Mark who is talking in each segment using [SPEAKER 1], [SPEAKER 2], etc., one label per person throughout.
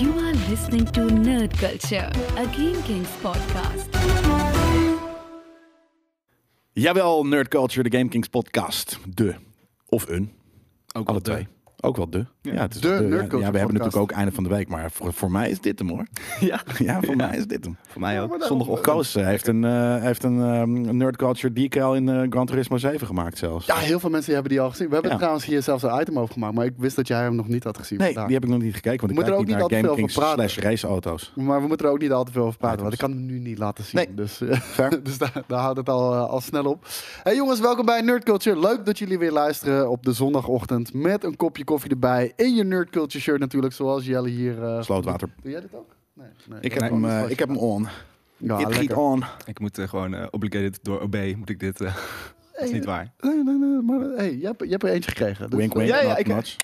[SPEAKER 1] You are listening to Nerd Culture, a Game Kings podcast.
[SPEAKER 2] Jawel, Nerd Culture, de Game Kings podcast. De. Of een. Alle
[SPEAKER 3] Ook wel de.
[SPEAKER 2] twee. Ook wel de. Ja, het is
[SPEAKER 4] de
[SPEAKER 2] wel
[SPEAKER 4] Nerd
[SPEAKER 2] Ja,
[SPEAKER 4] Culture
[SPEAKER 2] Ja, we hebben
[SPEAKER 4] podcast.
[SPEAKER 2] natuurlijk ook einde van de week, maar voor, voor mij is dit hem hoor.
[SPEAKER 3] Ja,
[SPEAKER 2] Ja, voor mij is dit hem.
[SPEAKER 3] voor mij ook.
[SPEAKER 4] maar daarom-
[SPEAKER 3] Zondagochtend.
[SPEAKER 2] Koos eh, heeft een, eh, heeft een ehm, Nerd Culture decal in eh, Gran Turismo 7 gemaakt zelfs.
[SPEAKER 4] Ja, heel veel mensen hebben die al gezien. We hebben
[SPEAKER 2] Ja.
[SPEAKER 4] trouwens hier zelfs een item over gemaakt, maar ik wist dat jij hem nog niet had gezien.
[SPEAKER 2] Nee,
[SPEAKER 4] vandaag.
[SPEAKER 2] die heb ik nog niet gekeken, want ik
[SPEAKER 4] Moet
[SPEAKER 2] kijk
[SPEAKER 4] er
[SPEAKER 2] niet
[SPEAKER 4] ook
[SPEAKER 2] naar Game
[SPEAKER 4] niet altijd
[SPEAKER 2] Kings
[SPEAKER 4] veel van
[SPEAKER 2] slash raceauto's.
[SPEAKER 4] Maar we moeten er ook niet al te veel over praten, want ik
[SPEAKER 2] Items.
[SPEAKER 4] kan hem nu niet laten zien.
[SPEAKER 2] Nee.
[SPEAKER 4] Dus, eh, dus daar, daar houdt het al, eh, al snel op. Hey jongens, welkom bij Nerd Culture. Leuk dat jullie weer luisteren op de zondagochtend met een kopje koffie erbij. In je Nerd Culture shirt natuurlijk, zoals Jelle hier... eh,
[SPEAKER 2] Slootwater.
[SPEAKER 4] Doe jij dit ook? Nee. nee.
[SPEAKER 2] Ik heb,
[SPEAKER 4] Nee,
[SPEAKER 2] hem,
[SPEAKER 4] anders
[SPEAKER 2] eh,
[SPEAKER 4] was
[SPEAKER 2] ik
[SPEAKER 4] je
[SPEAKER 2] heb hem on.
[SPEAKER 4] dat. Ja,
[SPEAKER 2] It giet
[SPEAKER 4] lekker.
[SPEAKER 2] on.
[SPEAKER 3] Ik moet eh, gewoon eh, obligated door OB, moet ik dit... eh, dat is niet waar.
[SPEAKER 4] Nee, nee, nee, maar eh, hey, je, hebt, je hebt er eentje gekregen. Dus,
[SPEAKER 2] Wink, wink.
[SPEAKER 4] eh,
[SPEAKER 3] Ja, ja,
[SPEAKER 2] not
[SPEAKER 3] ik-
[SPEAKER 2] much.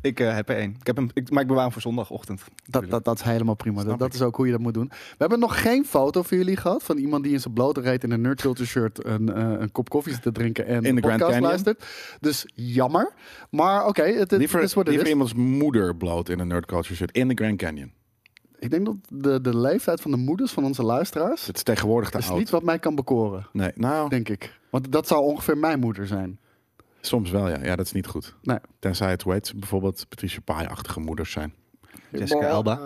[SPEAKER 3] Ik eh, heb er één. Ik heb hem, ik, maar ik bewaar hem voor zondagochtend.
[SPEAKER 4] Dat, dat, dat is helemaal prima.
[SPEAKER 2] Snap
[SPEAKER 4] Dat, dat is ook hoe je dat moet doen. We hebben nog geen foto voor jullie gehad van iemand die in zijn blote reet in een Nerd Culture shirt een, eh, een kop koffie zit te drinken en
[SPEAKER 2] In de
[SPEAKER 4] een
[SPEAKER 2] Grand
[SPEAKER 4] podcast
[SPEAKER 2] Canyon.
[SPEAKER 4] luistert. Dus jammer. Maar oké, het, het
[SPEAKER 2] Liever,
[SPEAKER 4] is wat het
[SPEAKER 2] liever
[SPEAKER 4] is.
[SPEAKER 2] iemands moeder bloot in een Nerd Culture shirt in de Grand Canyon.
[SPEAKER 4] Ik denk dat de, de leeftijd van de moeders van onze luisteraars
[SPEAKER 2] Het is tegenwoordig te
[SPEAKER 4] is
[SPEAKER 2] oud.
[SPEAKER 4] niet wat mij kan bekoren,
[SPEAKER 2] Nee, nou,
[SPEAKER 4] denk ik. Want dat zou ongeveer mijn moeder zijn.
[SPEAKER 2] soms wel ja. Ja, dat is niet goed.
[SPEAKER 4] Nee.
[SPEAKER 2] Tenzij het, weet, bijvoorbeeld Patricia Pai-achtige moeders zijn.
[SPEAKER 3] Jessica
[SPEAKER 4] eh,
[SPEAKER 3] Alba.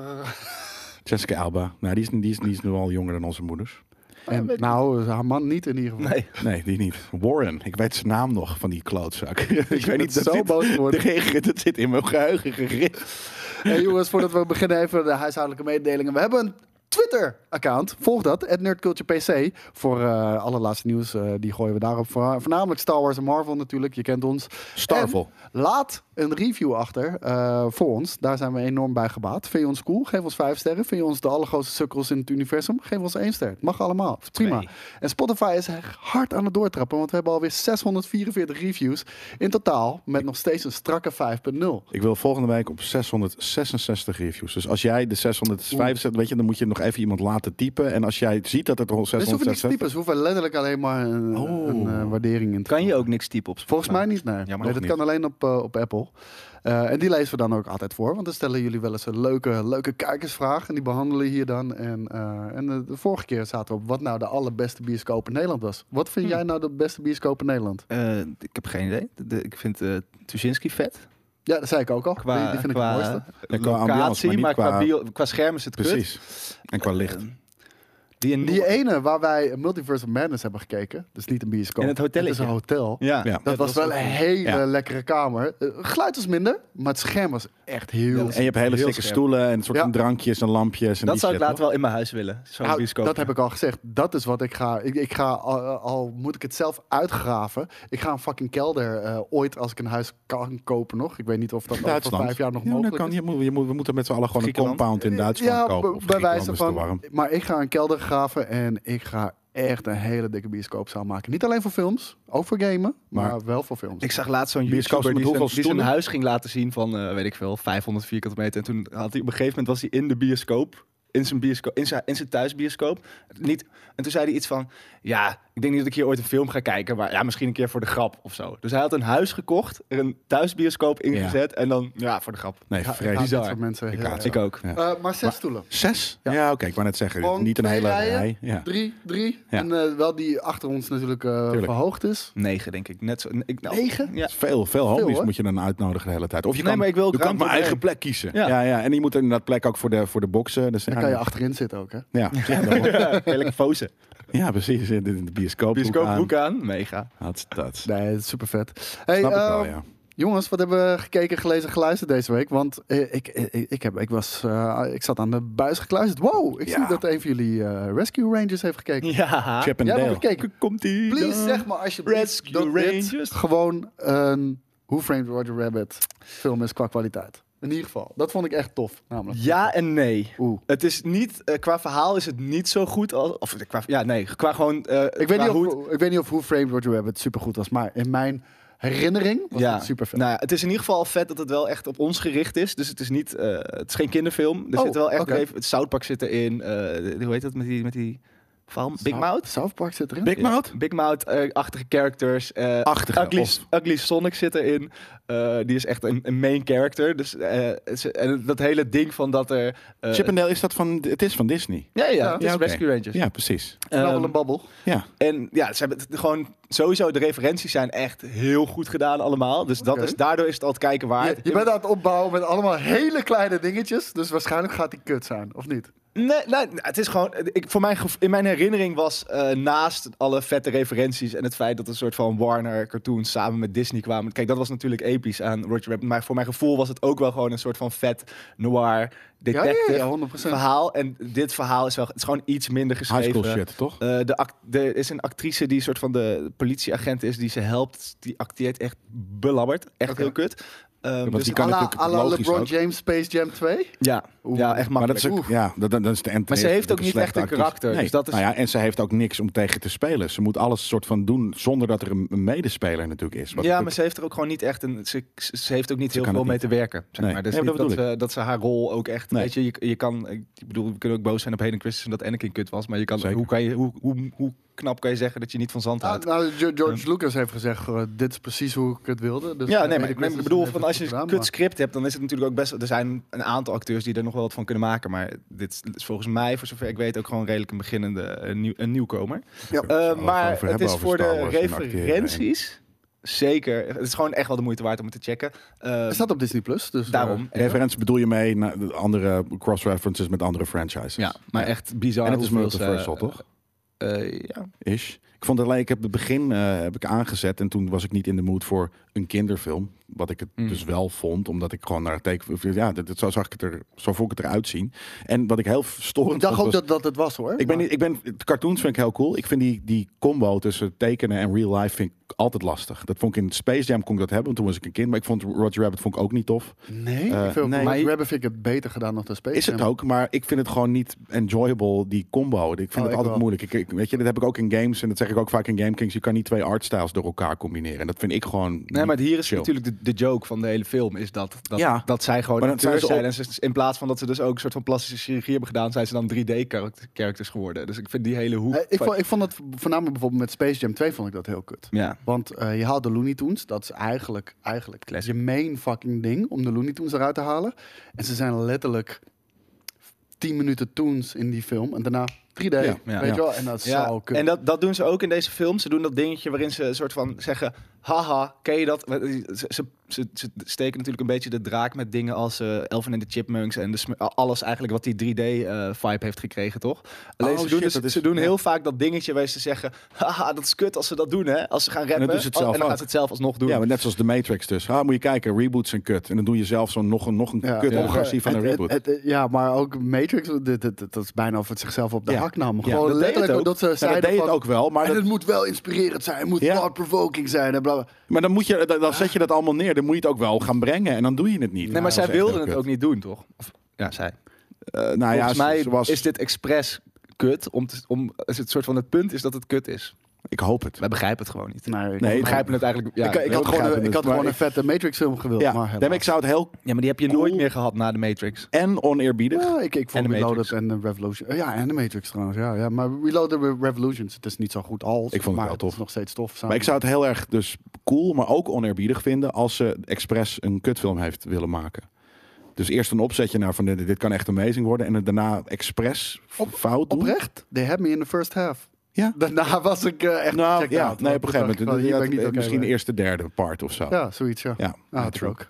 [SPEAKER 2] Jessica Alba. Nou, die is, die is, die is nu al jonger dan onze moeders.
[SPEAKER 4] En, nou, haar man niet in ieder geval.
[SPEAKER 3] Nee.
[SPEAKER 2] Nee, die niet. Warren. Ik weet zijn naam nog van die klootzak. ik weet
[SPEAKER 4] bent
[SPEAKER 2] niet, dat
[SPEAKER 4] zo
[SPEAKER 2] zit,
[SPEAKER 4] boos geworden.
[SPEAKER 2] de- Dat zit in mijn geheugen gegrift.
[SPEAKER 4] Hey jongens, voordat we beginnen even de huishoudelijke mededelingen. We hebben een Twitter-account. Volg dat, @nerdculturepc. Voor eh alle laatste nieuws, eh, die gooien we daarop. Voor- Voornamelijk Star Wars en Marvel natuurlijk, je kent ons.
[SPEAKER 2] Starvel.
[SPEAKER 4] En laat een review achter eh, voor ons. Daar zijn we enorm bij gebaat. Vind je ons cool? Geef ons vijf sterren. Vind je ons de allergrootste sukkels in het universum? Geef ons één ster. Het mag allemaal. Prima.
[SPEAKER 3] Nee.
[SPEAKER 4] En Spotify is echt hard aan het doortrappen, want we hebben alweer 644 reviews. In totaal met nog steeds een strakke 5.0.
[SPEAKER 2] Ik wil volgende week op 666 reviews. Dus als jij de 665 weet je, dan moet je nog even iemand laten typen. En als jij ziet dat het er al
[SPEAKER 4] Dus ze hoeven niks
[SPEAKER 2] 666
[SPEAKER 4] typen. Ze hoeven letterlijk alleen maar een, een, eh, waardering in te
[SPEAKER 3] Oh. Kan je ook niks typen op
[SPEAKER 4] Volgens mij niet, nee.
[SPEAKER 3] Jammer
[SPEAKER 4] nee
[SPEAKER 3] nog
[SPEAKER 4] dat
[SPEAKER 3] niet.
[SPEAKER 4] kan alleen op, eh, op Apple. Eh, en die lezen we dan ook altijd voor. Want dan stellen jullie wel eens een leuke, leuke kijkersvraag. En die behandelen we hier dan. En, eh, en eh, de vorige keer zaten we op wat nou de allerbeste bioscoop in Nederland was. Wat
[SPEAKER 3] Hm.
[SPEAKER 4] vind jij nou de beste bioscoop in Nederland?
[SPEAKER 3] Eh, ik heb geen idee. De- de- ik vind eh Tuschinski vet.
[SPEAKER 4] Ja, dat zei ik ook al.
[SPEAKER 3] Qua,
[SPEAKER 4] die, die vind
[SPEAKER 3] qua
[SPEAKER 4] ik het mooiste.
[SPEAKER 2] Ja, qua
[SPEAKER 3] locatie,
[SPEAKER 2] ambiance, maar
[SPEAKER 3] maar,
[SPEAKER 2] niet
[SPEAKER 3] qua,
[SPEAKER 2] qua-
[SPEAKER 3] bio- qua scherm is het kut.
[SPEAKER 2] Precies. En qua licht.
[SPEAKER 3] Die, in
[SPEAKER 4] Die e- ene waar wij Multiverse of Madness hebben gekeken. Dus niet een bioscoop.
[SPEAKER 3] In het hotelletje.
[SPEAKER 4] Het is een hotel.
[SPEAKER 3] Ja,
[SPEAKER 2] Ja.
[SPEAKER 4] Dat, was wel een hele
[SPEAKER 2] Ja.
[SPEAKER 4] lekkere kamer. Eh, geluid was minder, maar het scherm was echt heel...
[SPEAKER 2] En je hebt hele
[SPEAKER 3] Heel
[SPEAKER 2] stikke
[SPEAKER 3] scherp.
[SPEAKER 2] stoelen en een soort
[SPEAKER 4] Ja.
[SPEAKER 2] van drankjes en lampjes. En
[SPEAKER 3] Dat
[SPEAKER 2] die
[SPEAKER 3] zou ik
[SPEAKER 2] shit,
[SPEAKER 3] later wel in mijn huis willen. Zo'n
[SPEAKER 4] Nou,
[SPEAKER 3] bioscoop.
[SPEAKER 4] dat heb ik al gezegd. Dat is wat ik ga. Ik, ik ga al, al moet ik het zelf uitgraven. Ik ga een fucking kelder eh, ooit als ik een huis kan kopen nog. Ik weet niet of dat
[SPEAKER 2] toch?
[SPEAKER 4] over
[SPEAKER 2] Duitsland.
[SPEAKER 4] vijf jaar nog
[SPEAKER 2] Ja, dat
[SPEAKER 4] mogelijk
[SPEAKER 2] kan.
[SPEAKER 4] is.
[SPEAKER 2] Je moet, je moet, we moeten met z'n allen gewoon een
[SPEAKER 3] Griekenland?
[SPEAKER 2] compound in Duitsland kopen.
[SPEAKER 4] b-
[SPEAKER 2] Of
[SPEAKER 4] bij
[SPEAKER 2] Griekenland
[SPEAKER 4] wijze
[SPEAKER 2] is te
[SPEAKER 4] van.
[SPEAKER 2] warm.
[SPEAKER 4] Maar ik ga een kelder graven en ik ga echt een hele dikke bioscoopzaal maken. Niet alleen voor films, ook voor gamen, maar,
[SPEAKER 2] Maar-
[SPEAKER 4] wel voor films.
[SPEAKER 3] Ik zag laatst zo'n
[SPEAKER 2] Bioscoop
[SPEAKER 3] YouTuber
[SPEAKER 2] met
[SPEAKER 3] die
[SPEAKER 2] hoeveel
[SPEAKER 3] zijn, die zijn
[SPEAKER 2] stoelen?
[SPEAKER 3] huis ging laten zien van, eh, weet ik veel, 500 vierkante meter. En toen had hij op een gegeven moment was hij in de bioscoop, in zijn, bioscoop, in zijn, in zijn thuisbioscoop. Niet, en toen zei hij iets van, ja, ik denk niet dat ik hier ooit een film ga kijken, maar ja, misschien een keer voor de grap of zo. Dus hij had een huis gekocht, er een thuisbioscoop ingezet en dan, ja, voor de grap.
[SPEAKER 2] Nee,
[SPEAKER 4] Ja, ik haat
[SPEAKER 2] vrees.
[SPEAKER 4] dit
[SPEAKER 3] bizar.
[SPEAKER 4] soort mensen. heel
[SPEAKER 2] haat
[SPEAKER 4] erg.
[SPEAKER 2] ze.
[SPEAKER 3] Ik ook.
[SPEAKER 2] Ja.
[SPEAKER 4] Eh, maar zes stoelen.
[SPEAKER 2] Zes? Ja,
[SPEAKER 4] Ja.
[SPEAKER 2] oké. Ik wou net zeggen,
[SPEAKER 4] Gewoon
[SPEAKER 2] niet een
[SPEAKER 4] twee
[SPEAKER 2] hele
[SPEAKER 4] rijen,
[SPEAKER 2] rij. Ja.
[SPEAKER 4] Drie, drie.
[SPEAKER 2] Ja.
[SPEAKER 4] En eh, wel die achter ons natuurlijk eh, verhoogd is.
[SPEAKER 3] Negen, denk ik. Net zo, ik, nou,
[SPEAKER 4] Negen?
[SPEAKER 3] Ja.
[SPEAKER 2] Dat is Veel, veel homies
[SPEAKER 4] hoor.
[SPEAKER 2] moet je dan uitnodigen de hele tijd. Of je
[SPEAKER 3] Nee,
[SPEAKER 2] kan,
[SPEAKER 3] maar ik wil ook
[SPEAKER 2] je kan
[SPEAKER 3] ruimte
[SPEAKER 2] mijn eigen
[SPEAKER 3] erbij.
[SPEAKER 2] plek kiezen. Ja.
[SPEAKER 3] Ja.
[SPEAKER 2] Ja, En je moet inderdaad plek ook voor de, voor de boksen. Dus,
[SPEAKER 4] Dan
[SPEAKER 2] ja,
[SPEAKER 4] kan je achterin zitten ook, hè?
[SPEAKER 2] Ja, ja, daarom.
[SPEAKER 3] Ja, Lelijk fozen.
[SPEAKER 2] ja, precies. In de, in de bioscoop.
[SPEAKER 3] Bioscoophoek aan, mega.
[SPEAKER 2] Dat
[SPEAKER 4] Nee, dat is super vet. Hey,
[SPEAKER 2] snap ik
[SPEAKER 4] eh,
[SPEAKER 2] wel, ja.
[SPEAKER 4] Jongens, wat hebben we gekeken, gelezen, geluisterd deze week? Want eh, ik, ik, ik, heb, ik, was, eh, ik zat aan de buis gekluisterd. Wow, ik
[SPEAKER 2] Ja.
[SPEAKER 4] zie dat een van jullie eh, Rescue Rangers heeft gekeken.
[SPEAKER 3] Ja.
[SPEAKER 2] Chip and
[SPEAKER 4] Jij
[SPEAKER 2] Dale.
[SPEAKER 4] hebt nog gekeken.
[SPEAKER 3] Komt ie.
[SPEAKER 4] Please,
[SPEAKER 3] dan.
[SPEAKER 4] zeg maar alsjeblieft
[SPEAKER 3] Rescue
[SPEAKER 4] dat dit
[SPEAKER 3] Rangers.
[SPEAKER 4] gewoon een Who Framed Roger Rabbit film is qua kwaliteit. In ieder geval, dat vond ik echt tof. Namelijk.
[SPEAKER 3] Ja en nee.
[SPEAKER 4] Oeh.
[SPEAKER 3] Het is niet, eh, qua verhaal is het niet zo goed als. Of eh, qua, ja, nee, qua gewoon. eh,
[SPEAKER 4] Ik, weet
[SPEAKER 3] qua
[SPEAKER 4] niet
[SPEAKER 3] hoe het-
[SPEAKER 4] of, ik weet niet of Who Framed Roger Rabbit supergoed was, maar in mijn herinnering was
[SPEAKER 3] ja,
[SPEAKER 4] het super vet.
[SPEAKER 3] Nou, ja, het is in ieder geval vet dat het wel echt op ons gericht is. Dus het is niet, eh, het is geen kinderfilm. Er
[SPEAKER 4] Oh,
[SPEAKER 3] zit wel echt
[SPEAKER 4] oké.
[SPEAKER 3] even, het zoutpak zit erin. eh, hoe heet dat met die, met die Waarom? Big
[SPEAKER 4] South-
[SPEAKER 3] Mouth?
[SPEAKER 4] South Park zit erin.
[SPEAKER 2] Big Mouth?
[SPEAKER 3] Big Mouth-achtige characters. eh,
[SPEAKER 2] Achtige,
[SPEAKER 3] Ugly,
[SPEAKER 2] of-
[SPEAKER 3] Ugly Sonic zit erin. Eh, die is echt een, een main character. Dus, eh, ze- en dat hele ding van dat er... eh,
[SPEAKER 2] Chip and Dale is dat van, het is van Disney.
[SPEAKER 3] ja, ja, het is
[SPEAKER 2] oké.
[SPEAKER 3] Rescue Rangers.
[SPEAKER 2] Ja, precies.
[SPEAKER 4] Knabbel
[SPEAKER 3] Ehm,
[SPEAKER 4] en babbel.
[SPEAKER 2] Ja.
[SPEAKER 3] En ja, ze hebben het gewoon sowieso de referenties zijn echt heel goed gedaan allemaal. Dus dat
[SPEAKER 4] Oké.
[SPEAKER 3] is, daardoor is het al het kijken waard.
[SPEAKER 4] Je, je bent aan het opbouwen met allemaal hele kleine dingetjes. Dus waarschijnlijk gaat die kut zijn, of niet?
[SPEAKER 3] Nee, nee, het is gewoon. Ik, voor mijn gevo- in mijn herinnering was eh, naast alle vette referenties en het feit dat een soort van Warner cartoons samen met Disney kwamen. Kijk, dat was natuurlijk episch aan Roger Rabbit. Maar voor mijn gevoel was het ook wel gewoon een soort van vet noir
[SPEAKER 4] Ja, ja,
[SPEAKER 3] detective
[SPEAKER 4] ja, 100%.
[SPEAKER 3] verhaal. En dit verhaal is wel. Het is gewoon iets minder geschreven.
[SPEAKER 2] High school shit, toch?
[SPEAKER 3] Eh, de act- er is een actrice die een soort van de politieagent is die ze helpt. Die acteert echt belabberd. Echt
[SPEAKER 4] Oké.
[SPEAKER 3] heel kut. Ehm,
[SPEAKER 2] want
[SPEAKER 3] dus-
[SPEAKER 2] die
[SPEAKER 4] à
[SPEAKER 2] kan
[SPEAKER 4] la,
[SPEAKER 2] natuurlijk
[SPEAKER 4] à la
[SPEAKER 2] logisch
[SPEAKER 4] LeBron
[SPEAKER 2] ook.
[SPEAKER 4] James Space Jam 2?
[SPEAKER 3] ja,
[SPEAKER 4] Oeh.
[SPEAKER 3] ja, echt makkelijk.
[SPEAKER 2] Maar, dat is ook,
[SPEAKER 4] Oeh.
[SPEAKER 2] ja, dat, dat dat is de end.
[SPEAKER 3] Maar ze heeft ook niet echt een karakter,
[SPEAKER 2] Nee.
[SPEAKER 3] dus dat is-
[SPEAKER 2] nou ja, en ze heeft ook niks om tegen te spelen. Ze moet alles soort van doen zonder dat er een, een medespeler natuurlijk is. Wat
[SPEAKER 3] Ja,
[SPEAKER 2] natuurlijk-
[SPEAKER 3] maar ze heeft er ook gewoon niet echt een. Ze, ze heeft ook niet
[SPEAKER 2] Ze
[SPEAKER 3] heel
[SPEAKER 2] kan
[SPEAKER 3] veel
[SPEAKER 2] het
[SPEAKER 3] mee
[SPEAKER 2] niet.
[SPEAKER 3] te werken. Zeg
[SPEAKER 2] Nee.
[SPEAKER 3] maar. Dus
[SPEAKER 2] Nee, maar
[SPEAKER 3] niet
[SPEAKER 2] dat
[SPEAKER 3] dat,
[SPEAKER 2] bedoel
[SPEAKER 3] ze, dat ze haar rol ook echt.
[SPEAKER 2] Nee.
[SPEAKER 3] Weet je, je, je kan. Ik bedoel, we kunnen ook boos zijn op Hayden Christensen dat Anakin kut was. Maar je kan,
[SPEAKER 2] Zeker.
[SPEAKER 3] hoe, kan je, hoe, hoe, hoe knap kan je zeggen dat je niet van zand
[SPEAKER 4] Ah,
[SPEAKER 3] houdt?
[SPEAKER 4] nou, Jo- George Lucas heeft gezegd, eh, dit is precies hoe ik het wilde. Dus
[SPEAKER 3] ja, nee, maar
[SPEAKER 4] eh, Hayden
[SPEAKER 3] ik, ik
[SPEAKER 4] Christensen
[SPEAKER 3] bedoel,
[SPEAKER 4] heeft
[SPEAKER 3] van
[SPEAKER 4] het
[SPEAKER 3] als je
[SPEAKER 4] goed
[SPEAKER 3] een
[SPEAKER 4] gedaan,
[SPEAKER 3] kut script hebt, dan is het natuurlijk ook best. Er zijn een aantal acteurs die er nog wel wat van kunnen maken. Maar dit is volgens mij, voor zover ik weet, ook gewoon redelijk een beginnende een, nieuw, een nieuwkomer.
[SPEAKER 4] Ja.
[SPEAKER 3] Eh,
[SPEAKER 2] Zullen we het
[SPEAKER 3] maar
[SPEAKER 2] over
[SPEAKER 3] het
[SPEAKER 2] hebben
[SPEAKER 3] is
[SPEAKER 2] over
[SPEAKER 3] voor
[SPEAKER 2] Star
[SPEAKER 3] de
[SPEAKER 2] Wars en acteren en-
[SPEAKER 3] referenties. Zeker. Het is gewoon echt wel de moeite waard om het te checken. Eh,
[SPEAKER 4] Het staat op Disney+. Plus, dus eh,
[SPEAKER 3] daarom.
[SPEAKER 2] Referentie bedoel je mee naar de andere cross-references met andere franchises.
[SPEAKER 3] Ja, maar echt bizar.
[SPEAKER 2] En het is
[SPEAKER 3] hoeveel ze-
[SPEAKER 2] multiversal, toch?
[SPEAKER 3] eh, ja.
[SPEAKER 2] Is. Ik vond het alleen, ik heb het begin eh, heb ik aangezet en toen was ik niet in de mood voor een kinderfilm. Wat ik het
[SPEAKER 3] Mm.
[SPEAKER 2] dus wel vond, omdat ik gewoon naar het teken... Ja, dat, dat- zo zag ik het er, zo vond ik het eruit zien. En wat ik heel storend
[SPEAKER 4] Ik dacht
[SPEAKER 2] vond
[SPEAKER 4] ook
[SPEAKER 2] was-
[SPEAKER 4] dat dat het was, hoor.
[SPEAKER 2] Ik ben, niet- ik ben, de cartoons vind ik heel cool. Ik vind die, die combo tussen tekenen en real life vind ik altijd lastig. Dat vond ik in Space Jam kon ik dat hebben, want toen was ik een kind. Maar ik vond Roger Rabbit vond ik ook niet tof.
[SPEAKER 4] Nee,
[SPEAKER 2] Eh,
[SPEAKER 4] ik vind
[SPEAKER 2] nee.
[SPEAKER 4] nee.
[SPEAKER 2] Maar-
[SPEAKER 4] Rabbit vind ik het beter gedaan dan de Space
[SPEAKER 2] Is het
[SPEAKER 4] Jam.
[SPEAKER 2] ook, maar ik vind het gewoon niet enjoyable, die combo. Ik vind
[SPEAKER 4] Oh, ik
[SPEAKER 2] het altijd
[SPEAKER 4] wel.
[SPEAKER 2] moeilijk. Ik, ik- weet je, dat heb ik ook in games en dat zeg ik ook vaak in Game Kings. Je kan niet twee artstyles door elkaar combineren. En dat vind ik gewoon
[SPEAKER 3] Nee,
[SPEAKER 2] niet
[SPEAKER 3] maar hier is
[SPEAKER 2] chill.
[SPEAKER 3] natuurlijk de, de joke van de hele film is dat, dat,
[SPEAKER 2] Ja.
[SPEAKER 3] dat zij gewoon
[SPEAKER 2] Maar dan zijn
[SPEAKER 3] acteurs
[SPEAKER 2] ze
[SPEAKER 3] zijn.
[SPEAKER 2] op-
[SPEAKER 3] En ze, in plaats van dat ze dus ook een soort van plastische chirurgie hebben gedaan, zijn ze dan 3D-characters geworden. Dus ik vind die hele hoek...
[SPEAKER 4] Eh, ik,
[SPEAKER 3] van-
[SPEAKER 4] vond, ik vond het voornamelijk bijvoorbeeld met Space Jam 2 vond ik dat heel kut.
[SPEAKER 3] ja.
[SPEAKER 4] Want eh, je haalt de Looney Tunes, dat is eigenlijk, eigenlijk
[SPEAKER 3] Classic.
[SPEAKER 4] je main fucking ding om de Looney Tunes eruit te halen. En ze zijn letterlijk 10 minuten Tunes in die film en daarna 3D. weet
[SPEAKER 3] ja.
[SPEAKER 4] je wel? En dat is zo
[SPEAKER 3] Ja,
[SPEAKER 4] kut.
[SPEAKER 3] en dat, dat doen ze ook in deze film. Ze doen dat dingetje waarin ze een soort van zeggen... Haha, ken je dat? eh, Ze, ze, ze, ze steken natuurlijk een beetje de draak met dingen als eh Elvin en de Chipmunks... en de sm- alles eigenlijk wat die 3D-vibe heeft gekregen, toch? Alleen
[SPEAKER 2] Oh,
[SPEAKER 3] ze doen,
[SPEAKER 2] shit,
[SPEAKER 3] dus,
[SPEAKER 2] dat is-
[SPEAKER 3] ze doen
[SPEAKER 2] ja.
[SPEAKER 3] heel vaak dat dingetje waar ze zeggen... Haha, dat is kut als ze dat doen, hè? Als ze gaan rappen.
[SPEAKER 2] doen ze het
[SPEAKER 3] al-
[SPEAKER 2] zelf
[SPEAKER 3] en dan
[SPEAKER 2] ook.
[SPEAKER 3] gaan ze het zelf alsnog doen.
[SPEAKER 2] Ja, maar net zoals de Matrix dus. Ah, moet je kijken, reboots zijn kut. En dan doe je zelf zo'n nog een, nog een
[SPEAKER 4] Ja.
[SPEAKER 2] kut
[SPEAKER 4] Ja.
[SPEAKER 2] versie van een
[SPEAKER 4] Het-
[SPEAKER 2] reboot.
[SPEAKER 4] het- het- ja, maar ook Matrix, dit, dit- dit- dat is bijna of het zichzelf op de
[SPEAKER 2] Ja.
[SPEAKER 4] hak nam.
[SPEAKER 2] Ja.
[SPEAKER 4] Gewoon
[SPEAKER 3] Dat deed
[SPEAKER 4] letterlijk
[SPEAKER 3] het ook.
[SPEAKER 4] dat ze
[SPEAKER 2] Ja,
[SPEAKER 4] zeiden
[SPEAKER 2] dat deed het
[SPEAKER 4] van,
[SPEAKER 2] ook wel, maar
[SPEAKER 4] en
[SPEAKER 2] dat,
[SPEAKER 4] het moet wel inspirerend zijn, het moet
[SPEAKER 2] Ja.
[SPEAKER 4] thought-provoking zijn en bla bla.
[SPEAKER 2] maar dan, moet je, dan, dan zet je dat allemaal neer. Dan moet je het ook wel gaan brengen en dan doe je het niet. Nou,
[SPEAKER 3] nee, maar zij wilden
[SPEAKER 2] wilde
[SPEAKER 3] het ook niet doen, toch? Of- ja, zij.
[SPEAKER 2] nou ja,
[SPEAKER 3] Volgens
[SPEAKER 2] ze-
[SPEAKER 3] mij
[SPEAKER 2] ze was,
[SPEAKER 3] is dit expres kut. Om te- om, is het soort van het punt is dat het kut is.
[SPEAKER 2] ik hoop het.
[SPEAKER 3] Wij begrijpen het gewoon niet.
[SPEAKER 4] Nee,
[SPEAKER 2] Nee,
[SPEAKER 3] We begrijpen het eigenlijk... Ja,
[SPEAKER 4] ik, ik
[SPEAKER 2] heel
[SPEAKER 4] had gewoon, een-
[SPEAKER 2] begrijpelijk,
[SPEAKER 4] ik had
[SPEAKER 2] maar
[SPEAKER 4] gewoon een
[SPEAKER 2] ik-
[SPEAKER 4] vette Matrix film gewild.
[SPEAKER 2] Ja,
[SPEAKER 4] maar
[SPEAKER 2] nee, maar
[SPEAKER 4] helaas.
[SPEAKER 2] ik zou het heel
[SPEAKER 3] Ja, maar die heb je
[SPEAKER 2] Cool.
[SPEAKER 3] nooit meer gehad na de Matrix.
[SPEAKER 2] en oneerbiedig.
[SPEAKER 4] Ja, ik, ik vond
[SPEAKER 3] En de
[SPEAKER 4] Reloaded
[SPEAKER 3] Matrix.
[SPEAKER 4] en de Revolution. eh, Ja, en de Matrix trouwens. Ja, ja. Maar Reloaded en Revolutions, het is niet zo goed als.
[SPEAKER 2] Ik vond het
[SPEAKER 4] maar
[SPEAKER 2] wel tof.
[SPEAKER 4] is nog steeds tof. samen.
[SPEAKER 2] Maar ik zou het heel erg dus cool, maar ook oneerbiedig vinden als ze expres een kutfilm heeft willen maken. Dus eerst een opzetje naar van dit, dit kan echt amazing worden en het daarna expres f- fout doen.
[SPEAKER 4] Oprecht, they had me in the first half.
[SPEAKER 2] Ja.
[SPEAKER 4] Daarna was ik eh, echt
[SPEAKER 2] Nou,
[SPEAKER 4] checked
[SPEAKER 2] ja,
[SPEAKER 4] out.
[SPEAKER 2] nee, op een
[SPEAKER 4] Want
[SPEAKER 2] gegeven moment.
[SPEAKER 4] toen dacht ik wel, hier ben ik
[SPEAKER 2] eh,
[SPEAKER 4] niet oké
[SPEAKER 2] misschien
[SPEAKER 4] mee.
[SPEAKER 2] eerst de derde part of zo. Ja,
[SPEAKER 4] Ja, zoiets, ja.
[SPEAKER 2] ja, Dus
[SPEAKER 4] Ah, had ik
[SPEAKER 2] true.
[SPEAKER 4] ook.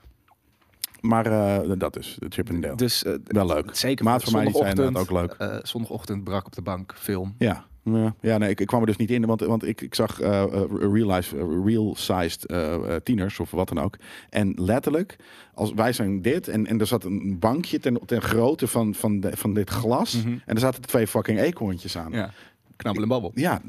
[SPEAKER 2] Maar eh, dat is de Chip and Dale.
[SPEAKER 3] Dus eh,
[SPEAKER 2] Wel leuk.
[SPEAKER 3] Zeker.
[SPEAKER 2] Maat van mij die zei
[SPEAKER 3] Zondagochtend,
[SPEAKER 2] inderdaad ook leuk.
[SPEAKER 3] eh, zondagochtend brak op de bank film.
[SPEAKER 2] Ja. Ja, ja nee, ik, ik kwam er dus niet in, want, want ik, ik zag eh, eh, real, life, eh, real-sized eh, eh, tieners of wat dan ook. En letterlijk, als, wij zijn dit en, en er zat een bankje ten, ten grootte van, van, de- van dit glas.
[SPEAKER 3] Mhm.
[SPEAKER 2] En er zaten twee fucking eekhoorntjes aan. Ja,
[SPEAKER 3] Ja. Knabbel en babbel.
[SPEAKER 2] Maar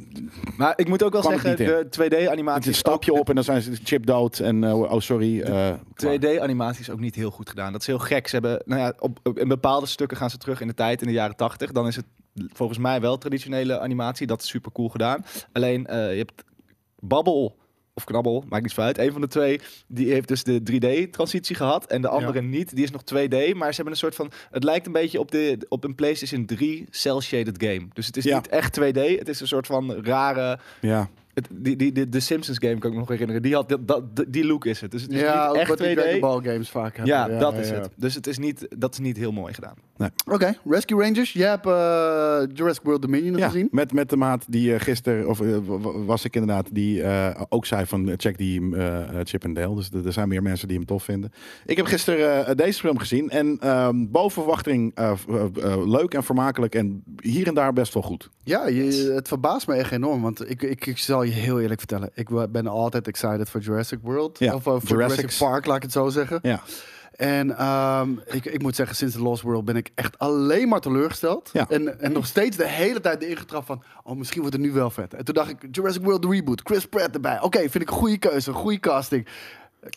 [SPEAKER 3] Maar ik moet ook wel
[SPEAKER 2] Kwam ik
[SPEAKER 3] zeggen, de
[SPEAKER 2] niet
[SPEAKER 3] 2D-animatie
[SPEAKER 2] het
[SPEAKER 3] is ook...
[SPEAKER 2] stapje op en dan zijn ze chip dood en eh, oh sorry. eh,
[SPEAKER 3] 2D-animatie is ook niet heel goed gedaan. Dat is heel gek. Ze hebben, nou ja, op, op- in bepaalde stukken gaan ze terug in de tijd, in de jaren 80. Dan is het volgens mij wel traditionele animatie. Dat is super cool gedaan. Alleen, eh, je hebt Babbel of Knabbel, maakt niet veel uit. Een van de twee, die heeft dus de 3D-transitie gehad. En de andere niet. Die is nog 2D. Maar ze hebben een soort van... Het lijkt een beetje op, de, op een PlayStation 3 cel-shaded game. Dus het is
[SPEAKER 2] Ja.
[SPEAKER 3] niet echt 2D. Het is een soort van rare...
[SPEAKER 2] Ja.
[SPEAKER 3] Het, die, die, de, de Simpsons game kan ik me nog herinneren. Die, had, dat, dat- die look is het. Dus het is
[SPEAKER 4] ja,
[SPEAKER 3] niet
[SPEAKER 4] ook
[SPEAKER 3] echt
[SPEAKER 4] wat die
[SPEAKER 3] 2D.
[SPEAKER 4] Dragon Ball games vaak hebben.
[SPEAKER 3] Ja, dat is
[SPEAKER 4] ja.
[SPEAKER 3] het. Dus het is niet, dat is niet heel mooi gedaan.
[SPEAKER 4] Oké, Rescue Rangers. Jij hebt eh, Jurassic World Dominion
[SPEAKER 2] Ja,
[SPEAKER 4] gezien.
[SPEAKER 2] met, met de maat die eh gisteren, of eh, wa- wa- was ik inderdaad, die eh, ook zei van eh, check die eh, eh, Chip en Dale. Dus er er zijn meer mensen die hem tof vinden. Ik heb gisteren eh, deze film gezien en ehm, boven verwachting eh, v- eh, eh, leuk en vermakelijk en hier en daar best wel goed.
[SPEAKER 4] Ja, je, het verbaast me echt enorm. Want ik, ik, ik zal je heel eerlijk vertellen. Ik wa- ben altijd excited voor Jurassic World.
[SPEAKER 2] Ja,
[SPEAKER 4] of eh, voor Jurassic,
[SPEAKER 2] Jurassic-
[SPEAKER 4] Park, laat ik het zo zeggen.
[SPEAKER 2] Ja,
[SPEAKER 4] En ehm, ik, ik moet zeggen, sinds The Lost World ben ik echt alleen maar teleurgesteld.
[SPEAKER 2] Ja.
[SPEAKER 4] En, en nog steeds de hele tijd de ingetrap van... Oh, misschien wordt het nu wel vet. En toen dacht ik, Jurassic World Reboot, Chris Pratt erbij. Oké, vind ik een goede keuze, een goede casting.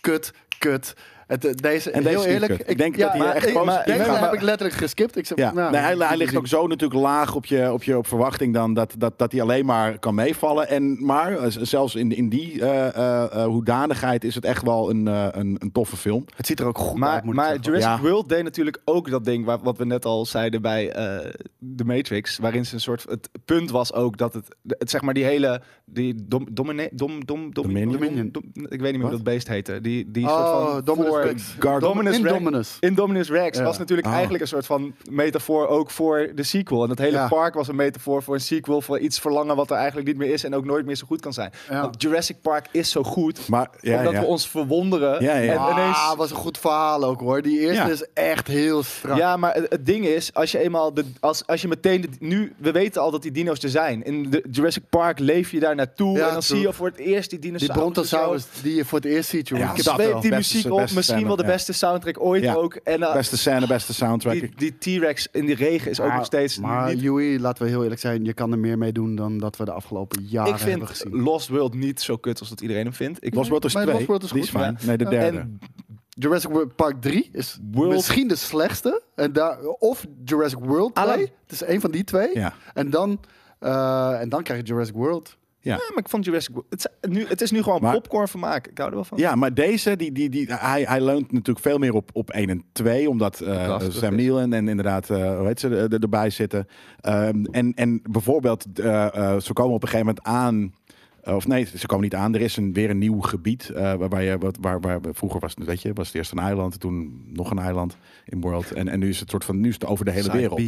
[SPEAKER 4] Kut, kut. Het, eh, deze,
[SPEAKER 2] En deze
[SPEAKER 4] heel
[SPEAKER 2] is niet
[SPEAKER 4] eerlijk,
[SPEAKER 2] kut. Ik denk dat hij
[SPEAKER 4] maar
[SPEAKER 2] echt
[SPEAKER 4] ik-
[SPEAKER 2] positief
[SPEAKER 4] Deze
[SPEAKER 2] gaat.
[SPEAKER 4] heb ik letterlijk geskipt. Ik zeg,
[SPEAKER 2] ja.
[SPEAKER 4] nou,
[SPEAKER 2] nee, hij,
[SPEAKER 4] ik moet
[SPEAKER 2] hij
[SPEAKER 4] het
[SPEAKER 2] ligt
[SPEAKER 4] zien.
[SPEAKER 2] ook zo natuurlijk laag op je, op je op verwachting dan dat, dat, dat hij alleen maar kan meevallen. En, maar eh, z- zelfs in, in die eh, eh, eh, hoedanigheid is het echt wel een, eh, een, een toffe film.
[SPEAKER 4] Het ziet er ook goed uit,
[SPEAKER 3] Maar,
[SPEAKER 4] moet ik
[SPEAKER 3] maar
[SPEAKER 4] zeggen.
[SPEAKER 3] Jurassic
[SPEAKER 2] Ja.
[SPEAKER 3] World deed natuurlijk ook dat ding waar, wat we net al zeiden bij eh, The Matrix. Waarin ze een soort. Het punt was ook dat het. het zeg maar die hele. Die dom, domine, dom, dom, dom,
[SPEAKER 2] Dominion?
[SPEAKER 3] dom- dom- ik weet niet meer hoe dat
[SPEAKER 2] Wat?
[SPEAKER 3] beest heette. Die, die soort
[SPEAKER 4] Oh,
[SPEAKER 3] van.
[SPEAKER 4] Dominus
[SPEAKER 3] voor-
[SPEAKER 4] Rex.
[SPEAKER 2] Guardian-
[SPEAKER 3] Dominus Rex.
[SPEAKER 4] Indominus.
[SPEAKER 3] Indominus Rex
[SPEAKER 4] Ja.
[SPEAKER 3] was natuurlijk
[SPEAKER 2] Ah.
[SPEAKER 3] eigenlijk een soort van metafoor ook voor de sequel. En dat hele
[SPEAKER 4] Ja.
[SPEAKER 3] park was een metafoor voor een sequel, voor iets verlangen wat er eigenlijk niet meer is en ook nooit meer zo goed kan zijn.
[SPEAKER 4] Ja.
[SPEAKER 3] Want Jurassic Park is zo goed,
[SPEAKER 2] Maar ja,
[SPEAKER 3] omdat
[SPEAKER 2] ja.
[SPEAKER 3] we ons verwonderen
[SPEAKER 2] Ja, ja.
[SPEAKER 3] en ineens
[SPEAKER 4] Ah, was een goed verhaal ook hoor. Die eerste
[SPEAKER 2] Ja.
[SPEAKER 4] is echt heel strak.
[SPEAKER 3] Ja, maar het, het ding is, als je eenmaal de, als, als je meteen de- nu, we weten al dat die dino's er zijn. In de Jurassic Park leef je daar naartoe
[SPEAKER 4] Ja,
[SPEAKER 3] en dan
[SPEAKER 4] true.
[SPEAKER 3] zie je voor het eerst die
[SPEAKER 4] die
[SPEAKER 3] dinosaurus.
[SPEAKER 4] brontosaurus die je voor het eerst ziet, jongen.
[SPEAKER 2] Ja,
[SPEAKER 4] Ik heb
[SPEAKER 2] dat
[SPEAKER 3] Zweep
[SPEAKER 2] wel.
[SPEAKER 3] die
[SPEAKER 2] Beste-
[SPEAKER 3] muziek op,
[SPEAKER 2] beste
[SPEAKER 3] misschien wel de
[SPEAKER 2] scène, ja.
[SPEAKER 3] beste soundtrack ooit
[SPEAKER 2] Ja.
[SPEAKER 3] ook. En eh,
[SPEAKER 2] Beste scène, beste soundtrack.
[SPEAKER 3] die- die T-Rex in die regen is ook nog steeds
[SPEAKER 4] Maar
[SPEAKER 3] niet...
[SPEAKER 4] Joey, laten we heel eerlijk zijn, je kan er meer mee doen dan dat we de afgelopen jaren
[SPEAKER 3] Ik
[SPEAKER 4] hebben
[SPEAKER 3] vind
[SPEAKER 4] gezien.
[SPEAKER 3] Lost World niet zo kut als dat iedereen hem vindt. Ik
[SPEAKER 2] Lost World is
[SPEAKER 4] Maar
[SPEAKER 2] 2.
[SPEAKER 4] Lost World is
[SPEAKER 2] die is
[SPEAKER 4] goed,
[SPEAKER 2] fijn.
[SPEAKER 4] ja.
[SPEAKER 2] Nee, de derde.
[SPEAKER 3] En
[SPEAKER 4] Jurassic World Park 3 is
[SPEAKER 3] World-
[SPEAKER 4] misschien de slechtste. En daar, of Jurassic World 2.
[SPEAKER 3] Alan-
[SPEAKER 4] Het is één van die twee.
[SPEAKER 2] Ja.
[SPEAKER 4] En, dan, eh, en dan krijg je Jurassic World.
[SPEAKER 2] Ja.
[SPEAKER 3] ja, maar ik vond Jurassic World... Het, is nu, het is nu gewoon
[SPEAKER 2] Maar-
[SPEAKER 3] popcorn vermaak. Ik hou er wel van.
[SPEAKER 2] ja, maar deze, die, die, die, hij, hij leunt natuurlijk veel meer op, op 1 en 2. Omdat eh,
[SPEAKER 3] Lastig
[SPEAKER 2] Sam
[SPEAKER 3] is.
[SPEAKER 2] Neill en, en inderdaad, eh, hoe heet ze, er- er- erbij zitten. Ehm, en, en bijvoorbeeld, eh, eh, ze komen op een gegeven moment aan... eh, Of nee, ze komen niet aan. Er is een, weer een nieuw gebied. eh, waar, waar, je, wat- waar, waar, vroeger was, het, weet je, was het eerst een eiland. Toen nog een eiland in World. En, en nu is het soort van. Nu is het over de hele
[SPEAKER 3] Side
[SPEAKER 2] wereld.
[SPEAKER 3] B.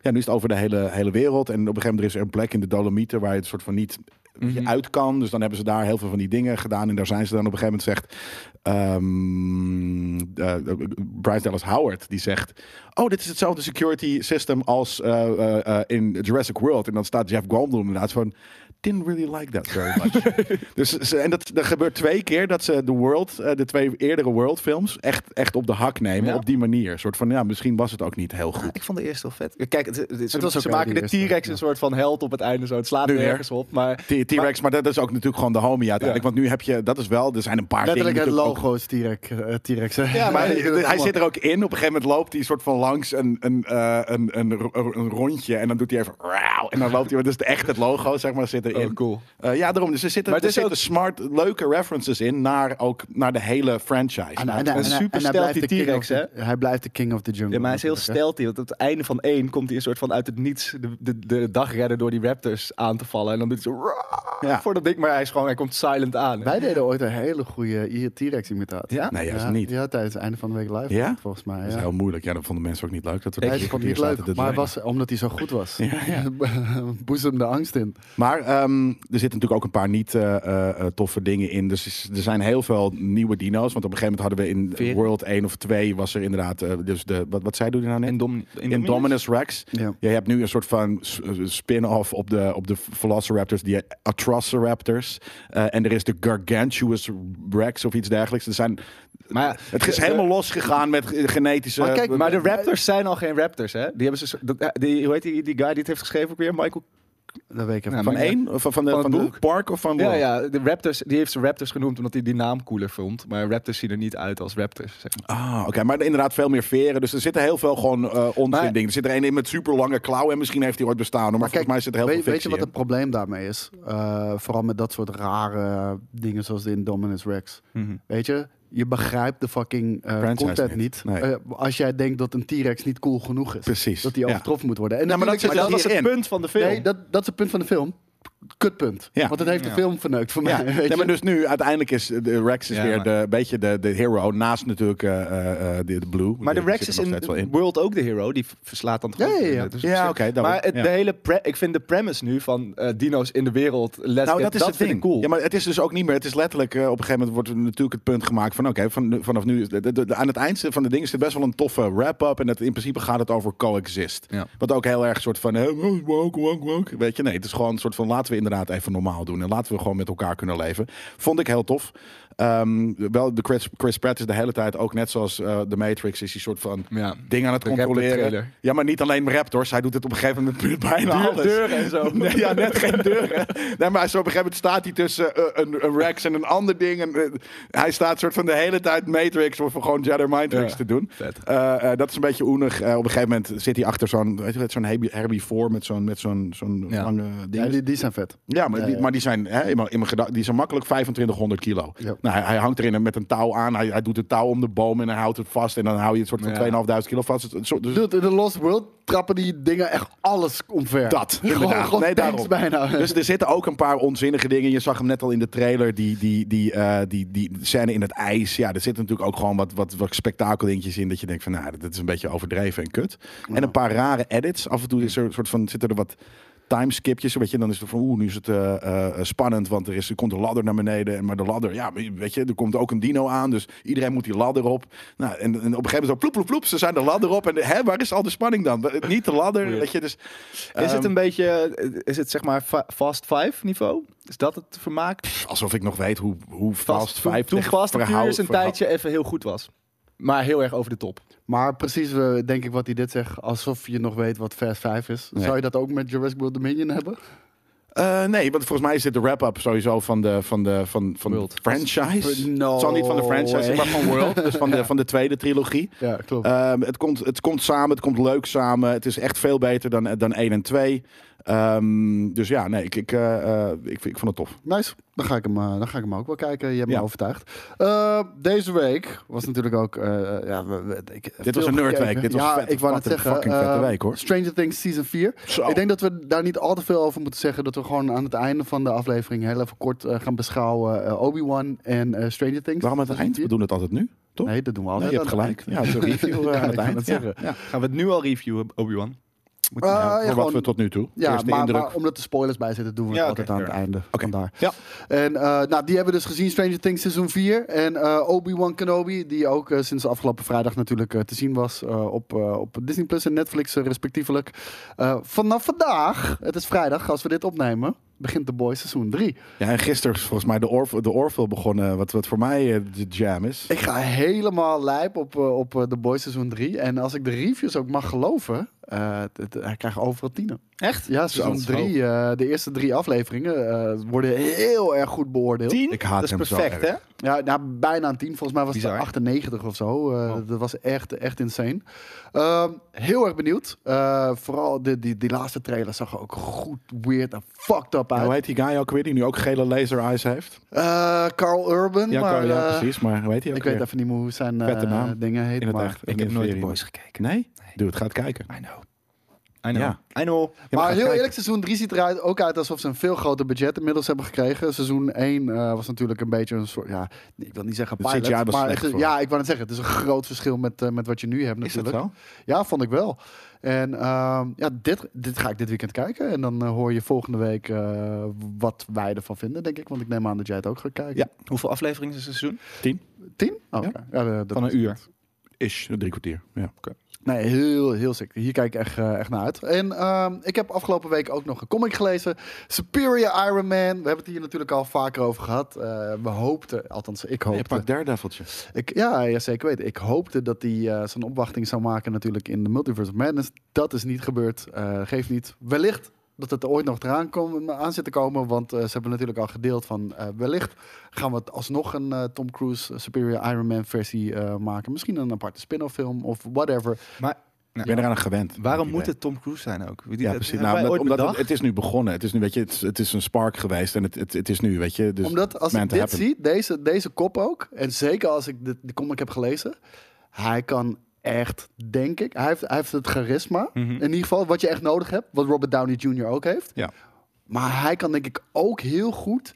[SPEAKER 2] Ja, nu is het over de hele, hele wereld. En op een gegeven moment is er een plek in de Dolomieten waar je het soort van niet je uit kan. Dus dan hebben ze daar heel veel van die dingen gedaan. En daar zijn ze dan op een gegeven moment zegt. ehm, eh, Bryce Dallas Howard die zegt: Oh, dit is hetzelfde security system als eh, eh, eh, in Jurassic World. En dan staat Jeff Goldblum inderdaad van. Didn't really like that very much. dus ze, en dat, dat gebeurt twee keer dat ze de World, eh, de twee eerdere World films, echt, echt op de hak nemen.
[SPEAKER 3] Ja.
[SPEAKER 2] Op die manier. Een soort van ja, misschien was het ook niet heel goed.
[SPEAKER 3] Ik vond de eerste wel vet. Kijk, het, het, ze,
[SPEAKER 4] was ook
[SPEAKER 3] ze
[SPEAKER 4] wel
[SPEAKER 3] maken
[SPEAKER 4] de
[SPEAKER 3] de
[SPEAKER 4] eerste,
[SPEAKER 3] T-Rex
[SPEAKER 4] ja.
[SPEAKER 3] een soort van held op het einde. Zo. Het slaat
[SPEAKER 2] Nu weer.
[SPEAKER 3] nergens op. Maar
[SPEAKER 2] T- T-Rex, maar dat is ook natuurlijk gewoon de homie uiteindelijk.
[SPEAKER 3] Ja.
[SPEAKER 2] Want nu heb je, dat is wel, er zijn een paar
[SPEAKER 4] Letterlijk het
[SPEAKER 2] dingen. natuurlijk
[SPEAKER 4] logo is T-Rex. eh, T-Rex hè.
[SPEAKER 2] ook- Ja, maar hij- hij zit er ook in. Op een gegeven moment loopt hij soort van langs een, een, eh, een, een, ro- een rondje. En dan doet hij even. rauw, En dan loopt hij. Dus echt het logo, zeg maar, zit erin.
[SPEAKER 3] Oh, cool.
[SPEAKER 2] Eh, ja, daarom. Dus er zitten,
[SPEAKER 3] Maar
[SPEAKER 2] er
[SPEAKER 3] het is
[SPEAKER 2] zitten smart, leuke references in naar, ook, naar de hele franchise.
[SPEAKER 4] En, en,
[SPEAKER 2] Nou,
[SPEAKER 4] en- en-
[SPEAKER 3] Een
[SPEAKER 4] en
[SPEAKER 3] super
[SPEAKER 4] hij blijft
[SPEAKER 3] stealthy
[SPEAKER 4] de king
[SPEAKER 3] T-Rex,
[SPEAKER 4] of the- Hij blijft de king of the jungle.
[SPEAKER 3] Ja, maar hij is heel
[SPEAKER 4] natuurlijk, hè.
[SPEAKER 3] stealthy. Want op het einde van één komt hij een soort van uit het niets de, de, de dagredder door die raptors aan te vallen. En dan doet hij zo...
[SPEAKER 2] Ja.
[SPEAKER 3] Voor dat ding, maar hij is gewoon... Hij komt silent aan.
[SPEAKER 4] Wij deden ooit een hele goede T-Rex imitatie.
[SPEAKER 3] Ja?
[SPEAKER 2] nee, juist
[SPEAKER 4] ja,
[SPEAKER 2] niet.
[SPEAKER 4] Ja, tijdens het einde van de week live.
[SPEAKER 2] Ja?
[SPEAKER 4] was het Volgens mij.
[SPEAKER 2] Dat is
[SPEAKER 4] Ja.
[SPEAKER 2] heel moeilijk. Ja, dat vonden mensen ook niet leuk. Dat we
[SPEAKER 4] Nee,
[SPEAKER 2] drie
[SPEAKER 4] ik vond
[SPEAKER 2] kwartier
[SPEAKER 4] het
[SPEAKER 2] zaten
[SPEAKER 4] niet leuk,
[SPEAKER 2] te
[SPEAKER 4] maar
[SPEAKER 2] draaien.
[SPEAKER 4] was omdat hij zo goed was.
[SPEAKER 2] Ja, ja.
[SPEAKER 4] Boezemde angst in.
[SPEAKER 2] Maar ehm, er zitten natuurlijk ook een paar niet eh, eh, eh, toffe dingen in. Dus is- er zijn heel veel nieuwe dino's. Want op een gegeven moment hadden we in
[SPEAKER 3] Veer.
[SPEAKER 2] World 1 of 2 was er inderdaad... eh, dus de, wat, wat zei je nou net?
[SPEAKER 3] En Dom... in
[SPEAKER 2] Indominus Rex.
[SPEAKER 4] Ja.
[SPEAKER 2] Je hebt nu een soort van s- eh, spin-off op de, op de Velociraptors, die Atrociraptors. Eh, en er is de Gargantuous Rex of iets dergelijks. Er zijn,
[SPEAKER 3] Maar,
[SPEAKER 2] het is helemaal losgegaan met ge- genetische...
[SPEAKER 4] Maar kijk, eh,
[SPEAKER 3] eh, Maar de raptors zijn al geen raptors, hè? Die hebben ze... zo- Dat, die, hoe heet die, die guy die het heeft geschreven ook weer? Michael...
[SPEAKER 4] Dat weet ik
[SPEAKER 3] Ja,
[SPEAKER 4] even. niet.
[SPEAKER 2] Van
[SPEAKER 3] maar-
[SPEAKER 2] één? Of Van, van, de,
[SPEAKER 3] Van
[SPEAKER 2] van,
[SPEAKER 3] het
[SPEAKER 2] de
[SPEAKER 3] boek?
[SPEAKER 2] park of van
[SPEAKER 3] Ja,
[SPEAKER 2] World?
[SPEAKER 3] ja, de Raptors, die heeft ze Raptors genoemd omdat hij die naam cooler vond. Maar Raptors zien er niet uit als Raptors. Zeg maar.
[SPEAKER 2] Ah, oké. Maar inderdaad veel meer veren. Dus er zitten heel veel gewoon eh onzin
[SPEAKER 3] Maar-
[SPEAKER 2] dingen. Er zit er één in met super lange klauwen en misschien heeft hij ooit bestaan. Maar, volgens mij zit er heel
[SPEAKER 4] weet,
[SPEAKER 2] veel
[SPEAKER 4] weet je
[SPEAKER 2] fictie
[SPEAKER 4] wat
[SPEAKER 2] in.
[SPEAKER 4] het probleem daarmee is? Eh, vooral met dat soort rare dingen zoals de Indominus Rex. Weet je, je begrijpt de fucking eh,
[SPEAKER 2] Mhm. Franchise
[SPEAKER 4] content niet.
[SPEAKER 2] niet, nee.
[SPEAKER 4] Eh, als jij denkt dat een T-Rex niet cool genoeg is.
[SPEAKER 2] Precies,
[SPEAKER 4] Dat die
[SPEAKER 2] ja.
[SPEAKER 4] overtroffen moet worden. En
[SPEAKER 2] Ja, maar dat
[SPEAKER 4] natuurlijk-
[SPEAKER 2] zit
[SPEAKER 4] maar
[SPEAKER 2] wel
[SPEAKER 4] dat
[SPEAKER 2] hierin.
[SPEAKER 3] punt van de film.
[SPEAKER 4] Nee, dat, dat is het punt van de film. Kutpunt.
[SPEAKER 2] Ja.
[SPEAKER 4] Want het heeft de
[SPEAKER 3] Ja.
[SPEAKER 4] film verneukt voor
[SPEAKER 2] Ja,
[SPEAKER 4] mij. Weet
[SPEAKER 2] nee,
[SPEAKER 4] je?
[SPEAKER 2] maar dus nu uiteindelijk is eh, de Rex is
[SPEAKER 3] Ja,
[SPEAKER 2] weer
[SPEAKER 3] maar-
[SPEAKER 2] de, een beetje de, de hero. Naast natuurlijk eh, eh, eh, de, de Blue.
[SPEAKER 3] maar de
[SPEAKER 2] Die
[SPEAKER 3] Rex
[SPEAKER 2] zit
[SPEAKER 3] is
[SPEAKER 2] er nog steeds wel
[SPEAKER 3] in World ook de hero. Die v- verslaat dan toch
[SPEAKER 4] Ja,
[SPEAKER 3] ook-
[SPEAKER 4] ja, ja.
[SPEAKER 3] Dus op
[SPEAKER 2] Ja,
[SPEAKER 3] zich-
[SPEAKER 2] oké. dat-
[SPEAKER 3] maar het,
[SPEAKER 2] ja.
[SPEAKER 3] de hele pre- ik vind de premise nu van eh, dino's in de wereld. Let's
[SPEAKER 2] Nou,
[SPEAKER 3] get-
[SPEAKER 2] dat is het
[SPEAKER 3] vind
[SPEAKER 2] ding.
[SPEAKER 3] ik cool.
[SPEAKER 2] Ja, maar het is dus ook niet meer. Het is letterlijk eh, op een gegeven moment wordt er natuurlijk het punt gemaakt van oké, van, vanaf nu is de, de- de- aan het eind van de dingen zit best wel een toffe wrap-up en dat in principe gaat het over coexist.
[SPEAKER 3] Ja.
[SPEAKER 2] Wat ook heel erg soort van eh, woke, woke, woke, woke. weet je, nee, het is gewoon een soort van laten we inderdaad even normaal doen en laten we gewoon met elkaar kunnen leven. Vond ik heel tof. Ehm, wel, de Chris, Chris Pratt is de hele tijd ook net zoals eh de Matrix is die soort van
[SPEAKER 3] Ja.
[SPEAKER 2] dingen aan het
[SPEAKER 3] De rapper
[SPEAKER 2] controleren.
[SPEAKER 3] trailer.
[SPEAKER 2] Ja, maar niet alleen Raptors. Hij doet het op een gegeven moment met bijna
[SPEAKER 3] Deur-
[SPEAKER 2] alles.
[SPEAKER 3] deuren en zo.
[SPEAKER 2] Nee, ja, net geen deuren. Nee, maar zo op een gegeven moment staat hij tussen eh, een, een Rex en een ander ding. En, eh, hij staat soort van de hele tijd Matrix of gewoon Jedi Mind tricks
[SPEAKER 3] Ja,
[SPEAKER 2] te doen.
[SPEAKER 3] vet.
[SPEAKER 2] Eh, eh, dat is een beetje oenig. Eh, op een gegeven moment zit hij achter zo'n weet je wel, zo'n herbi- herbivore met zo'n met zo'n zo'n
[SPEAKER 3] Ja.
[SPEAKER 2] lange ding.
[SPEAKER 4] Ja, die, die zijn vet.
[SPEAKER 2] Ja, maar,
[SPEAKER 4] Ja,
[SPEAKER 2] die,
[SPEAKER 4] ja.
[SPEAKER 2] maar die zijn hè, in mijn, in mijn geda- die zijn makkelijk 2500 kilo.
[SPEAKER 4] Ja.
[SPEAKER 2] Nou, hij, hij hangt erin en met een touw aan. Hij, hij doet het touw om de boom en hij houdt het vast. En dan hou je het soort van
[SPEAKER 3] Ja.
[SPEAKER 2] 2500 kilo vast. Het- het soort- dus-
[SPEAKER 4] Dude, in The Lost World trappen die dingen echt alles omver.
[SPEAKER 2] Dat,
[SPEAKER 4] Gewoon,
[SPEAKER 2] inderdaad.
[SPEAKER 4] gewoon
[SPEAKER 2] Nee,
[SPEAKER 4] tanks
[SPEAKER 2] daarom.
[SPEAKER 4] bijna.
[SPEAKER 2] Dus er zitten ook een paar onzinnige dingen. Je zag hem net al in de trailer, die, die, die, eh, die, die scène in het ijs. Ja, er zitten natuurlijk ook gewoon wat, wat, wat spektakeldingetjes in. Dat je denkt van, nou, dat is een beetje overdreven en kut. En een paar rare edits. Af en toe is er een soort van, zitten er wat timeskipjes. Weet je, dan is het van, oeh, nu is het eh, eh, eh, spannend. Want er, is, er komt een ladder naar beneden. En Maar de ladder, ja, weet je, er komt ook een dino aan. Dus iedereen moet die ladder op. Nou, en, en op een gegeven moment zo, ploep, ploep, ploep. Ze zijn de ladder op. En hè, waar is al de spanning dan? Niet de ladder,
[SPEAKER 3] Weird.
[SPEAKER 2] weet je, dus...
[SPEAKER 3] Is
[SPEAKER 2] ehm,
[SPEAKER 3] het een beetje, eh, is het zeg maar fa- Fast Five niveau? Is dat het vermaak?
[SPEAKER 2] Alsof ik nog weet hoe, hoe Fast
[SPEAKER 3] toen,
[SPEAKER 2] 5
[SPEAKER 3] toen Fast and Furious een tijdje even heel goed was. Maar heel erg over de top.
[SPEAKER 4] Maar precies, eh, denk ik, wat hij dit zegt, alsof je nog weet wat Fast 5 is.
[SPEAKER 2] Nee.
[SPEAKER 4] Zou je dat ook met Jurassic World Dominion hebben?
[SPEAKER 2] Eh, nee, want volgens mij is dit de wrap-up sowieso van de, van de van, van
[SPEAKER 3] World.
[SPEAKER 2] franchise.
[SPEAKER 4] No
[SPEAKER 2] het zal niet van de franchise, zijn,
[SPEAKER 4] way.
[SPEAKER 2] maar van World. Dus van de, van de tweede trilogie.
[SPEAKER 4] Ja, klopt.
[SPEAKER 2] Ehm, het, komt, het komt samen, het komt leuk samen. Het is echt veel beter dan, dan 1 en 2. Ehm, dus ja, nee, ik, ik, eh, eh, ik, ik vond het tof.
[SPEAKER 4] Nice. Dan ga, ik hem, eh, dan ga ik hem ook wel kijken. Je hebt
[SPEAKER 2] Ja.
[SPEAKER 4] me overtuigd. Eh, deze week was natuurlijk ook... eh, ja, we- we- ik-
[SPEAKER 2] was
[SPEAKER 4] veel
[SPEAKER 2] een nerdweek.
[SPEAKER 4] gekeken.
[SPEAKER 2] Dit was
[SPEAKER 4] ja,
[SPEAKER 2] vet,
[SPEAKER 4] ik wou net
[SPEAKER 2] fucking-
[SPEAKER 4] zeggen.
[SPEAKER 2] fucking vette
[SPEAKER 4] eh,
[SPEAKER 2] week, hoor.
[SPEAKER 4] Stranger Things Season 4.
[SPEAKER 2] Zo.
[SPEAKER 4] Ik denk dat we daar niet al te veel over moeten zeggen. Dat we gewoon aan het einde van de aflevering heel even kort eh, gaan beschouwen. eh, Obi-Wan en eh, Stranger Things.
[SPEAKER 2] Waarom aan het eind? We doen het altijd nu, toch? Oh,
[SPEAKER 4] Nee, dat doen we altijd.
[SPEAKER 2] Nee, je hebt
[SPEAKER 4] aan het
[SPEAKER 2] gelijk. Ja, het is een review eh,
[SPEAKER 4] Ja,
[SPEAKER 2] aan
[SPEAKER 4] ik
[SPEAKER 2] het
[SPEAKER 4] wou
[SPEAKER 2] eind.
[SPEAKER 4] net
[SPEAKER 2] Ja,
[SPEAKER 4] zeggen.
[SPEAKER 2] ja.
[SPEAKER 3] Gaan we het nu al reviewen, Obi-Wan? Moet
[SPEAKER 4] Eh,
[SPEAKER 3] nou-
[SPEAKER 4] ja,
[SPEAKER 2] Voor wat
[SPEAKER 4] gewoon-
[SPEAKER 2] we tot nu toe.
[SPEAKER 4] Ja,
[SPEAKER 2] Eerste
[SPEAKER 4] maar,
[SPEAKER 2] indruk.
[SPEAKER 4] maar omdat de spoilers bij zitten, doen we
[SPEAKER 3] Ja,
[SPEAKER 4] het
[SPEAKER 3] oké,
[SPEAKER 4] altijd aan het
[SPEAKER 3] fair.
[SPEAKER 4] einde.
[SPEAKER 2] Oké.
[SPEAKER 4] Vandaar.
[SPEAKER 2] Ja.
[SPEAKER 4] En eh, nou, die hebben we dus gezien, Stranger Things seizoen 4. En eh, Obi-Wan Kenobi, die ook eh, sinds afgelopen vrijdag natuurlijk eh, te zien was eh, op, eh, op Disney Plus en Netflix eh, respectievelijk. Eh, vanaf vandaag, het is vrijdag als we dit opnemen, begint The Boys seizoen 3.
[SPEAKER 2] Ja, en gisteren is volgens mij de, Orf de Orville begonnen, wat, wat voor mij eh, de jam is.
[SPEAKER 4] Ik ga helemaal lijp op, eh, op eh, The Boys seizoen 3. En als ik de reviews ook mag geloven, eh het, het- hij krijgt overal tienen.
[SPEAKER 3] Echt?
[SPEAKER 2] Dus
[SPEAKER 4] Ja, seizoen eh,
[SPEAKER 3] Zo.
[SPEAKER 4] 3, de eerste drie afleveringen eh, worden heel erg goed beoordeeld.
[SPEAKER 3] Tien?
[SPEAKER 2] Ik haat
[SPEAKER 3] dat is
[SPEAKER 2] hem zo
[SPEAKER 3] perfect,
[SPEAKER 2] erg.
[SPEAKER 3] hè?
[SPEAKER 4] Ja, nou, bijna een 10. Volgens mij was het
[SPEAKER 3] Bizar.
[SPEAKER 4] 98 of zo. Eh,
[SPEAKER 2] Oh.
[SPEAKER 4] Dat was echt, echt insane. Ehm, heel erg benieuwd. Eh, vooral de, die, die laatste trailer zag er ook goed, weird en fucked up
[SPEAKER 2] Ja,
[SPEAKER 4] uit.
[SPEAKER 2] Nou, hoe heet die guy ook weer die nu ook gele laser eyes heeft?
[SPEAKER 4] Eh, Carl Urban,
[SPEAKER 2] Ja,
[SPEAKER 4] maar
[SPEAKER 2] Carl, ja,
[SPEAKER 4] eh,
[SPEAKER 2] precies. Maar hoe heet hij ook
[SPEAKER 4] ik weet
[SPEAKER 2] weer?
[SPEAKER 4] even niet meer hoe zijn eh,
[SPEAKER 2] Vette naam.
[SPEAKER 4] dingen heet.
[SPEAKER 2] In het
[SPEAKER 4] maar
[SPEAKER 2] echt.
[SPEAKER 3] Ik heb nooit de
[SPEAKER 2] de
[SPEAKER 3] Boys gekeken.
[SPEAKER 2] Nee? Doe het, ga het kijken.
[SPEAKER 3] I know. I know.
[SPEAKER 2] Ja.
[SPEAKER 3] I know.
[SPEAKER 2] Ja, ga
[SPEAKER 4] maar heel
[SPEAKER 2] het kijken.
[SPEAKER 4] eerlijk, seizoen 3 ziet eruit ook uit alsof ze een veel groter budget inmiddels hebben gekregen. Seizoen 1 eh, was natuurlijk een beetje een soort, ja, ik wil niet zeggen
[SPEAKER 2] De
[SPEAKER 4] pilot,
[SPEAKER 2] CGI was
[SPEAKER 4] maar
[SPEAKER 2] slecht
[SPEAKER 4] het is-
[SPEAKER 2] voor.
[SPEAKER 4] ja, ik wou net zeggen, het is een groot verschil met, eh, met wat je nu hebt
[SPEAKER 2] Is dat
[SPEAKER 4] natuurlijk.
[SPEAKER 2] zo?
[SPEAKER 4] Ja, vond ik wel. En ehm, ja, dit, dit ga ik dit weekend kijken. En dan eh, hoor je volgende week eh, wat wij ervan vinden, denk ik. Want ik neem aan dat jij het ook gaat kijken.
[SPEAKER 2] Ja.
[SPEAKER 3] Hoeveel afleveringen is het seizoen?
[SPEAKER 2] Tien?
[SPEAKER 4] Tien? Oh, oké. Ja, eh, dat
[SPEAKER 3] Van
[SPEAKER 4] was-
[SPEAKER 3] een uur.
[SPEAKER 2] Ish, drie kwartier. Ja.
[SPEAKER 4] Nee, heel, heel sick. Hier kijk ik echt, eh, echt naar uit. En ehm, ik heb afgelopen week ook nog een comic gelezen. Superior Iron Man. We hebben het hier natuurlijk al vaker over gehad. Eh, we hoopten, althans ik
[SPEAKER 2] Je
[SPEAKER 4] hoopte.
[SPEAKER 2] pakt Daredeviltje.
[SPEAKER 4] Ik, ja, ja, zeker weten. Ik hoopte dat hij eh, zijn opwachting zou maken natuurlijk in de Multiverse of Madness. Dat is niet gebeurd. Eh, geeft niet. Wellicht dat het er ooit nog eraan kom, aan zit te komen. Want eh, ze hebben natuurlijk al gedeeld van eh, wellicht gaan we het alsnog een eh, Tom Cruise Superior Iron Man versie eh, maken. Misschien een aparte spin-off film of whatever.
[SPEAKER 3] Maar
[SPEAKER 4] Nou.
[SPEAKER 2] Ik ben eraan gewend.
[SPEAKER 3] waarom
[SPEAKER 2] Ik
[SPEAKER 3] moet
[SPEAKER 2] ben-
[SPEAKER 3] het Tom Cruise zijn ook?
[SPEAKER 2] Ja, precies. Nou, omdat, omdat het, het is nu begonnen. Het is nu, weet je, het, is- het is een spark geweest en het, het, het is nu, weet je. Dus
[SPEAKER 4] Omdat als
[SPEAKER 2] meant
[SPEAKER 4] ik
[SPEAKER 2] to
[SPEAKER 4] dit
[SPEAKER 2] happen.
[SPEAKER 4] zie, deze, deze kop ook, en zeker als ik de, die comic heb gelezen, hij kan echt, denk ik, hij heeft, hij heeft het charisma. In ieder geval wat je echt nodig hebt, wat Robert Downey Jr. ook heeft.
[SPEAKER 2] Mhm. Ja.
[SPEAKER 4] Maar hij kan denk ik ook heel goed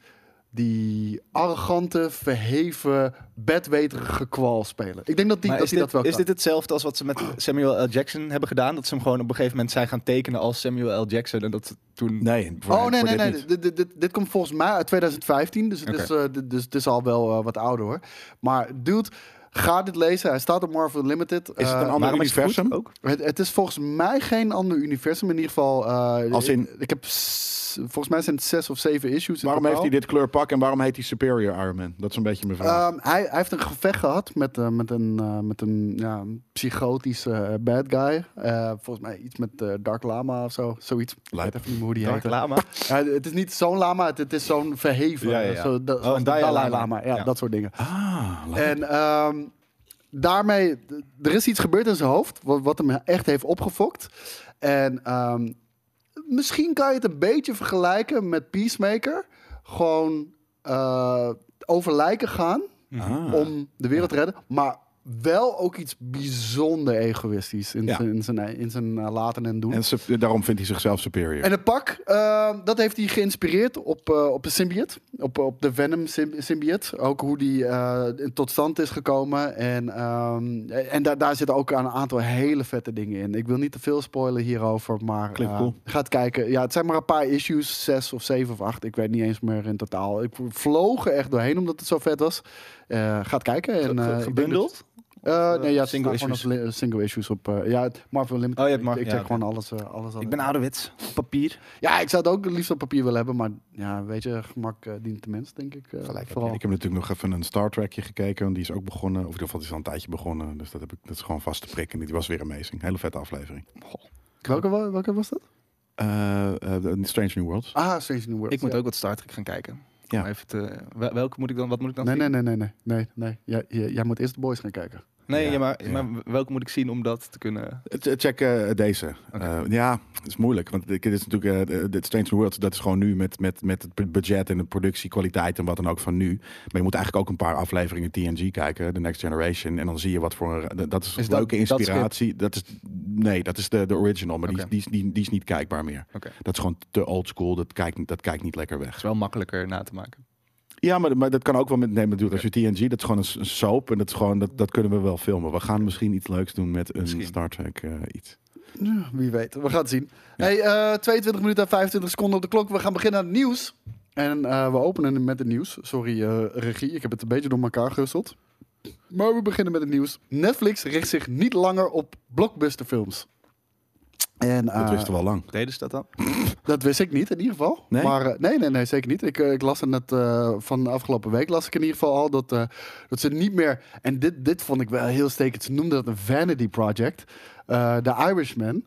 [SPEAKER 4] die arrogante, verheven, bedweterige kwal spelen. Ik denk dat, die,
[SPEAKER 3] Maar
[SPEAKER 4] dat
[SPEAKER 3] is,
[SPEAKER 4] hij dat
[SPEAKER 3] dit,
[SPEAKER 4] wel
[SPEAKER 3] is
[SPEAKER 4] kan.
[SPEAKER 3] dit hetzelfde als wat ze met Samuel L. Jackson hebben gedaan? Dat ze hem gewoon op een gegeven moment zijn gaan tekenen als Samuel L. Jackson. En dat ze toen...
[SPEAKER 2] Nee, voor-
[SPEAKER 4] oh nee,
[SPEAKER 2] voor
[SPEAKER 4] nee,
[SPEAKER 2] dit
[SPEAKER 4] nee.
[SPEAKER 2] niet.
[SPEAKER 4] Dit, dit, dit, dit komt volgens mij uit 2015. Dus het,
[SPEAKER 2] Oké.
[SPEAKER 4] is, eh, dit- dus het is al wel eh, wat ouder hoor. Maar dude, ga dit lezen. Hij staat op Marvel Limited.
[SPEAKER 2] Is het een ander
[SPEAKER 3] Eh, waarom is het goed
[SPEAKER 2] universum?
[SPEAKER 3] ook?
[SPEAKER 4] Het, het is volgens mij geen ander universum. In ieder geval. eh,
[SPEAKER 2] Als in-
[SPEAKER 4] Ik, ik heb. s- Volgens mij zijn het zes of zeven issues. in
[SPEAKER 2] Waarom heeft
[SPEAKER 4] totaal.
[SPEAKER 2] hij dit kleurpak en waarom heet hij Superior Iron Man? Dat is een beetje mijn vraag.
[SPEAKER 4] Ehm, hij, hij heeft een gevecht gehad met, eh, met een, eh, met een ja, een psychotische eh, bad guy. Eh, volgens mij iets met eh, Dark Lama of zo. Zoiets. Ik
[SPEAKER 2] Lijp.
[SPEAKER 4] weet even niet meer hoe die
[SPEAKER 3] Dark
[SPEAKER 4] heet.
[SPEAKER 3] Lama?
[SPEAKER 4] Ja, het is niet zo'n lama, het, het is zo'n verheven.
[SPEAKER 3] Ja, ja, ja.
[SPEAKER 4] Zo, dat,
[SPEAKER 3] Oh,
[SPEAKER 4] zoals
[SPEAKER 3] een
[SPEAKER 4] de
[SPEAKER 3] Dalai
[SPEAKER 4] Dalai
[SPEAKER 3] Lama.
[SPEAKER 4] Lama. Ja,
[SPEAKER 3] Ja.
[SPEAKER 4] dat soort dingen.
[SPEAKER 2] ah, laat-
[SPEAKER 4] En ehm, daarmee, d- er is iets gebeurd in zijn hoofd, wat, wat hem echt heeft opgefokt. En ehm, misschien kan je het een beetje vergelijken met Peacemaker. Gewoon eh, over lijken gaan
[SPEAKER 2] ah.
[SPEAKER 4] om de wereld te redden, maar wel ook iets bijzonder egoïstisch in
[SPEAKER 2] Ja.
[SPEAKER 4] zijn, in zijn, in zijn eh, laten en doen.
[SPEAKER 2] En sup- daarom vindt hij zichzelf superior.
[SPEAKER 4] En het pak, eh, dat heeft hij geïnspireerd op, eh, op de symbiote. Op, op de Venom sym- symbiote. Ook hoe die eh, tot stand is gekomen. En, ehm, en daar, daar zitten ook een aantal hele vette dingen in. Ik wil niet te veel spoilen hierover, maar
[SPEAKER 2] Klinkt
[SPEAKER 4] eh,
[SPEAKER 2] cool.
[SPEAKER 4] ga het kijken. Ja, het zijn maar een paar issues. Zes of zeven of acht. Ik weet niet eens meer in totaal. Ik vloog er echt doorheen omdat het zo vet was. Eh, ga het kijken. En, eh, ik denk
[SPEAKER 3] Gebundeld?
[SPEAKER 4] dat- eh, nee, ja,
[SPEAKER 3] Single
[SPEAKER 4] single issues.
[SPEAKER 3] issues?
[SPEAKER 4] single issues op. eh, ja, Marvel Limited.
[SPEAKER 3] Oh, je hebt
[SPEAKER 4] Ik-
[SPEAKER 3] Mar-
[SPEAKER 4] ik
[SPEAKER 3] ja,
[SPEAKER 4] check
[SPEAKER 3] oké.
[SPEAKER 4] gewoon alles, eh, alles aan.
[SPEAKER 3] Ik ben ouderwets. Op papier.
[SPEAKER 4] Ja, ik zou het ook liefst op papier willen hebben, maar ja, weet je, gemak eh, dient de mens, denk ik. eh,
[SPEAKER 3] Gelijk heb
[SPEAKER 4] vooral.
[SPEAKER 2] Ik heb natuurlijk nog even een Star Trekje gekeken. Want die is ook begonnen. Of in ieder geval, die is al een tijdje begonnen. Dus dat, heb ik, dat is gewoon vast te prikken. Die was weer amazing. Hele vette aflevering.
[SPEAKER 4] Welke, wa- welke was dat?
[SPEAKER 2] Eh, eh, de- Strange New Worlds.
[SPEAKER 4] Ah, Strange New World.
[SPEAKER 3] Ik moet ook wat Star Trek gaan kijken.
[SPEAKER 2] Ja.
[SPEAKER 3] Om Even te, wel- welke moet ik dan, wat moet ik dan
[SPEAKER 4] Nee,
[SPEAKER 3] zien?
[SPEAKER 4] nee, nee, nee, nee, nee, nee. Jij, jij, jij moet eerst de boys gaan kijken.
[SPEAKER 3] Nee,
[SPEAKER 2] Ja,
[SPEAKER 3] ja, maar,
[SPEAKER 2] ja.
[SPEAKER 3] maar welke moet ik zien om dat te kunnen...
[SPEAKER 2] Eh, Check eh, deze.
[SPEAKER 3] Oké.
[SPEAKER 2] Eh, ja, het is moeilijk. Want dit dit is natuurlijk, eh, de- de Strange New Worlds, dat is gewoon nu met, met, met het bu- budget en de productiekwaliteit en wat dan ook van nu. Maar je moet eigenlijk ook een paar afleveringen TNG kijken, The Next Generation. En dan zie je wat voor een. Dat is,
[SPEAKER 3] Is dat-
[SPEAKER 2] leuke
[SPEAKER 3] dat script?
[SPEAKER 2] inspiratie. Dat, is, nee, dat is de, de original, maar
[SPEAKER 3] Oké.
[SPEAKER 2] die, is- die, is- die, die is niet kijkbaar meer.
[SPEAKER 3] Oké.
[SPEAKER 2] Dat is gewoon te old school. Dat kijkt, dat kijkt niet lekker weg.
[SPEAKER 3] is wel makkelijker na te maken.
[SPEAKER 2] Ja, maar, maar dat kan ook wel met nemen natuurlijk. Als je TNG, dat is gewoon een s- een soap. En dat, is gewoon, dat, dat kunnen we wel filmen. We gaan misschien iets leuks doen met een
[SPEAKER 3] Misschien.
[SPEAKER 2] Star Trek eh, iets.
[SPEAKER 4] Ja, Wie weet, we gaan het zien. Hey, eh, 22 minuten en 25 seconden op de klok. We gaan beginnen aan het nieuws. En eh, we openen met het nieuws. Sorry, eh, regie, ik heb het een beetje door elkaar gehusteld. Maar we beginnen met het nieuws. Netflix richt zich niet langer op blockbusterfilms. En,
[SPEAKER 2] Dat
[SPEAKER 4] eh,
[SPEAKER 2] wisten we al lang.
[SPEAKER 3] Deden ze dat dan?
[SPEAKER 4] Dat wist ik niet in ieder geval.
[SPEAKER 2] Nee?
[SPEAKER 4] Maar eh, nee, nee, nee, zeker niet. Ik, eh, ik las het net eh, van de afgelopen week las ik in ieder geval al dat, eh, dat ze niet meer. En dit, dit vond ik wel heel stekend. Ze noemden dat een vanity project. Eh, De Irishman.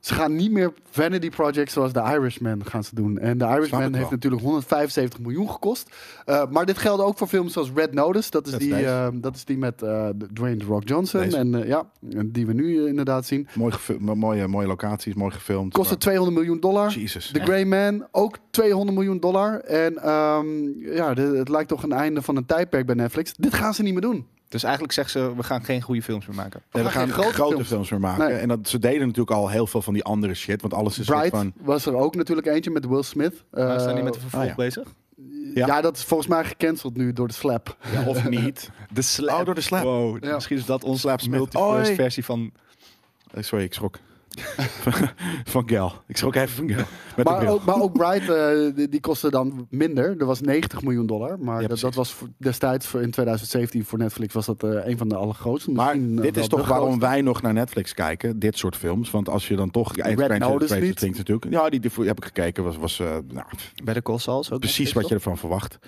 [SPEAKER 4] Ze gaan niet meer vanity projects zoals de Irishman gaan ze doen. En de
[SPEAKER 2] Snap ik
[SPEAKER 4] Irishman
[SPEAKER 2] wel.
[SPEAKER 4] heeft natuurlijk 175 miljoen gekost. Eh, maar dit geldt ook voor films zoals Red Notice. Dat is,
[SPEAKER 2] Dat is
[SPEAKER 4] die,
[SPEAKER 2] deze.
[SPEAKER 4] eh, dat is die met eh, Dwayne The Rock Johnson.
[SPEAKER 2] Deze.
[SPEAKER 4] En eh, ja, die we nu eh, inderdaad zien.
[SPEAKER 2] Mooi gefil- mo- mooie, mooie locaties, mooi gefilmd.
[SPEAKER 4] Kostte
[SPEAKER 2] Maar-
[SPEAKER 4] 200 miljoen dollar.
[SPEAKER 2] Jezus.
[SPEAKER 4] The Grey Man, ook 200 miljoen dollar. En ehm, ja, de- het lijkt toch een einde van een tijdperk bij Netflix. Dit gaan ze niet meer doen.
[SPEAKER 3] Dus eigenlijk zegt ze, we gaan geen goede films meer maken.
[SPEAKER 2] Nee, we gaan grote, films, meer maken.
[SPEAKER 4] Nee.
[SPEAKER 2] En dat, ze deden natuurlijk al heel veel van die andere shit. Want alles is
[SPEAKER 4] Bright
[SPEAKER 2] soort van...
[SPEAKER 4] was er ook natuurlijk eentje met Will Smith.
[SPEAKER 3] Maar
[SPEAKER 4] Eh,
[SPEAKER 3] zijn die met de vervolg
[SPEAKER 2] ah, ja.
[SPEAKER 3] bezig?
[SPEAKER 4] ja. dat is volgens mij gecanceld nu door de slap.
[SPEAKER 2] Ja, of niet.
[SPEAKER 3] De slap.
[SPEAKER 2] Oh, door de slap.
[SPEAKER 3] Wow,
[SPEAKER 4] Ja.
[SPEAKER 3] misschien is dat onze
[SPEAKER 2] Slap Smith.
[SPEAKER 3] multiverse
[SPEAKER 2] Oi.
[SPEAKER 3] versie van...
[SPEAKER 2] Eh, Sorry, ik schrok. van, van Gal. Ik schrok even van Gal. Met de
[SPEAKER 4] Maar
[SPEAKER 2] bril.
[SPEAKER 4] ook, maar ook Bright, eh, die, die kostte dan minder. Er was 90 miljoen dollar. Maar dat, dat
[SPEAKER 2] precies.
[SPEAKER 4] was voor- destijds voor in 2017 voor Netflix was dat eh, een van de allergrootste.
[SPEAKER 2] Maar
[SPEAKER 4] Misschien, eh,
[SPEAKER 2] dit
[SPEAKER 4] wel
[SPEAKER 2] is
[SPEAKER 4] de
[SPEAKER 2] toch waarom wij nog naar Netflix kijken, dit soort films. Want als je dan toch... Red
[SPEAKER 4] Notice niet.
[SPEAKER 2] Things natuurlijk. Ja, die, die heb ik gekeken. Was, was eh, nou,
[SPEAKER 3] Bij de Call Saul is ook
[SPEAKER 2] precies
[SPEAKER 3] Netflix,
[SPEAKER 2] wat je ervan verwacht.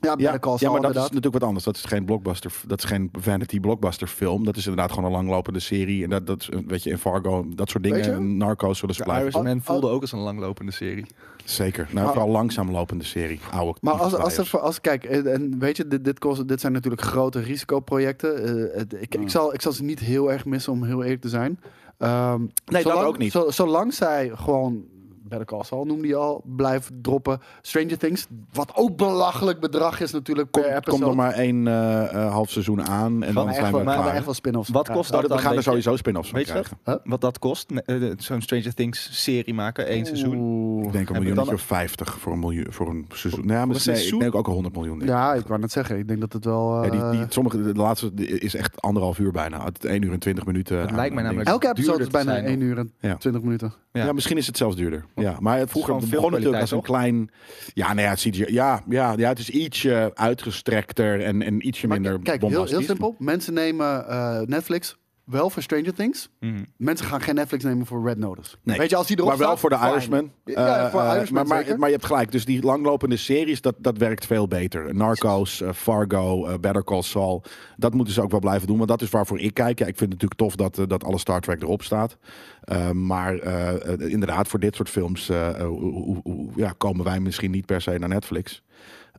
[SPEAKER 4] Ja, Better Call
[SPEAKER 2] ja,
[SPEAKER 4] Saul
[SPEAKER 2] maar dat is
[SPEAKER 4] inderdaad.
[SPEAKER 2] natuurlijk wat anders. Dat is geen blockbuster, dat is geen vanity blockbuster film. Dat is inderdaad gewoon een langlopende serie. En dat, dat is, eh, weet je, in Fargo, dat soort
[SPEAKER 4] Weet
[SPEAKER 2] dingen. Narco's zullen ze
[SPEAKER 3] De
[SPEAKER 2] blijven.
[SPEAKER 3] Irishman
[SPEAKER 4] Oh,
[SPEAKER 3] voelde ook als een langlopende serie.
[SPEAKER 2] Zeker. Nou,
[SPEAKER 4] Maar-
[SPEAKER 2] vooral langzaam lopende serie. Oude
[SPEAKER 4] Maar als, als,
[SPEAKER 2] players.
[SPEAKER 4] er, als kijk, en, en weet je, dit, dit, kost, dit zijn natuurlijk grote risicoprojecten. Eh, het- ik,
[SPEAKER 2] Mm.
[SPEAKER 4] ik, zal, ik zal ze niet heel erg missen, om heel eerlijk te zijn. Ehm,
[SPEAKER 2] dat
[SPEAKER 4] zolang,
[SPEAKER 2] ook niet.
[SPEAKER 4] zo- zolang zij gewoon, Better Call Saul noemde je al, blijven droppen. Stranger Things, wat ook belachelijk bedrag is natuurlijk
[SPEAKER 2] Kom,
[SPEAKER 4] per eh, episode.
[SPEAKER 2] komt er maar één eh, eh, half seizoen aan en
[SPEAKER 3] Van
[SPEAKER 2] dan
[SPEAKER 4] echt
[SPEAKER 2] zijn
[SPEAKER 4] wel,
[SPEAKER 2] we
[SPEAKER 4] maar
[SPEAKER 2] klaar.
[SPEAKER 4] echt wel spin-offs.
[SPEAKER 3] Wat
[SPEAKER 4] Ja.
[SPEAKER 3] kost
[SPEAKER 2] Oh,
[SPEAKER 3] dat
[SPEAKER 2] dat-
[SPEAKER 3] dan?
[SPEAKER 2] we gaan er
[SPEAKER 3] weet je?
[SPEAKER 2] sowieso spin-offs van
[SPEAKER 3] Weet je dat?
[SPEAKER 2] krijgen.
[SPEAKER 3] Wat dat kost? Nee, eh, eh, Zo'n Stranger Things serie maken, één seizoen.
[SPEAKER 4] Oeh.
[SPEAKER 2] Ik denk een
[SPEAKER 3] Hebben we
[SPEAKER 2] miljoen
[SPEAKER 3] dan-
[SPEAKER 2] of 50 voor een, miljoen, voor een seizoen. Nou, ja, maar
[SPEAKER 3] een
[SPEAKER 2] nee,
[SPEAKER 3] seizoen?
[SPEAKER 2] ik denk ook al 100 miljoen. denk ik.
[SPEAKER 4] Ja, ik wou net zeggen. Ik denk dat het wel...
[SPEAKER 2] Ja, die,
[SPEAKER 4] eh,
[SPEAKER 2] die, sommige, de laatste is echt anderhalf uur bijna. Het 1 uur en 20 minuten.
[SPEAKER 3] Het
[SPEAKER 2] aan-
[SPEAKER 3] lijkt mij
[SPEAKER 2] aan
[SPEAKER 3] namelijk-
[SPEAKER 4] elke episode
[SPEAKER 3] duurder
[SPEAKER 4] is
[SPEAKER 3] te
[SPEAKER 4] bijna
[SPEAKER 3] zijn
[SPEAKER 4] 1 uur en
[SPEAKER 2] Ja.
[SPEAKER 4] 20 minuten.
[SPEAKER 2] Ja.
[SPEAKER 3] Ja.
[SPEAKER 2] misschien is het zelfs duurder. Ja, maar het vroeger
[SPEAKER 3] gewoon
[SPEAKER 2] begon natuurlijk als een
[SPEAKER 3] filmkwaliteit,
[SPEAKER 2] klein... Ja, nee, ja, het CGI ja, ja, ja, het is ietsje uitgestrekter en, en ietsje
[SPEAKER 4] Maar
[SPEAKER 2] minder
[SPEAKER 4] kijk, heel,
[SPEAKER 2] bombastisch.
[SPEAKER 4] heel simpel. Mensen nemen eh, Netflix wel voor Stranger Things.
[SPEAKER 3] Mhm.
[SPEAKER 4] Mensen gaan geen Netflix nemen voor Red Notice.
[SPEAKER 2] Nee.
[SPEAKER 4] Weet je, als die erop
[SPEAKER 2] Maar wel
[SPEAKER 4] staat,
[SPEAKER 2] voor de
[SPEAKER 4] fine.
[SPEAKER 2] Irishman.
[SPEAKER 4] Ja,
[SPEAKER 2] Eh,
[SPEAKER 4] voor
[SPEAKER 2] eh,
[SPEAKER 4] Irishman
[SPEAKER 2] maar, maar,
[SPEAKER 4] zeker.
[SPEAKER 2] maar je hebt gelijk. Dus die langlopende series, dat, dat werkt veel beter. Narcos, eh, Fargo, eh, Better Call Saul. Dat moeten ze ook wel blijven doen. Want dat is waarvoor ik kijk. Ja, ik vind het natuurlijk tof dat, eh, dat alle Star Trek erop staat. Eh, maar eh, eh, inderdaad, voor dit soort films eh, eh, hoe- hoe- hoe- ja, komen wij misschien niet per se naar Netflix.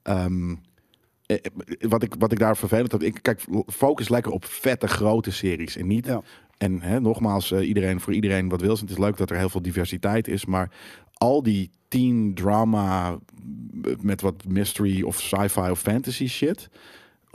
[SPEAKER 2] Ehm, eh, eh, wat, ik, wat ik daar vervelend heb, ik kijk, focus lekker op vette grote series en niet.
[SPEAKER 4] Ja.
[SPEAKER 2] En hè, nogmaals, eh, iedereen voor iedereen wat wil. Het is leuk dat er heel veel diversiteit is, maar al die teen drama eh, met wat mystery of sci-fi of fantasy shit.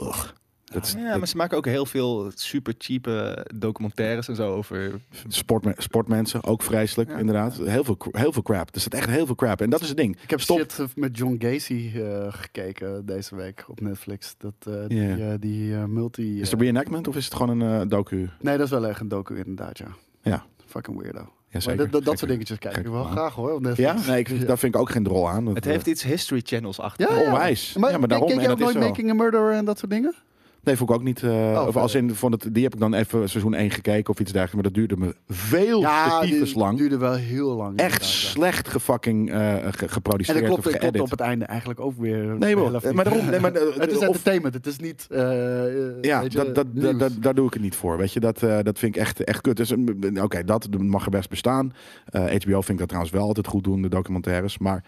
[SPEAKER 2] Ugh, dat is
[SPEAKER 3] Ja, maar ze maken ook heel veel super cheap eh, documentaires en zo over.
[SPEAKER 2] sportme- sportmensen ook vreselijk, inderdaad. Heel veel, cr- heel veel crap. Er staat echt heel veel crap. En dat is het ding.
[SPEAKER 4] Ik heb
[SPEAKER 2] Stop.
[SPEAKER 4] shit met John Gacy eh, gekeken deze week op Netflix. Dat, eh, die
[SPEAKER 2] Ja.
[SPEAKER 4] eh, die eh, multi... eh,
[SPEAKER 2] Is het reenactment of is het gewoon een eh, docu?
[SPEAKER 4] nee, dat is wel echt een docu inderdaad, ja.
[SPEAKER 2] Ja,
[SPEAKER 4] Fucking weirdo. Maar
[SPEAKER 2] ja zeker.
[SPEAKER 4] dat- dat- dat
[SPEAKER 2] Zeker.
[SPEAKER 4] soort dingetjes kijk ik
[SPEAKER 2] Kijk,
[SPEAKER 4] wel
[SPEAKER 2] maar.
[SPEAKER 4] graag hoor. op
[SPEAKER 2] Ja,
[SPEAKER 4] Netflix.
[SPEAKER 2] nee, ik, daar vind ik ook geen drol aan. Dat,
[SPEAKER 3] Het
[SPEAKER 2] eh,
[SPEAKER 3] heeft iets History Channels achter.
[SPEAKER 4] Ja, ja.
[SPEAKER 2] Onwijs.
[SPEAKER 4] Maar,
[SPEAKER 2] Ja, maar
[SPEAKER 4] kijk-
[SPEAKER 2] daarom,
[SPEAKER 4] Kijk
[SPEAKER 2] en
[SPEAKER 4] jij ook
[SPEAKER 2] dat is
[SPEAKER 4] nooit
[SPEAKER 2] wel-
[SPEAKER 4] Making a Murderer en dat soort dingen?
[SPEAKER 2] Nee, vond ik ook niet. eh,
[SPEAKER 4] Oh,
[SPEAKER 2] of als in, van het, die heb ik dan even seizoen 1 gekeken of iets dergelijks. Maar dat duurde me veel te tyfus lang.
[SPEAKER 4] duurde wel heel lang.
[SPEAKER 2] Echt
[SPEAKER 4] inderdaad, ja.
[SPEAKER 2] slecht gefucking eh, ge-
[SPEAKER 4] En
[SPEAKER 2] geproduceerd
[SPEAKER 4] dat klopt,
[SPEAKER 2] of
[SPEAKER 4] dat klopt
[SPEAKER 2] geëdit.
[SPEAKER 4] op het einde eigenlijk ook weer.
[SPEAKER 2] Nee, maar-
[SPEAKER 4] de helft
[SPEAKER 2] maar
[SPEAKER 4] niet.
[SPEAKER 2] daarom- nee, maar, eh,
[SPEAKER 4] het is
[SPEAKER 2] of-
[SPEAKER 4] entertainment, het is niet. eh, eh,
[SPEAKER 2] Ja,
[SPEAKER 4] weet je,
[SPEAKER 2] dat, dat,
[SPEAKER 4] nieuws.
[SPEAKER 2] dat, dat, daar doe ik het niet voor. Weet je, dat, eh, dat vind ik echt, echt kut. Dus, mm, Oké, dat mag er best bestaan. Eh, HBO vind ik dat trouwens wel altijd goed doen, de documentaires. Maar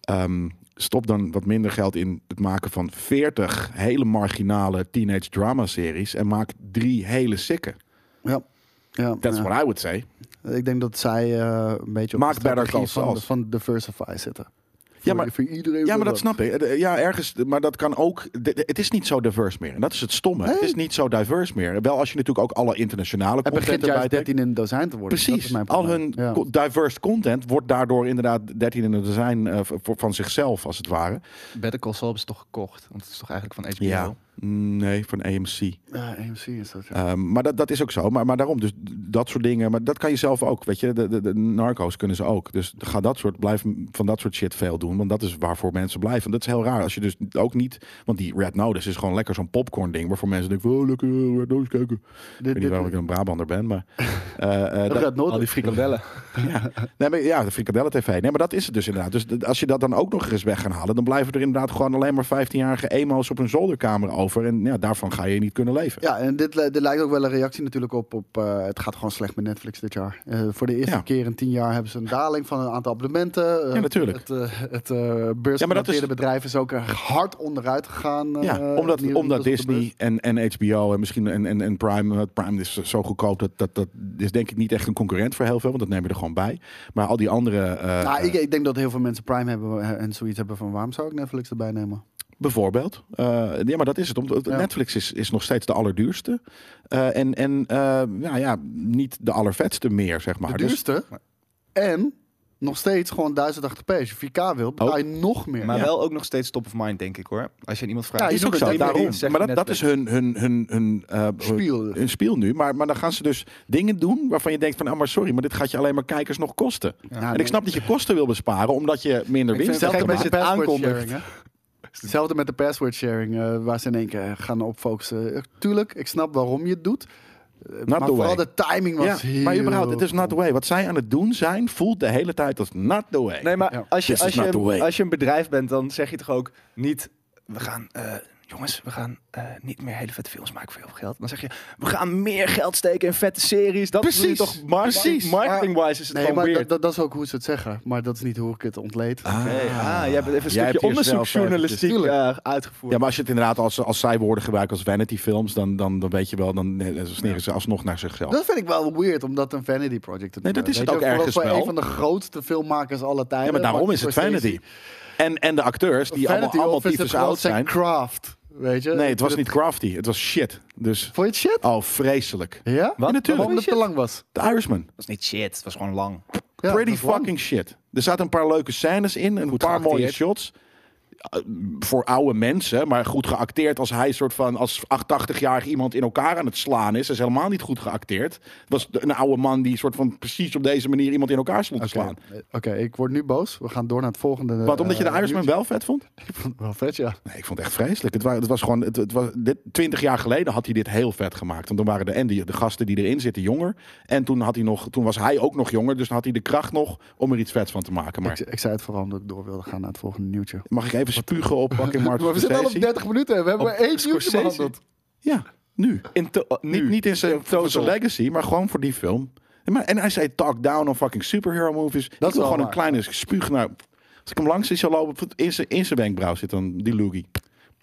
[SPEAKER 2] ehm, stop dan wat minder geld in het maken van 40 hele marginale teenage drama series. En maak drie hele sikke.
[SPEAKER 4] ja. Ja,
[SPEAKER 2] That's
[SPEAKER 4] ja.
[SPEAKER 2] what I would say.
[SPEAKER 4] Ik denk dat zij eh, een beetje op
[SPEAKER 2] Maak
[SPEAKER 4] de
[SPEAKER 2] Better
[SPEAKER 4] strategie
[SPEAKER 2] Call
[SPEAKER 4] van,
[SPEAKER 2] Saul.
[SPEAKER 4] de- van Diversify zitten.
[SPEAKER 2] Ja,
[SPEAKER 4] Voor-
[SPEAKER 2] maar-
[SPEAKER 4] voor iedereen
[SPEAKER 2] Ja, maar
[SPEAKER 4] wil
[SPEAKER 2] dat snap ik. Eh, Ja, ergens, maar dat kan ook. de- de- Het is niet zo diverse meer. En dat is het stomme. Het is niet zo diverse meer. Wel als je natuurlijk ook alle internationale
[SPEAKER 4] Het
[SPEAKER 2] content
[SPEAKER 4] begint
[SPEAKER 2] erbij
[SPEAKER 4] juist
[SPEAKER 2] trekt.
[SPEAKER 4] 13 in een dozijn te worden. Dat is
[SPEAKER 2] Precies.
[SPEAKER 4] mijn
[SPEAKER 2] Al
[SPEAKER 4] probleem.
[SPEAKER 2] hun
[SPEAKER 4] Ja.
[SPEAKER 2] co- diverse content wordt daardoor inderdaad 13 in het design eh, v- voor- van zichzelf, als het ware.
[SPEAKER 3] Better Call Saul is toch gekocht? Want het is toch eigenlijk van HBO?
[SPEAKER 2] Ja. Nee, van AMC.
[SPEAKER 4] Ja, AMC is dat. ja.
[SPEAKER 2] Ehm, maar dat, dat is ook zo. Maar, maar daarom, dus d- dat soort dingen. Maar dat kan je zelf ook. Weet je, de, de, de narco's kunnen ze ook. Dus ga dat soort, blijf m- van dat soort shit veel doen. Want dat is waarvoor mensen blijven. Dat is heel raar. Als je dus ook niet. Want die Red Notice is gewoon lekker zo'n popcorn ding. Waarvoor mensen denken: oh, lekker eh, Red Notice kijken. Ik
[SPEAKER 4] Dit-
[SPEAKER 2] weet
[SPEAKER 4] dit-
[SPEAKER 2] niet waarom ik een Brabander ben. Maar. eh, eh,
[SPEAKER 4] dat
[SPEAKER 2] dat-
[SPEAKER 4] gaat nooit-
[SPEAKER 3] Al die frikandellen.
[SPEAKER 2] Nee, maar ja, de Frikadellen TV. Nee, maar dat is het dus inderdaad. Dus d- als je dat dan ook nog eens weg gaan halen, dan blijven er inderdaad gewoon alleen maar 15-jarige emo's op een zolderkamer over. En ja, daarvan ga je niet kunnen leven.
[SPEAKER 4] Ja, en dit, li- dit lijkt ook wel een reactie natuurlijk op. op eh, het gaat gewoon slecht met Netflix dit jaar. Eh, voor de eerste
[SPEAKER 2] Ja.
[SPEAKER 4] keer in tien jaar hebben ze een daling van een aantal abonnementen. Eh,
[SPEAKER 2] Ja, natuurlijk.
[SPEAKER 4] Het, eh, het eh beursgenoteerde
[SPEAKER 2] is-
[SPEAKER 4] bedrijf is ook erg hard onderuit gegaan. eh,
[SPEAKER 2] Ja,
[SPEAKER 4] in
[SPEAKER 2] omdat,
[SPEAKER 4] ieder-
[SPEAKER 2] omdat
[SPEAKER 4] op de beurs.
[SPEAKER 2] Disney en, en HBO en misschien en, en, en Prime, eh, Prime is zo goedkoop, dat, dat, dat is denk ik niet echt een concurrent voor heel veel, want dat nemen we er gewoon bij. Maar al die andere, eh,
[SPEAKER 4] Nou, ik, ik denk dat heel veel mensen Prime hebben eh, en zoiets hebben van waarom zou ik Netflix erbij nemen?
[SPEAKER 2] bijvoorbeeld, eh, ja, maar dat is het. Omdat
[SPEAKER 4] Ja.
[SPEAKER 2] Netflix is, is nog steeds de allerduurste Eh, en, en eh, nou ja, niet de allervetste meer, zeg maar.
[SPEAKER 4] De
[SPEAKER 2] Dus-
[SPEAKER 4] duurste. En nog steeds gewoon 1080p. Als je 4K wil,
[SPEAKER 2] Oh.
[SPEAKER 4] betaal je nog meer.
[SPEAKER 3] Maar
[SPEAKER 4] Ja.
[SPEAKER 3] wel ook nog steeds top of mind, denk ik hoor. Als Nou, je aan iemand vraagt.
[SPEAKER 4] Ja,
[SPEAKER 2] is ook
[SPEAKER 4] doet het
[SPEAKER 2] zo.
[SPEAKER 4] drie
[SPEAKER 3] Iedereen
[SPEAKER 2] Daarom.
[SPEAKER 3] zegt
[SPEAKER 2] Maar dat, dat is
[SPEAKER 3] Netflix.
[SPEAKER 2] hun, hun, hun, hun, eh, hun
[SPEAKER 4] Spiel.
[SPEAKER 2] hun spiel nu. Maar, maar dan gaan ze dus dingen doen waarvan je denkt van... ah maar sorry, maar dit gaat je alleen maar kijkers nog kosten.
[SPEAKER 4] Ja,
[SPEAKER 2] en ik snap dat je kosten wil besparen... omdat je minder
[SPEAKER 3] Ik vind
[SPEAKER 2] winst
[SPEAKER 3] het
[SPEAKER 2] hebt
[SPEAKER 4] Hetzelfde
[SPEAKER 3] Zelfde
[SPEAKER 4] met
[SPEAKER 2] gemaakt.
[SPEAKER 4] de
[SPEAKER 3] mensen
[SPEAKER 4] password
[SPEAKER 3] het
[SPEAKER 4] sharing, hè? Hetzelfde met de password sharing, eh, waar ze in één keer gaan op focussen. Eh, Tuurlijk, ik snap waarom je het doet. eh, maar
[SPEAKER 2] the
[SPEAKER 4] vooral
[SPEAKER 2] way.
[SPEAKER 4] de timing was
[SPEAKER 2] Ja,
[SPEAKER 4] heel...
[SPEAKER 2] maar überhaupt, het is not the way. Wat zij aan het doen zijn, voelt de hele tijd als not the way.
[SPEAKER 3] Nee, maar
[SPEAKER 4] Ja.
[SPEAKER 3] als, je,
[SPEAKER 2] This is
[SPEAKER 3] als, je,
[SPEAKER 2] not the way.
[SPEAKER 3] een- als je een bedrijf bent, dan zeg je toch ook niet we gaan, eh, jongens, we gaan eh, niet meer hele vette films maken voor heel veel geld. Dan zeg je, we gaan meer geld steken in vette series. Dat is
[SPEAKER 2] Precies,
[SPEAKER 3] toch mar-
[SPEAKER 2] precies.
[SPEAKER 3] marketing-wise is het
[SPEAKER 4] Nee,
[SPEAKER 3] gewoon
[SPEAKER 4] maar
[SPEAKER 3] weird.
[SPEAKER 4] dat, dat is ook hoe ze het zeggen. Maar dat is niet hoe ik het ontleed.
[SPEAKER 3] Oké, ah, jij bent even een
[SPEAKER 2] Jij hebt
[SPEAKER 3] stukje
[SPEAKER 2] hier
[SPEAKER 3] onderzoeksjournalistiek
[SPEAKER 4] zelf eventjes-
[SPEAKER 3] eh, uitgevoerd.
[SPEAKER 2] dus Ja, maar als je het inderdaad als, als zijwoorden gebruikt als vanity films, dan, dan, dan weet je wel, dan eh, dan sneren ze alsnog naar zichzelf.
[SPEAKER 4] Dat vind ik wel weird, omdat een vanity project te
[SPEAKER 2] Nee, dat
[SPEAKER 4] doen.
[SPEAKER 2] is het
[SPEAKER 4] Weet
[SPEAKER 2] ook
[SPEAKER 4] je, voor-
[SPEAKER 2] ergens
[SPEAKER 4] voor
[SPEAKER 2] wel.
[SPEAKER 4] een van de grootste filmmakers aller tijden.
[SPEAKER 2] ja, maar daarom
[SPEAKER 4] Martin
[SPEAKER 2] is het
[SPEAKER 4] Scorsese.
[SPEAKER 2] vanity. En, en de acteurs, die
[SPEAKER 4] vanity
[SPEAKER 2] allemaal, allemaal
[SPEAKER 4] of is het
[SPEAKER 2] tyfus
[SPEAKER 4] gewoon
[SPEAKER 2] oud
[SPEAKER 4] zijn
[SPEAKER 2] zijn.
[SPEAKER 4] craft, weet je?
[SPEAKER 2] Nee, het was
[SPEAKER 4] Dat-
[SPEAKER 2] niet crafty, het was shit. Dus,
[SPEAKER 4] Vond je het shit?
[SPEAKER 2] oh, vreselijk.
[SPEAKER 4] Ja?
[SPEAKER 2] Wat? Natuurlijk.
[SPEAKER 4] Omdat het te lang was.
[SPEAKER 2] The Irishman.
[SPEAKER 3] Dat is niet shit, dat was gewoon lang.
[SPEAKER 4] Ja,
[SPEAKER 2] Pretty
[SPEAKER 4] dat was lang.
[SPEAKER 2] fucking shit. Er zaten een paar leuke scènes in, een paar mooie
[SPEAKER 3] geacteerd.
[SPEAKER 2] shots. Uh, Voor oude mensen, maar goed geacteerd als hij soort van als 88-jarig iemand in elkaar aan het slaan is. Dat is helemaal niet goed geacteerd. Het was een oude man die soort van precies op deze manier iemand in elkaar stond te
[SPEAKER 4] Oké,
[SPEAKER 2] slaan.
[SPEAKER 4] Oké, ik word nu boos. We gaan door naar het volgende.
[SPEAKER 2] Wat, omdat je de
[SPEAKER 4] eh,
[SPEAKER 2] Irishman wel vet vond?
[SPEAKER 4] nieuwtje. Ik vond het wel vet, ja.
[SPEAKER 2] Nee, ik vond het echt vreselijk. Het, wa- het was gewoon, het, het was, dit, 20 jaar geleden had hij dit heel vet gemaakt. Want dan waren de, en die, de gasten die erin zitten jonger. En toen, had hij nog, toen was hij ook nog jonger, dus dan had hij de kracht nog om er iets vets van te maken. Maar
[SPEAKER 4] Ik, ik zei het vooral omdat ik door wilde gaan naar het volgende nieuwtje.
[SPEAKER 2] Mag ik even spugen op fucking Martin
[SPEAKER 4] Maar we zitten al op
[SPEAKER 2] Scorsese?
[SPEAKER 4] 30 minuten. We hebben
[SPEAKER 3] Op
[SPEAKER 4] maar één nieuwtje
[SPEAKER 3] Scorsese?
[SPEAKER 4] behandeld.
[SPEAKER 2] Ja, nu.
[SPEAKER 3] In to- oh,
[SPEAKER 2] Niet,
[SPEAKER 3] nu.
[SPEAKER 2] niet in zijn, voor zijn
[SPEAKER 3] Total.
[SPEAKER 2] legacy, maar gewoon voor die film. En, maar, en hij zei talk down on fucking superhero movies. Dat
[SPEAKER 4] wel
[SPEAKER 2] is wil gewoon
[SPEAKER 4] waar.
[SPEAKER 2] een kleine spuug. Nou, als ik hem langs zie zal lopen, in zijn, in zijn wenkbrauw zit dan die loogie.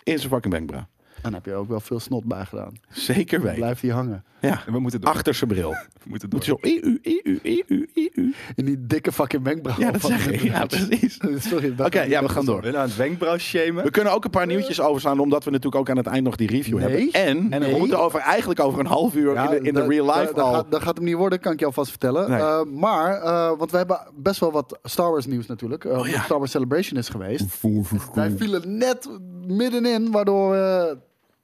[SPEAKER 2] In zijn fucking wenkbrauw.
[SPEAKER 4] En daar heb je ook wel veel snot bij gedaan.
[SPEAKER 2] Zeker weten.
[SPEAKER 4] Blijft die hangen.
[SPEAKER 2] Ja.
[SPEAKER 3] We moeten door.
[SPEAKER 2] Achter zijn bril.
[SPEAKER 3] We moeten door.
[SPEAKER 2] Moet je E zo, eu, eu, eu, eu, eu.
[SPEAKER 4] In die dikke fucking wenkbrauw.
[SPEAKER 2] Ja, dat zeg ik. Ja, precies.
[SPEAKER 4] Sorry.
[SPEAKER 2] Oké, ja, we gaan door.
[SPEAKER 3] Wil je nou het wenkbrauw shamen?
[SPEAKER 2] We kunnen ook een paar nieuwtjes overslaan, omdat we natuurlijk ook aan het eind nog die review
[SPEAKER 4] Nee.
[SPEAKER 2] hebben. En,
[SPEAKER 4] Nee.
[SPEAKER 2] we moeten over, eigenlijk over een half uur in de, in de real life
[SPEAKER 4] dat,
[SPEAKER 2] al...
[SPEAKER 4] gaat, dat gaat hem niet worden, kan ik je alvast vertellen.
[SPEAKER 2] Nee.
[SPEAKER 4] Eh, maar, eh, want we hebben best wel wat Star Wars nieuws natuurlijk. Eh, omdat
[SPEAKER 2] Oh ja.
[SPEAKER 4] Star Wars Celebration is geweest. Wij vielen net middenin, waardoor we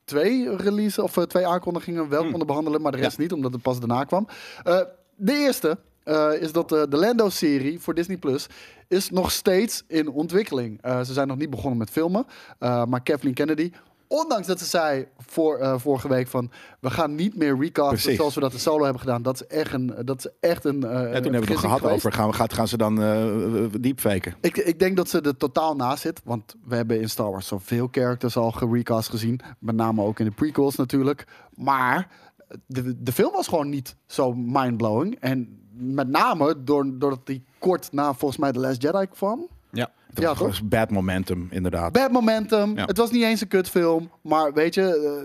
[SPEAKER 4] twee releases of eh, twee aankondigingen
[SPEAKER 2] Hmm.
[SPEAKER 4] wel konden behandelen, maar de rest niet, omdat het pas daarna kwam. Eh, de eerste eh, is dat eh, de Lando-serie voor Disney Plus is nog steeds in ontwikkeling. Eh, ze zijn nog niet begonnen met filmen, eh, maar Kathleen Kennedy. Ondanks dat ze zei voor, eh, vorige week van... we gaan niet meer recasten
[SPEAKER 2] Precies.
[SPEAKER 4] zoals we dat in Solo hebben gedaan. Dat is echt een... Dat is echt een eh,
[SPEAKER 2] Ja, toen hebben we het
[SPEAKER 4] vergissing
[SPEAKER 2] gehad
[SPEAKER 4] geweest.
[SPEAKER 2] over, gaan, gaan, gaan ze dan eh, diepfaken?
[SPEAKER 4] Ik, ik denk dat ze er totaal naast zit. Want we hebben in Star Wars zoveel characters al gerecast gezien. Met name ook in de prequels natuurlijk. Maar de, de film was gewoon niet zo mindblowing. En met name door, doordat die kort na volgens mij The Last Jedi kwam.
[SPEAKER 3] Ja.
[SPEAKER 2] Dat
[SPEAKER 4] Ja,
[SPEAKER 2] was gewoon bad momentum, inderdaad.
[SPEAKER 4] Bad momentum.
[SPEAKER 2] Ja.
[SPEAKER 4] Het was niet eens een kutfilm. Maar weet je,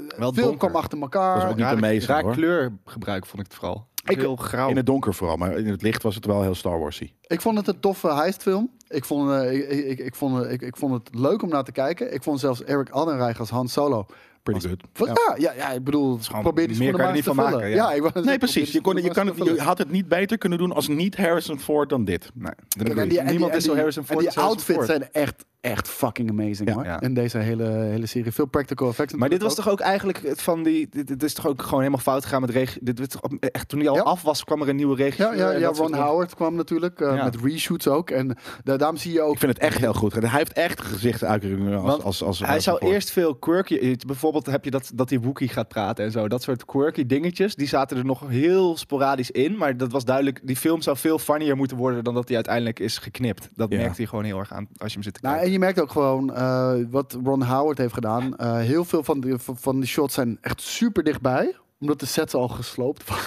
[SPEAKER 4] eh,
[SPEAKER 3] Wel
[SPEAKER 4] veel
[SPEAKER 3] donker.
[SPEAKER 4] kwam achter elkaar.
[SPEAKER 2] Dat was ook niet
[SPEAKER 3] Raar-
[SPEAKER 2] amazing,
[SPEAKER 3] raar
[SPEAKER 2] hoor.
[SPEAKER 3] kleurgebruik vond ik het vooral.
[SPEAKER 4] Ik-
[SPEAKER 3] Heel grauw.
[SPEAKER 2] In het donker vooral, maar in het licht was het wel heel Star Warsy.
[SPEAKER 4] Ik vond het een toffe heistfilm. Ik vond, eh, ik, ik, ik, vond, eh, ik, ik vond het leuk om naar te kijken. Ik vond zelfs Eric Allenreich als Han Solo.
[SPEAKER 2] Pretty good.
[SPEAKER 4] Van- Nou, ja. Ja, ja, ik bedoel,
[SPEAKER 3] gewoon-
[SPEAKER 4] probeer die
[SPEAKER 3] meer
[SPEAKER 4] schoenen
[SPEAKER 3] kan je
[SPEAKER 4] maar
[SPEAKER 3] niet van
[SPEAKER 4] eens te
[SPEAKER 3] maken,
[SPEAKER 4] vullen.
[SPEAKER 3] ja.
[SPEAKER 4] Ja, ik wou net
[SPEAKER 2] Nee,
[SPEAKER 4] zeggen,
[SPEAKER 2] precies. Je,
[SPEAKER 4] probeer
[SPEAKER 2] kon,
[SPEAKER 4] die
[SPEAKER 2] je, kan het,
[SPEAKER 4] schoenen maar
[SPEAKER 2] je
[SPEAKER 4] eens te vullen.
[SPEAKER 2] had het niet beter kunnen doen als niet Harrison Ford dan dit.
[SPEAKER 3] Nee, dat
[SPEAKER 4] En
[SPEAKER 3] bedoel ik.
[SPEAKER 4] die- en die-
[SPEAKER 3] Niemand
[SPEAKER 4] en
[SPEAKER 3] is zo
[SPEAKER 4] die-
[SPEAKER 3] Harrison Ford
[SPEAKER 4] En
[SPEAKER 3] als
[SPEAKER 4] die
[SPEAKER 3] Harrison
[SPEAKER 4] outfits
[SPEAKER 3] Ford.
[SPEAKER 4] zijn echt, echt fucking amazing,
[SPEAKER 2] Ja.
[SPEAKER 4] hoor.
[SPEAKER 3] Ja.
[SPEAKER 4] In deze hele, hele serie. Veel practical effects
[SPEAKER 3] Maar dit was
[SPEAKER 4] natuurlijk
[SPEAKER 3] toch ook eigenlijk het van die. Dit, dit is toch ook gewoon helemaal fout gegaan met regi. Dit, werd toch op- echt, toen hij al
[SPEAKER 4] Ja.
[SPEAKER 3] af was, kwam er een nieuwe regisseur.
[SPEAKER 4] Ja, ja,
[SPEAKER 3] en
[SPEAKER 4] ja
[SPEAKER 3] dat soort
[SPEAKER 4] Ron
[SPEAKER 3] dingen.
[SPEAKER 4] Howard kwam natuurlijk, eh,
[SPEAKER 3] Ja.
[SPEAKER 4] met reshoots ook. En da- daarom zie je ook...
[SPEAKER 2] Ik vind het echt heel goed. Hij heeft echt gezichtsuitdrukkingen als,
[SPEAKER 3] Want
[SPEAKER 2] als, als
[SPEAKER 3] Hij zou
[SPEAKER 2] Ford.
[SPEAKER 3] eerst veel quirky. eh, Bijvoorbeeld heb je dat, dat die Wookie gaat praten en zo. Dat soort quirky dingetjes. Die zaten er nog heel sporadisch in. Maar dat was duidelijk. Die film zou veel funnier moeten worden dan dat hij uiteindelijk is geknipt. Dat
[SPEAKER 2] Ja.
[SPEAKER 3] merkt hij gewoon heel erg aan als je hem zit te
[SPEAKER 4] Nou,
[SPEAKER 3] kijken.
[SPEAKER 4] en je merkt ook gewoon eh, wat Ron Howard heeft gedaan. Eh, heel veel van de, van- van de shots zijn echt super dichtbij omdat de sets al gesloopt waren.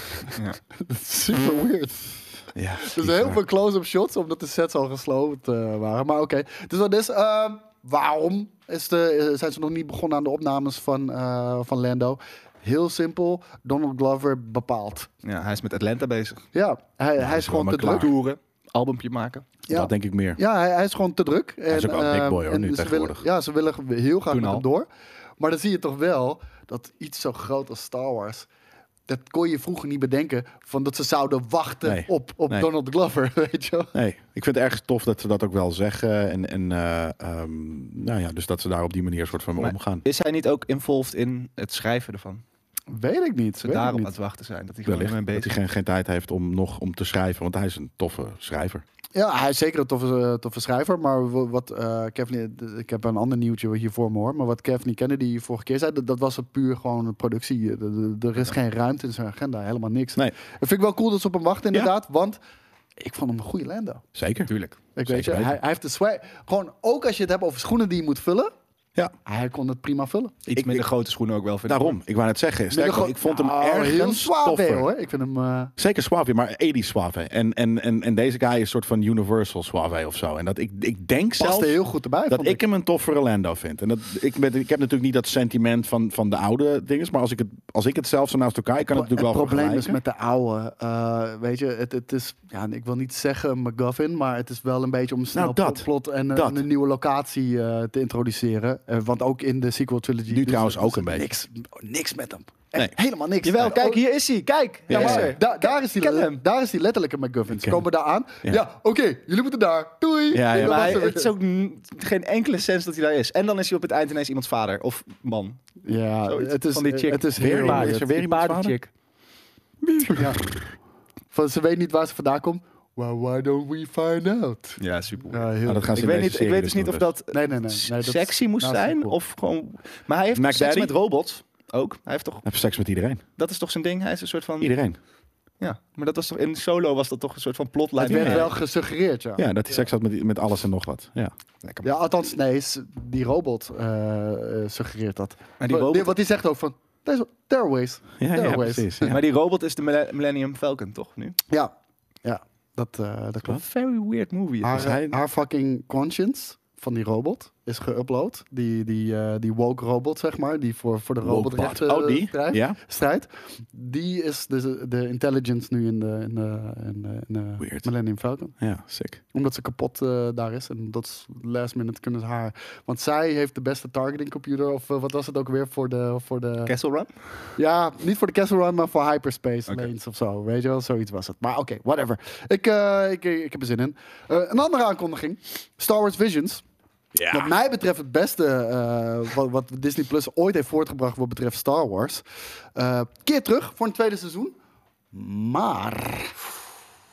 [SPEAKER 3] Ja.
[SPEAKER 4] super weird.
[SPEAKER 2] Ja,
[SPEAKER 4] Dus
[SPEAKER 2] bizar.
[SPEAKER 4] heel veel close-up shots, omdat de sets al gesloopt eh, waren. Maar oké, dus dat is... ehm, waarom is de, eh, zijn ze nog niet begonnen aan de opnames van, eh, van Lando? Heel simpel, Donald Glover bepaalt.
[SPEAKER 3] ja, hij is met Atlanta bezig.
[SPEAKER 4] Ja, hij, hij is
[SPEAKER 2] gewoon
[SPEAKER 4] gewoon te
[SPEAKER 2] maar
[SPEAKER 4] druk.
[SPEAKER 2] klaar.
[SPEAKER 3] Toeren, albumpje maken.
[SPEAKER 4] Ja.
[SPEAKER 2] Dat denk ik meer.
[SPEAKER 4] Ja, hij, hij is gewoon te druk. En,
[SPEAKER 2] is ook wel een
[SPEAKER 4] eh,
[SPEAKER 2] big boy, hoor,
[SPEAKER 4] en
[SPEAKER 2] nu
[SPEAKER 4] ze willen,
[SPEAKER 2] tegenwoordig.
[SPEAKER 4] ja, ze willen ge- heel graag
[SPEAKER 3] Toen
[SPEAKER 4] met
[SPEAKER 3] al.
[SPEAKER 4] hem door. Maar dan zie je toch wel dat iets zo groot als Star Wars... Dat kon je vroeger niet bedenken, van dat ze zouden wachten
[SPEAKER 2] Nee.
[SPEAKER 4] op, op
[SPEAKER 2] Nee.
[SPEAKER 4] Donald Glover, weet je wel.
[SPEAKER 2] Nee, ik vind het erg tof dat ze dat ook wel zeggen. En, en eh, ehm, nou ja, dus dat ze daar op die manier soort van mee
[SPEAKER 3] Maar-
[SPEAKER 2] omgaan.
[SPEAKER 3] Is hij niet ook involved in het schrijven ervan?
[SPEAKER 4] Weet ik niet.
[SPEAKER 3] Dat ze
[SPEAKER 4] weet ik
[SPEAKER 3] daarom
[SPEAKER 4] niet.
[SPEAKER 3] aan het wachten zijn. Dat hij gewoon
[SPEAKER 2] Wellicht
[SPEAKER 3] ermee
[SPEAKER 2] dat
[SPEAKER 3] bezig
[SPEAKER 2] hij geen, geen tijd heeft om nog om te schrijven, want hij is een toffe schrijver.
[SPEAKER 4] Ja, hij is zeker een toffe, eh, toffe schrijver. Maar wa- wat eh Kevin, ik heb een ander nieuwtje hier voor me hoor. Maar wat Kevin Kennedy vorige keer zei, dat, dat was het puur gewoon een productie. Eh, Er- er- Er is geen ruimte in zijn agenda, helemaal niks.
[SPEAKER 2] Nee.
[SPEAKER 4] Dat vind ik wel cool dat ze op hem wachten, inderdaad. Want ik vond hem een goede Lando.
[SPEAKER 2] Zeker.
[SPEAKER 3] Tuurlijk.
[SPEAKER 4] Ik
[SPEAKER 2] Zeker
[SPEAKER 4] weet je,
[SPEAKER 2] weten.
[SPEAKER 4] hij, hij heeft de swag. Gewoon ook als je het hebt over schoenen die je moet vullen.
[SPEAKER 2] Ja.
[SPEAKER 4] Hij kon het prima vullen.
[SPEAKER 3] Iets
[SPEAKER 2] Ik-
[SPEAKER 3] minder
[SPEAKER 2] ik-
[SPEAKER 3] grote schoenen ook wel, vind ik.
[SPEAKER 2] Daarom, ik wou net zeggen. Sterker, nog, ik vond hem
[SPEAKER 4] Nou, heel
[SPEAKER 2] ergens
[SPEAKER 4] zwaar
[SPEAKER 2] toffer.
[SPEAKER 4] hoor. Ik vind hem... eh,
[SPEAKER 2] Zeker Suave, maar 80 Suave. En, en, en, en deze guy is een soort van Universal Suave of zo. En dat ik, ik denk
[SPEAKER 4] paste
[SPEAKER 2] zelfs
[SPEAKER 4] heel goed erbij.
[SPEAKER 2] dat
[SPEAKER 4] vond
[SPEAKER 2] ik hem een toffere Lando vind. En dat, ik, ben, ik heb natuurlijk niet dat sentiment van, van de oude dinges. Maar als ik het, als ik het zelf zo naast elkaar... Ik kan het natuurlijk wel
[SPEAKER 4] probleem is
[SPEAKER 2] vergelijken.
[SPEAKER 4] met de oude, eh, weet je, het, het is, ja, ik wil niet zeggen McGuffin, maar het is wel een beetje om snel
[SPEAKER 2] Nou, dat.
[SPEAKER 4] plot en, eh,
[SPEAKER 2] Dat.
[SPEAKER 4] en een nieuwe locatie eh, te introduceren. Eh, want ook in de sequel trilogy...
[SPEAKER 2] Nu
[SPEAKER 4] is
[SPEAKER 2] trouwens
[SPEAKER 4] er-
[SPEAKER 2] ook
[SPEAKER 4] is er
[SPEAKER 2] een beetje.
[SPEAKER 4] Niks, oh, niks met hem. Echt
[SPEAKER 2] Nee.
[SPEAKER 4] Helemaal niks.
[SPEAKER 3] Jawel,
[SPEAKER 4] Eh,
[SPEAKER 3] kijk,
[SPEAKER 4] oh,
[SPEAKER 3] hier is hij. Kijk,
[SPEAKER 2] Ja,
[SPEAKER 3] daar
[SPEAKER 4] ja,
[SPEAKER 3] is
[SPEAKER 2] maar-
[SPEAKER 3] hij.
[SPEAKER 4] da- daar, is die,
[SPEAKER 3] ken
[SPEAKER 4] le-
[SPEAKER 3] hem.
[SPEAKER 4] daar is die letterlijke McGuffin. Ze
[SPEAKER 2] ken
[SPEAKER 4] komen daar aan. Ja,
[SPEAKER 2] Ja.
[SPEAKER 4] oké, jullie moeten daar. Doei.
[SPEAKER 2] Ja, ja,
[SPEAKER 4] Dat
[SPEAKER 3] Maar
[SPEAKER 4] was
[SPEAKER 3] hij-
[SPEAKER 4] hem.
[SPEAKER 3] het is ook n- geen enkele sens dat hij daar is. En dan is hij op het eind ineens iemands vader of man.
[SPEAKER 4] ja
[SPEAKER 3] Zoiets
[SPEAKER 4] het is,
[SPEAKER 3] van die chick.
[SPEAKER 4] Het is
[SPEAKER 2] Weer
[SPEAKER 4] heel
[SPEAKER 2] paarden.
[SPEAKER 4] weird.
[SPEAKER 2] is er weer
[SPEAKER 3] Die
[SPEAKER 2] iemands
[SPEAKER 3] paardenchick.
[SPEAKER 4] Ja. Van, ze weet niet waar ze vandaan komt. Well, why don't we find out?
[SPEAKER 3] Ja, super.
[SPEAKER 4] Ja, heel
[SPEAKER 2] Nou, dat gaan ze
[SPEAKER 3] Ik
[SPEAKER 2] in
[SPEAKER 3] weet,
[SPEAKER 2] deze
[SPEAKER 3] niet, ik
[SPEAKER 2] serie
[SPEAKER 3] weet dus niet of
[SPEAKER 2] doen,
[SPEAKER 3] dat
[SPEAKER 4] Nee, nee, nee.
[SPEAKER 3] s-
[SPEAKER 4] Nee, dat is
[SPEAKER 3] sexy moest
[SPEAKER 4] na
[SPEAKER 3] zijn
[SPEAKER 4] sequel.
[SPEAKER 3] of gewoon... Maar hij heeft
[SPEAKER 2] Mac
[SPEAKER 3] toch seks
[SPEAKER 2] Daddy?
[SPEAKER 3] met robots ook. Hij heeft toch,
[SPEAKER 2] Heb seks met iedereen.
[SPEAKER 3] dat is toch zijn ding? Hij is een soort van...
[SPEAKER 2] Iedereen.
[SPEAKER 3] Ja, maar dat was toch, in solo was dat toch een soort van plotlijn.
[SPEAKER 4] Het werd wel gesuggereerd, ja. ja.
[SPEAKER 2] Ja, dat hij seks had met, met alles en nog wat. Ja.
[SPEAKER 4] althans, nee, s- die robot eh, eh, suggereert dat.
[SPEAKER 3] Maar die
[SPEAKER 4] Wa-
[SPEAKER 3] robot-
[SPEAKER 4] Want die zegt ook van, there's, there are ways.
[SPEAKER 2] Ja, ja,
[SPEAKER 4] Always.
[SPEAKER 2] precies. Ja.
[SPEAKER 3] Maar die robot is de Mille- Millennium Falcon, toch? Nu?
[SPEAKER 4] Ja, ja dat, eh, dat
[SPEAKER 3] Een
[SPEAKER 4] klopt.
[SPEAKER 3] very weird movie.
[SPEAKER 4] Haar,
[SPEAKER 2] Dus hij-
[SPEAKER 4] haar fucking conscience van die robot is geüpload. Die, die, eh, die woke robot, zeg maar, die voor, voor de
[SPEAKER 2] Robot.
[SPEAKER 4] robotrechten
[SPEAKER 2] Oh,
[SPEAKER 4] eh,
[SPEAKER 2] die?
[SPEAKER 4] strijdt.
[SPEAKER 2] Ja.
[SPEAKER 4] strijdt. Die is de, de intelligence nu in de, in de, in de, in de
[SPEAKER 2] Weird.
[SPEAKER 4] Millennium Falcon.
[SPEAKER 2] Ja, sick.
[SPEAKER 4] Omdat ze kapot eh, daar is. En dat is last minute kunnen ze haar. Want zij heeft de beste targeting computer. Of eh, wat was het ook weer voor de. Voor de
[SPEAKER 3] Castle Run?
[SPEAKER 4] ja, niet voor de Castle Run, maar voor Hyperspace
[SPEAKER 3] Oké.
[SPEAKER 4] Lanes of zo. Weet je wel, zoiets was het. Maar oké, whatever. Ik, eh, ik, ik heb er zin in. Eh, een andere aankondiging: Star Wars Visions. Wat
[SPEAKER 2] Ja.
[SPEAKER 4] mij betreft het beste eh, wat, wat Disney Plus ooit heeft voortgebracht wat betreft Star Wars. Eh, keer terug voor een tweede seizoen. Maar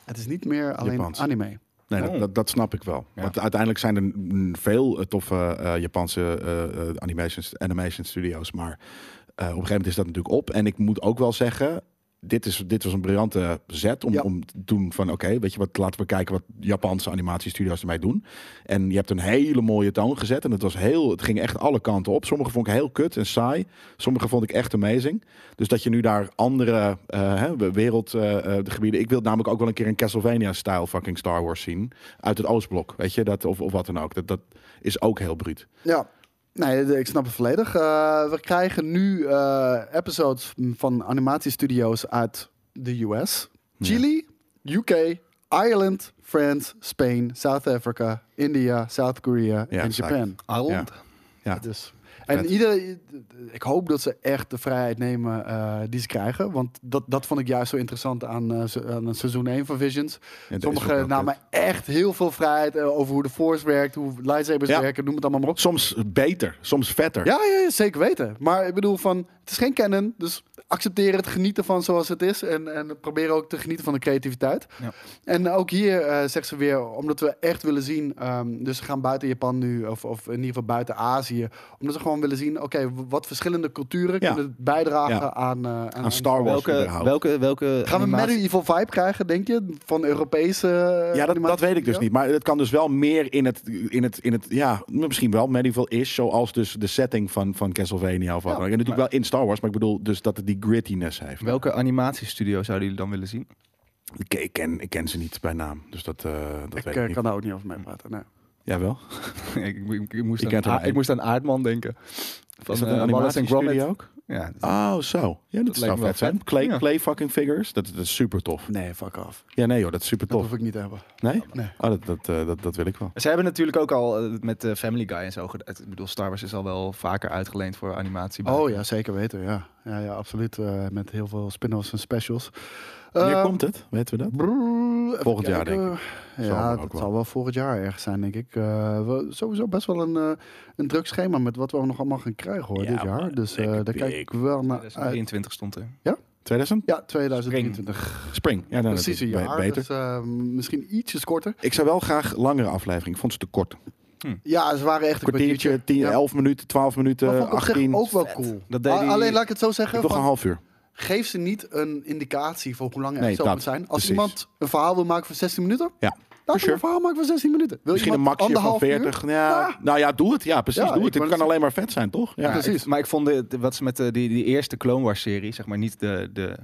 [SPEAKER 4] het is niet meer alleen
[SPEAKER 2] Japans.
[SPEAKER 4] anime.
[SPEAKER 2] Nee, dat, dat, dat snap ik wel. Want uiteindelijk zijn er mm, veel eh, toffe eh, Japanse eh, eh, animations, animation studios. Maar eh, op een gegeven moment is dat natuurlijk op. En ik moet ook wel zeggen, dit, is, dit was een briljante zet om,
[SPEAKER 4] Ja.
[SPEAKER 2] om te doen van... Oké, weet je wat, laten we kijken wat Japanse animatiestudio's ermee doen. En je hebt een hele mooie toon gezet. En het, was heel, het ging echt alle kanten op. Sommige vond ik heel kut en saai. Sommige vond ik echt amazing. Dus dat je nu daar andere eh, hè, wereld eh, eh, de gebieden... Ik wil namelijk ook wel een keer een Castlevania-style fucking Star Wars zien. Uit het Oostblok, weet je? Dat, of, of wat dan ook. Dat, dat is ook heel bruut.
[SPEAKER 4] Ja. Nee, de- ik snap het volledig. Eh, we krijgen nu eh, episodes van animatiestudio's uit de US, Chili, UK, Ireland, France, Spain, South Africa, India, South Korea
[SPEAKER 2] Ja,
[SPEAKER 4] en
[SPEAKER 2] exact.
[SPEAKER 4] Japan.
[SPEAKER 3] Ireland.
[SPEAKER 2] Ja,
[SPEAKER 4] Dus. En
[SPEAKER 2] Vet.
[SPEAKER 4] ieder, ik hoop dat ze echt de vrijheid nemen eh, die ze krijgen. Want dat, dat vond ik juist zo interessant aan, eh, se- aan seizoen 1 van Visions.
[SPEAKER 2] dat is ook
[SPEAKER 4] Sommigen
[SPEAKER 2] wel
[SPEAKER 4] namen echt heel veel vrijheid eh, over hoe de Force werkt, hoe lightsabers
[SPEAKER 2] Ja.
[SPEAKER 4] werken, noem het allemaal maar op.
[SPEAKER 2] Soms beter, soms vetter.
[SPEAKER 4] Ja, ja, ja, zeker weten. Maar ik bedoel van, het is geen canon, dus accepteer het, geniet ervan zoals het is en, en probeer ook te genieten van de creativiteit.
[SPEAKER 3] Ja.
[SPEAKER 4] En ook hier eh, zegt ze weer, omdat we echt willen zien, ehm, dus ze gaan buiten Japan nu, of, of in ieder geval buiten Azië, omdat ze gewoon willen zien, oké, w- wat verschillende culturen
[SPEAKER 2] Ja.
[SPEAKER 4] kunnen bijdragen
[SPEAKER 2] Ja.
[SPEAKER 4] aan, eh, aan,
[SPEAKER 2] Aan Star Wars
[SPEAKER 3] Welke,
[SPEAKER 2] überhaupt.
[SPEAKER 3] welke, welke
[SPEAKER 4] Gaan we
[SPEAKER 3] animatie-
[SPEAKER 4] medieval vibe krijgen, denk je, van Europese eh,
[SPEAKER 2] Ja, dat, dat
[SPEAKER 4] animatie-
[SPEAKER 2] weet ik dus
[SPEAKER 4] Ja?
[SPEAKER 2] niet. Maar het kan dus wel meer in het, in het, in het ja, misschien wel medieval is. Zoals dus de setting van, van Castlevania of wat.
[SPEAKER 4] Ja,
[SPEAKER 2] dan ook. en natuurlijk wel in Star Wars, maar ik bedoel dus dat het die grittiness heeft.
[SPEAKER 3] welke animatiestudio zouden jullie dan willen zien?
[SPEAKER 2] Ik, ik ken, ik ken ze niet bij naam, dus dat, eh, dat
[SPEAKER 4] Ik
[SPEAKER 2] weet
[SPEAKER 4] eh,
[SPEAKER 2] ik niet.
[SPEAKER 4] kan daar ook niet over mee praten, nee.
[SPEAKER 2] Jawel.
[SPEAKER 3] ik, ik, ik moest
[SPEAKER 2] Ik ken
[SPEAKER 3] aan,
[SPEAKER 2] er maar
[SPEAKER 3] Aard-
[SPEAKER 2] één.
[SPEAKER 3] ik moest aan Aardman denken. Van,
[SPEAKER 2] Is dat
[SPEAKER 3] eh,
[SPEAKER 2] een
[SPEAKER 3] Wallace en Gromit.
[SPEAKER 2] animatiestudio ook?
[SPEAKER 3] Ja,
[SPEAKER 2] Oh, zo. Ja, dat,
[SPEAKER 3] Dat lijkt
[SPEAKER 2] zou
[SPEAKER 3] me wel
[SPEAKER 2] vet zijn.
[SPEAKER 3] vet.
[SPEAKER 2] Clay,
[SPEAKER 3] Ja.
[SPEAKER 2] clay fucking figures, dat, dat is super tof.
[SPEAKER 4] Nee, fuck off.
[SPEAKER 2] Ja, nee joh, dat is super
[SPEAKER 4] Dat
[SPEAKER 2] tof.
[SPEAKER 4] hoef ik niet te hebben.
[SPEAKER 2] Nee?
[SPEAKER 4] Nee.
[SPEAKER 2] Oh, dat, dat, eh, dat, dat wil ik wel.
[SPEAKER 3] Ze hebben natuurlijk ook al eh, met eh, Family Guy en zo. ged- Ik bedoel, Star Wars is al wel vaker uitgeleend voor animatie.
[SPEAKER 4] Oh ja, zeker weten. Ja, ja, ja absoluut. eh, met heel veel spin-offs en specials.
[SPEAKER 2] Wanneer
[SPEAKER 4] Eh,
[SPEAKER 2] komt het? Weten we dat?
[SPEAKER 4] brrr, even
[SPEAKER 2] Volgend jaar,
[SPEAKER 4] kijken.
[SPEAKER 2] denk Zomer
[SPEAKER 4] Ja,
[SPEAKER 2] ook
[SPEAKER 4] dat
[SPEAKER 2] wel.
[SPEAKER 4] zal wel volgend jaar ergens zijn, denk ik. Eh, we, sowieso best wel een, eh, een druk schema met wat we nog allemaal gaan krijgen hoor,
[SPEAKER 2] Ja,
[SPEAKER 4] dit jaar.
[SPEAKER 2] maar
[SPEAKER 4] Dus eh,
[SPEAKER 2] lekker
[SPEAKER 4] daar kijk ik
[SPEAKER 2] big.
[SPEAKER 4] wel naar uit.
[SPEAKER 3] 2023 eh, stond er.
[SPEAKER 2] 2000?
[SPEAKER 4] Ja, 2023.
[SPEAKER 2] Spring. Ja, dan
[SPEAKER 4] Precies een
[SPEAKER 2] dat is
[SPEAKER 4] jaar.
[SPEAKER 2] be- Beter. Hm.
[SPEAKER 4] Dus eh, misschien ietsjes korter.
[SPEAKER 2] Ik zou wel graag langere aflevering. Ik vond ze te kort.
[SPEAKER 4] Ja, ze waren echt een
[SPEAKER 2] kwartiertje, 10,
[SPEAKER 4] Ja.
[SPEAKER 2] 11 minuten, 12 minuten,
[SPEAKER 4] Maar vond ik op zich
[SPEAKER 2] 18.
[SPEAKER 4] ook wel cool.
[SPEAKER 3] Dat deed
[SPEAKER 4] A-
[SPEAKER 3] die-
[SPEAKER 4] Alleen laat ik het zo
[SPEAKER 2] Ik
[SPEAKER 4] zeggen.
[SPEAKER 2] toch
[SPEAKER 4] van-
[SPEAKER 2] een half uur.
[SPEAKER 4] geef ze niet een indicatie voor hoe lang het
[SPEAKER 2] Nee,
[SPEAKER 4] zo
[SPEAKER 2] dat,
[SPEAKER 4] moet zijn. Als
[SPEAKER 2] precies.
[SPEAKER 4] iemand een verhaal wil maken van 16 minuten,
[SPEAKER 2] Ja.
[SPEAKER 4] Laat
[SPEAKER 2] sure.
[SPEAKER 4] een verhaal maken van 16 minuten. Wil
[SPEAKER 2] Misschien een
[SPEAKER 4] iemand
[SPEAKER 2] maxje van
[SPEAKER 4] anderhalf uur?
[SPEAKER 2] 40. Ja,
[SPEAKER 4] Ja.
[SPEAKER 2] Nou ja, doe het. Ja, precies.
[SPEAKER 4] Ja,
[SPEAKER 2] doe
[SPEAKER 4] ik
[SPEAKER 2] het. Het
[SPEAKER 4] wou
[SPEAKER 2] kan
[SPEAKER 4] net
[SPEAKER 2] alleen maar vet zijn, toch? Ja.
[SPEAKER 4] Ja. precies.
[SPEAKER 3] ik- maar ik vond de, de- wat ze met de, die, die eerste Clone Wars serie, zeg maar niet de, de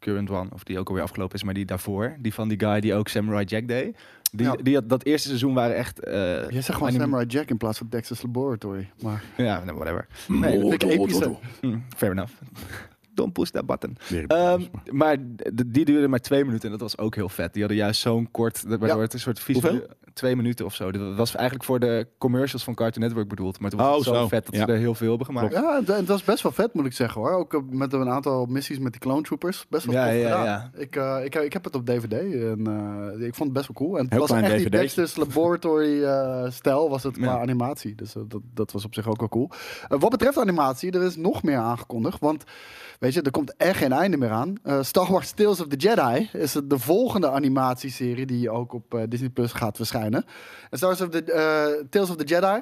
[SPEAKER 3] current one, of die ook alweer afgelopen is, maar die daarvoor. Die van die guy die ook Samurai Jack deed. Die,
[SPEAKER 4] Ja.
[SPEAKER 3] die had, dat eerste seizoen waren echt... eh,
[SPEAKER 4] Je zegt gewoon
[SPEAKER 3] anim-
[SPEAKER 4] Samurai Jack in plaats van Dexter's Laboratory. Maar
[SPEAKER 3] Ja, nou, whatever.
[SPEAKER 4] nee, dat vind ik
[SPEAKER 2] Oh, oh,
[SPEAKER 4] epische.
[SPEAKER 2] oh, oh.
[SPEAKER 3] Hm, fair enough. Don't push that button.
[SPEAKER 2] Weer een
[SPEAKER 3] Ehm,
[SPEAKER 2] podcast, maar.
[SPEAKER 3] maar d- die duurde maar twee minuten en dat was ook heel vet. Die hadden juist zo'n kort, waardoor
[SPEAKER 4] Ja.
[SPEAKER 3] het een soort vies...
[SPEAKER 2] Hoeveel?
[SPEAKER 3] Twee minuten of zo. Dat was eigenlijk voor de commercials van Cartoon Network bedoeld. Maar toen was
[SPEAKER 2] Oh,
[SPEAKER 3] het zo,
[SPEAKER 2] zo.
[SPEAKER 3] vet dat
[SPEAKER 2] Ja.
[SPEAKER 3] ze er heel veel hebben gemaakt.
[SPEAKER 4] Ja, het- het was best wel vet, moet ik zeggen hoor. Ook eh, met een aantal missies met die clone troopers. Best wel
[SPEAKER 3] Ja,
[SPEAKER 4] tof
[SPEAKER 3] ja,
[SPEAKER 4] gedaan.
[SPEAKER 3] ja.
[SPEAKER 4] Ik, eh, ik, ik heb het op DVD en eh, ik vond het best wel cool. En het
[SPEAKER 2] Heel
[SPEAKER 4] was
[SPEAKER 2] klein
[SPEAKER 4] echt die
[SPEAKER 2] DVD'tje.
[SPEAKER 4] Dexter's Laboratory eh stijl was het qua
[SPEAKER 3] Ja.
[SPEAKER 4] animatie. Dus eh, dat, dat was op zich ook wel cool. Eh, wat betreft animatie, er is nog meer aangekondigd. Want weet je, er komt echt geen einde meer aan. Eh, Star Wars Tales of the Jedi is het- de volgende animatieserie die ook op eh, Disney Plus gaat verschijnen. En Star Wars of the, eh, Tales of the Jedi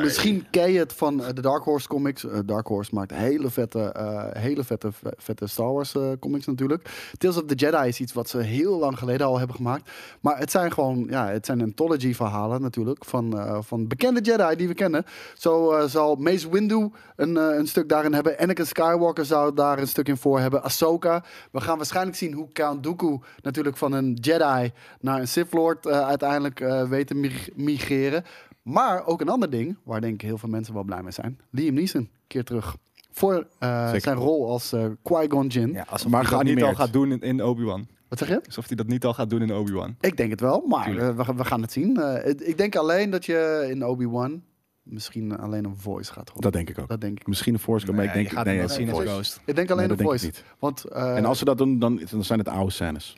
[SPEAKER 4] Misschien ken je het van eh, de Dark Horse comics. Eh, Dark Horse maakt hele vette, eh, hele vette, vette Star Wars eh, comics natuurlijk. Tales of the Jedi is iets wat ze heel lang geleden al hebben gemaakt. Maar het zijn gewoon, ja, het zijn anthology verhalen natuurlijk van, eh, van bekende Jedi die we kennen. Zo eh, zal Mace Windu een, eh, een stuk daarin hebben. Anakin Skywalker zou daar een stuk in voor hebben. Ahsoka. We gaan waarschijnlijk zien hoe Count Dooku natuurlijk van een Jedi naar een Sith Lord eh, uiteindelijk eh weet te mig- migreren. Maar ook een ander ding, waar denk ik heel veel mensen wel blij mee zijn. Liam Neeson, keer terug. Voor eh,
[SPEAKER 2] Zeker.
[SPEAKER 4] zijn rol als eh, Qui-Gon Jinn.
[SPEAKER 3] Ja, alsof
[SPEAKER 2] Maar
[SPEAKER 3] maar dat niet al
[SPEAKER 2] geanimeerd.
[SPEAKER 3] gaat doen in, in Obi-Wan.
[SPEAKER 4] Wat zeg je?
[SPEAKER 3] Alsof hij dat niet al gaat doen in Obi-Wan.
[SPEAKER 4] Ik denk het wel, maar
[SPEAKER 3] Tuurlijk.
[SPEAKER 4] eh, we, we gaan het zien. Eh, het- ik denk alleen dat je in Obi-Wan misschien alleen een voice gaat horen.
[SPEAKER 2] Dat denk ik ook.
[SPEAKER 4] Dat denk ik.
[SPEAKER 2] Misschien een Force Ghost, maar Dus ik
[SPEAKER 3] Nee,
[SPEAKER 2] denk...
[SPEAKER 3] je gaat
[SPEAKER 2] nee,
[SPEAKER 3] hem
[SPEAKER 2] ja,
[SPEAKER 3] wel zien als
[SPEAKER 2] Force.
[SPEAKER 3] Ghost.
[SPEAKER 4] Ik denk alleen
[SPEAKER 2] Nee, dat
[SPEAKER 4] een
[SPEAKER 2] denk ik
[SPEAKER 4] voice. Want, eh,
[SPEAKER 2] En als ze dat doen, dan, dan zijn het oude scènes.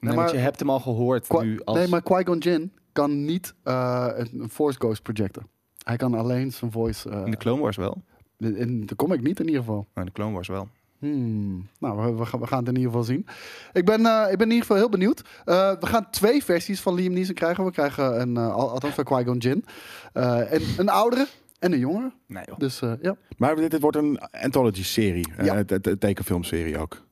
[SPEAKER 3] Nee,
[SPEAKER 4] maar-
[SPEAKER 3] want je hebt hem al gehoord
[SPEAKER 4] Qui-
[SPEAKER 3] nu als...
[SPEAKER 4] Nee, maar Qui-Gon Jinn kan niet eh, een een Force Ghost projecten. Hij kan alleen zijn voice... eh,
[SPEAKER 3] In de Clone Wars wel.
[SPEAKER 4] in, in de comic niet in ieder geval.
[SPEAKER 3] Maar in de Clone Wars wel.
[SPEAKER 4] Hmm. Nou, we, we gaan, we gaan het in ieder geval zien. Ik ben, eh, ik ben in ieder geval heel benieuwd. Eh, we gaan twee versies van Liam Neeson krijgen. We krijgen een, eh, al- althans van Qui-Gon Jinn, Eh, en een oudere en een jongere.
[SPEAKER 3] Nee joh.
[SPEAKER 4] Dus eh, ja.
[SPEAKER 2] Maar dit, dit wordt een anthology-serie. Eh,
[SPEAKER 4] Ja.
[SPEAKER 2] Ja. tekenfilmserie ook.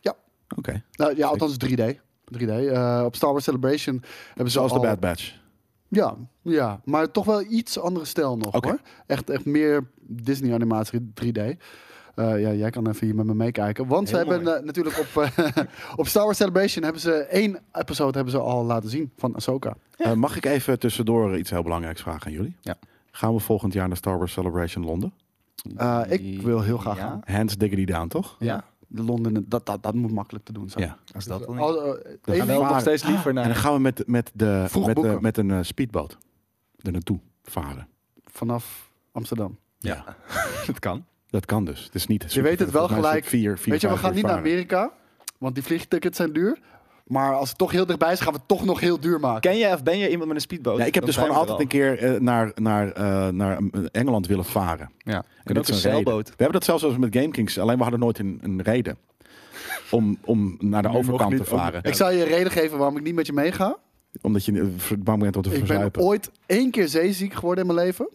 [SPEAKER 4] Ja.
[SPEAKER 2] Oké.
[SPEAKER 4] Nou, ja, althans 3D. 3D. Eh, op Star Wars Celebration hebben ze
[SPEAKER 2] Zoals de
[SPEAKER 4] Dus al-
[SPEAKER 2] Bad Batch.
[SPEAKER 4] Ja, ja, maar toch wel iets andere stijl nog
[SPEAKER 2] Oké.
[SPEAKER 4] hoor. Echt, echt meer Disney animatie 3D. Eh, ja, jij kan even hier met me meekijken. Want ze
[SPEAKER 3] Heel
[SPEAKER 4] hebben
[SPEAKER 3] mooi.
[SPEAKER 4] eh, natuurlijk op, eh, op Star Wars Celebration hebben ze één episode hebben ze al laten zien van Ahsoka.
[SPEAKER 2] Eh, mag ik even tussendoor iets heel belangrijks vragen aan jullie?
[SPEAKER 3] Ja.
[SPEAKER 2] Gaan we volgend jaar naar Star Wars Celebration Londen?
[SPEAKER 4] Eh, ik wil heel graag
[SPEAKER 3] Ja?
[SPEAKER 4] gaan.
[SPEAKER 2] Hands diggity down, toch?
[SPEAKER 3] Ja.
[SPEAKER 4] Londen, dat, dat, dat moet makkelijk te doen zijn.
[SPEAKER 2] Ja.
[SPEAKER 3] Dus Als dat wel niet.
[SPEAKER 4] Al- eh,
[SPEAKER 2] Dat
[SPEAKER 3] Ga
[SPEAKER 4] even-
[SPEAKER 2] gaan
[SPEAKER 3] wel nog
[SPEAKER 2] varen.
[SPEAKER 3] steeds liever
[SPEAKER 2] En dan
[SPEAKER 3] naar...
[SPEAKER 2] gaan we met, met, de,
[SPEAKER 4] Vroeg
[SPEAKER 2] met, de,
[SPEAKER 4] boeken.
[SPEAKER 2] met een eh, speedboot er naartoe varen.
[SPEAKER 4] vanaf Amsterdam.
[SPEAKER 2] Ja.
[SPEAKER 3] Het kan.
[SPEAKER 2] Dat kan dus. Het is niet
[SPEAKER 4] Je weet het wel
[SPEAKER 2] volgens mij is
[SPEAKER 4] gelijk.
[SPEAKER 2] Vier, vier,
[SPEAKER 4] Weet je, we
[SPEAKER 2] vijf
[SPEAKER 4] gaan
[SPEAKER 2] uur
[SPEAKER 4] niet naar
[SPEAKER 2] varen.
[SPEAKER 4] Amerika, want die vliegtickets zijn duur. Maar als het toch heel dichtbij is, gaan we het toch nog heel duur maken.
[SPEAKER 3] Ken jij of ben je iemand met een speedboot?
[SPEAKER 2] Ja, ik heb
[SPEAKER 3] Dan
[SPEAKER 2] dus gewoon
[SPEAKER 3] zijn we er
[SPEAKER 2] altijd een keer eh, naar, naar, eh, naar eh, Engeland willen varen.
[SPEAKER 3] al. Ja.
[SPEAKER 2] En
[SPEAKER 3] En ook
[SPEAKER 2] dit
[SPEAKER 3] een
[SPEAKER 2] is een reden.
[SPEAKER 3] zeilboot.
[SPEAKER 2] We hebben dat zelfs als met GameKings. Alleen we hadden nooit een, een reden om, om naar de
[SPEAKER 3] Nu nog
[SPEAKER 2] overkant
[SPEAKER 3] niet,
[SPEAKER 2] te
[SPEAKER 3] ook niet.
[SPEAKER 2] varen.
[SPEAKER 4] Ik zal je een reden geven waarom ik niet met je meega.
[SPEAKER 2] Omdat je eh, ver- bang bent om te
[SPEAKER 4] Ik ben
[SPEAKER 2] verzuipen.
[SPEAKER 4] ooit één keer zeeziek geworden in mijn leven.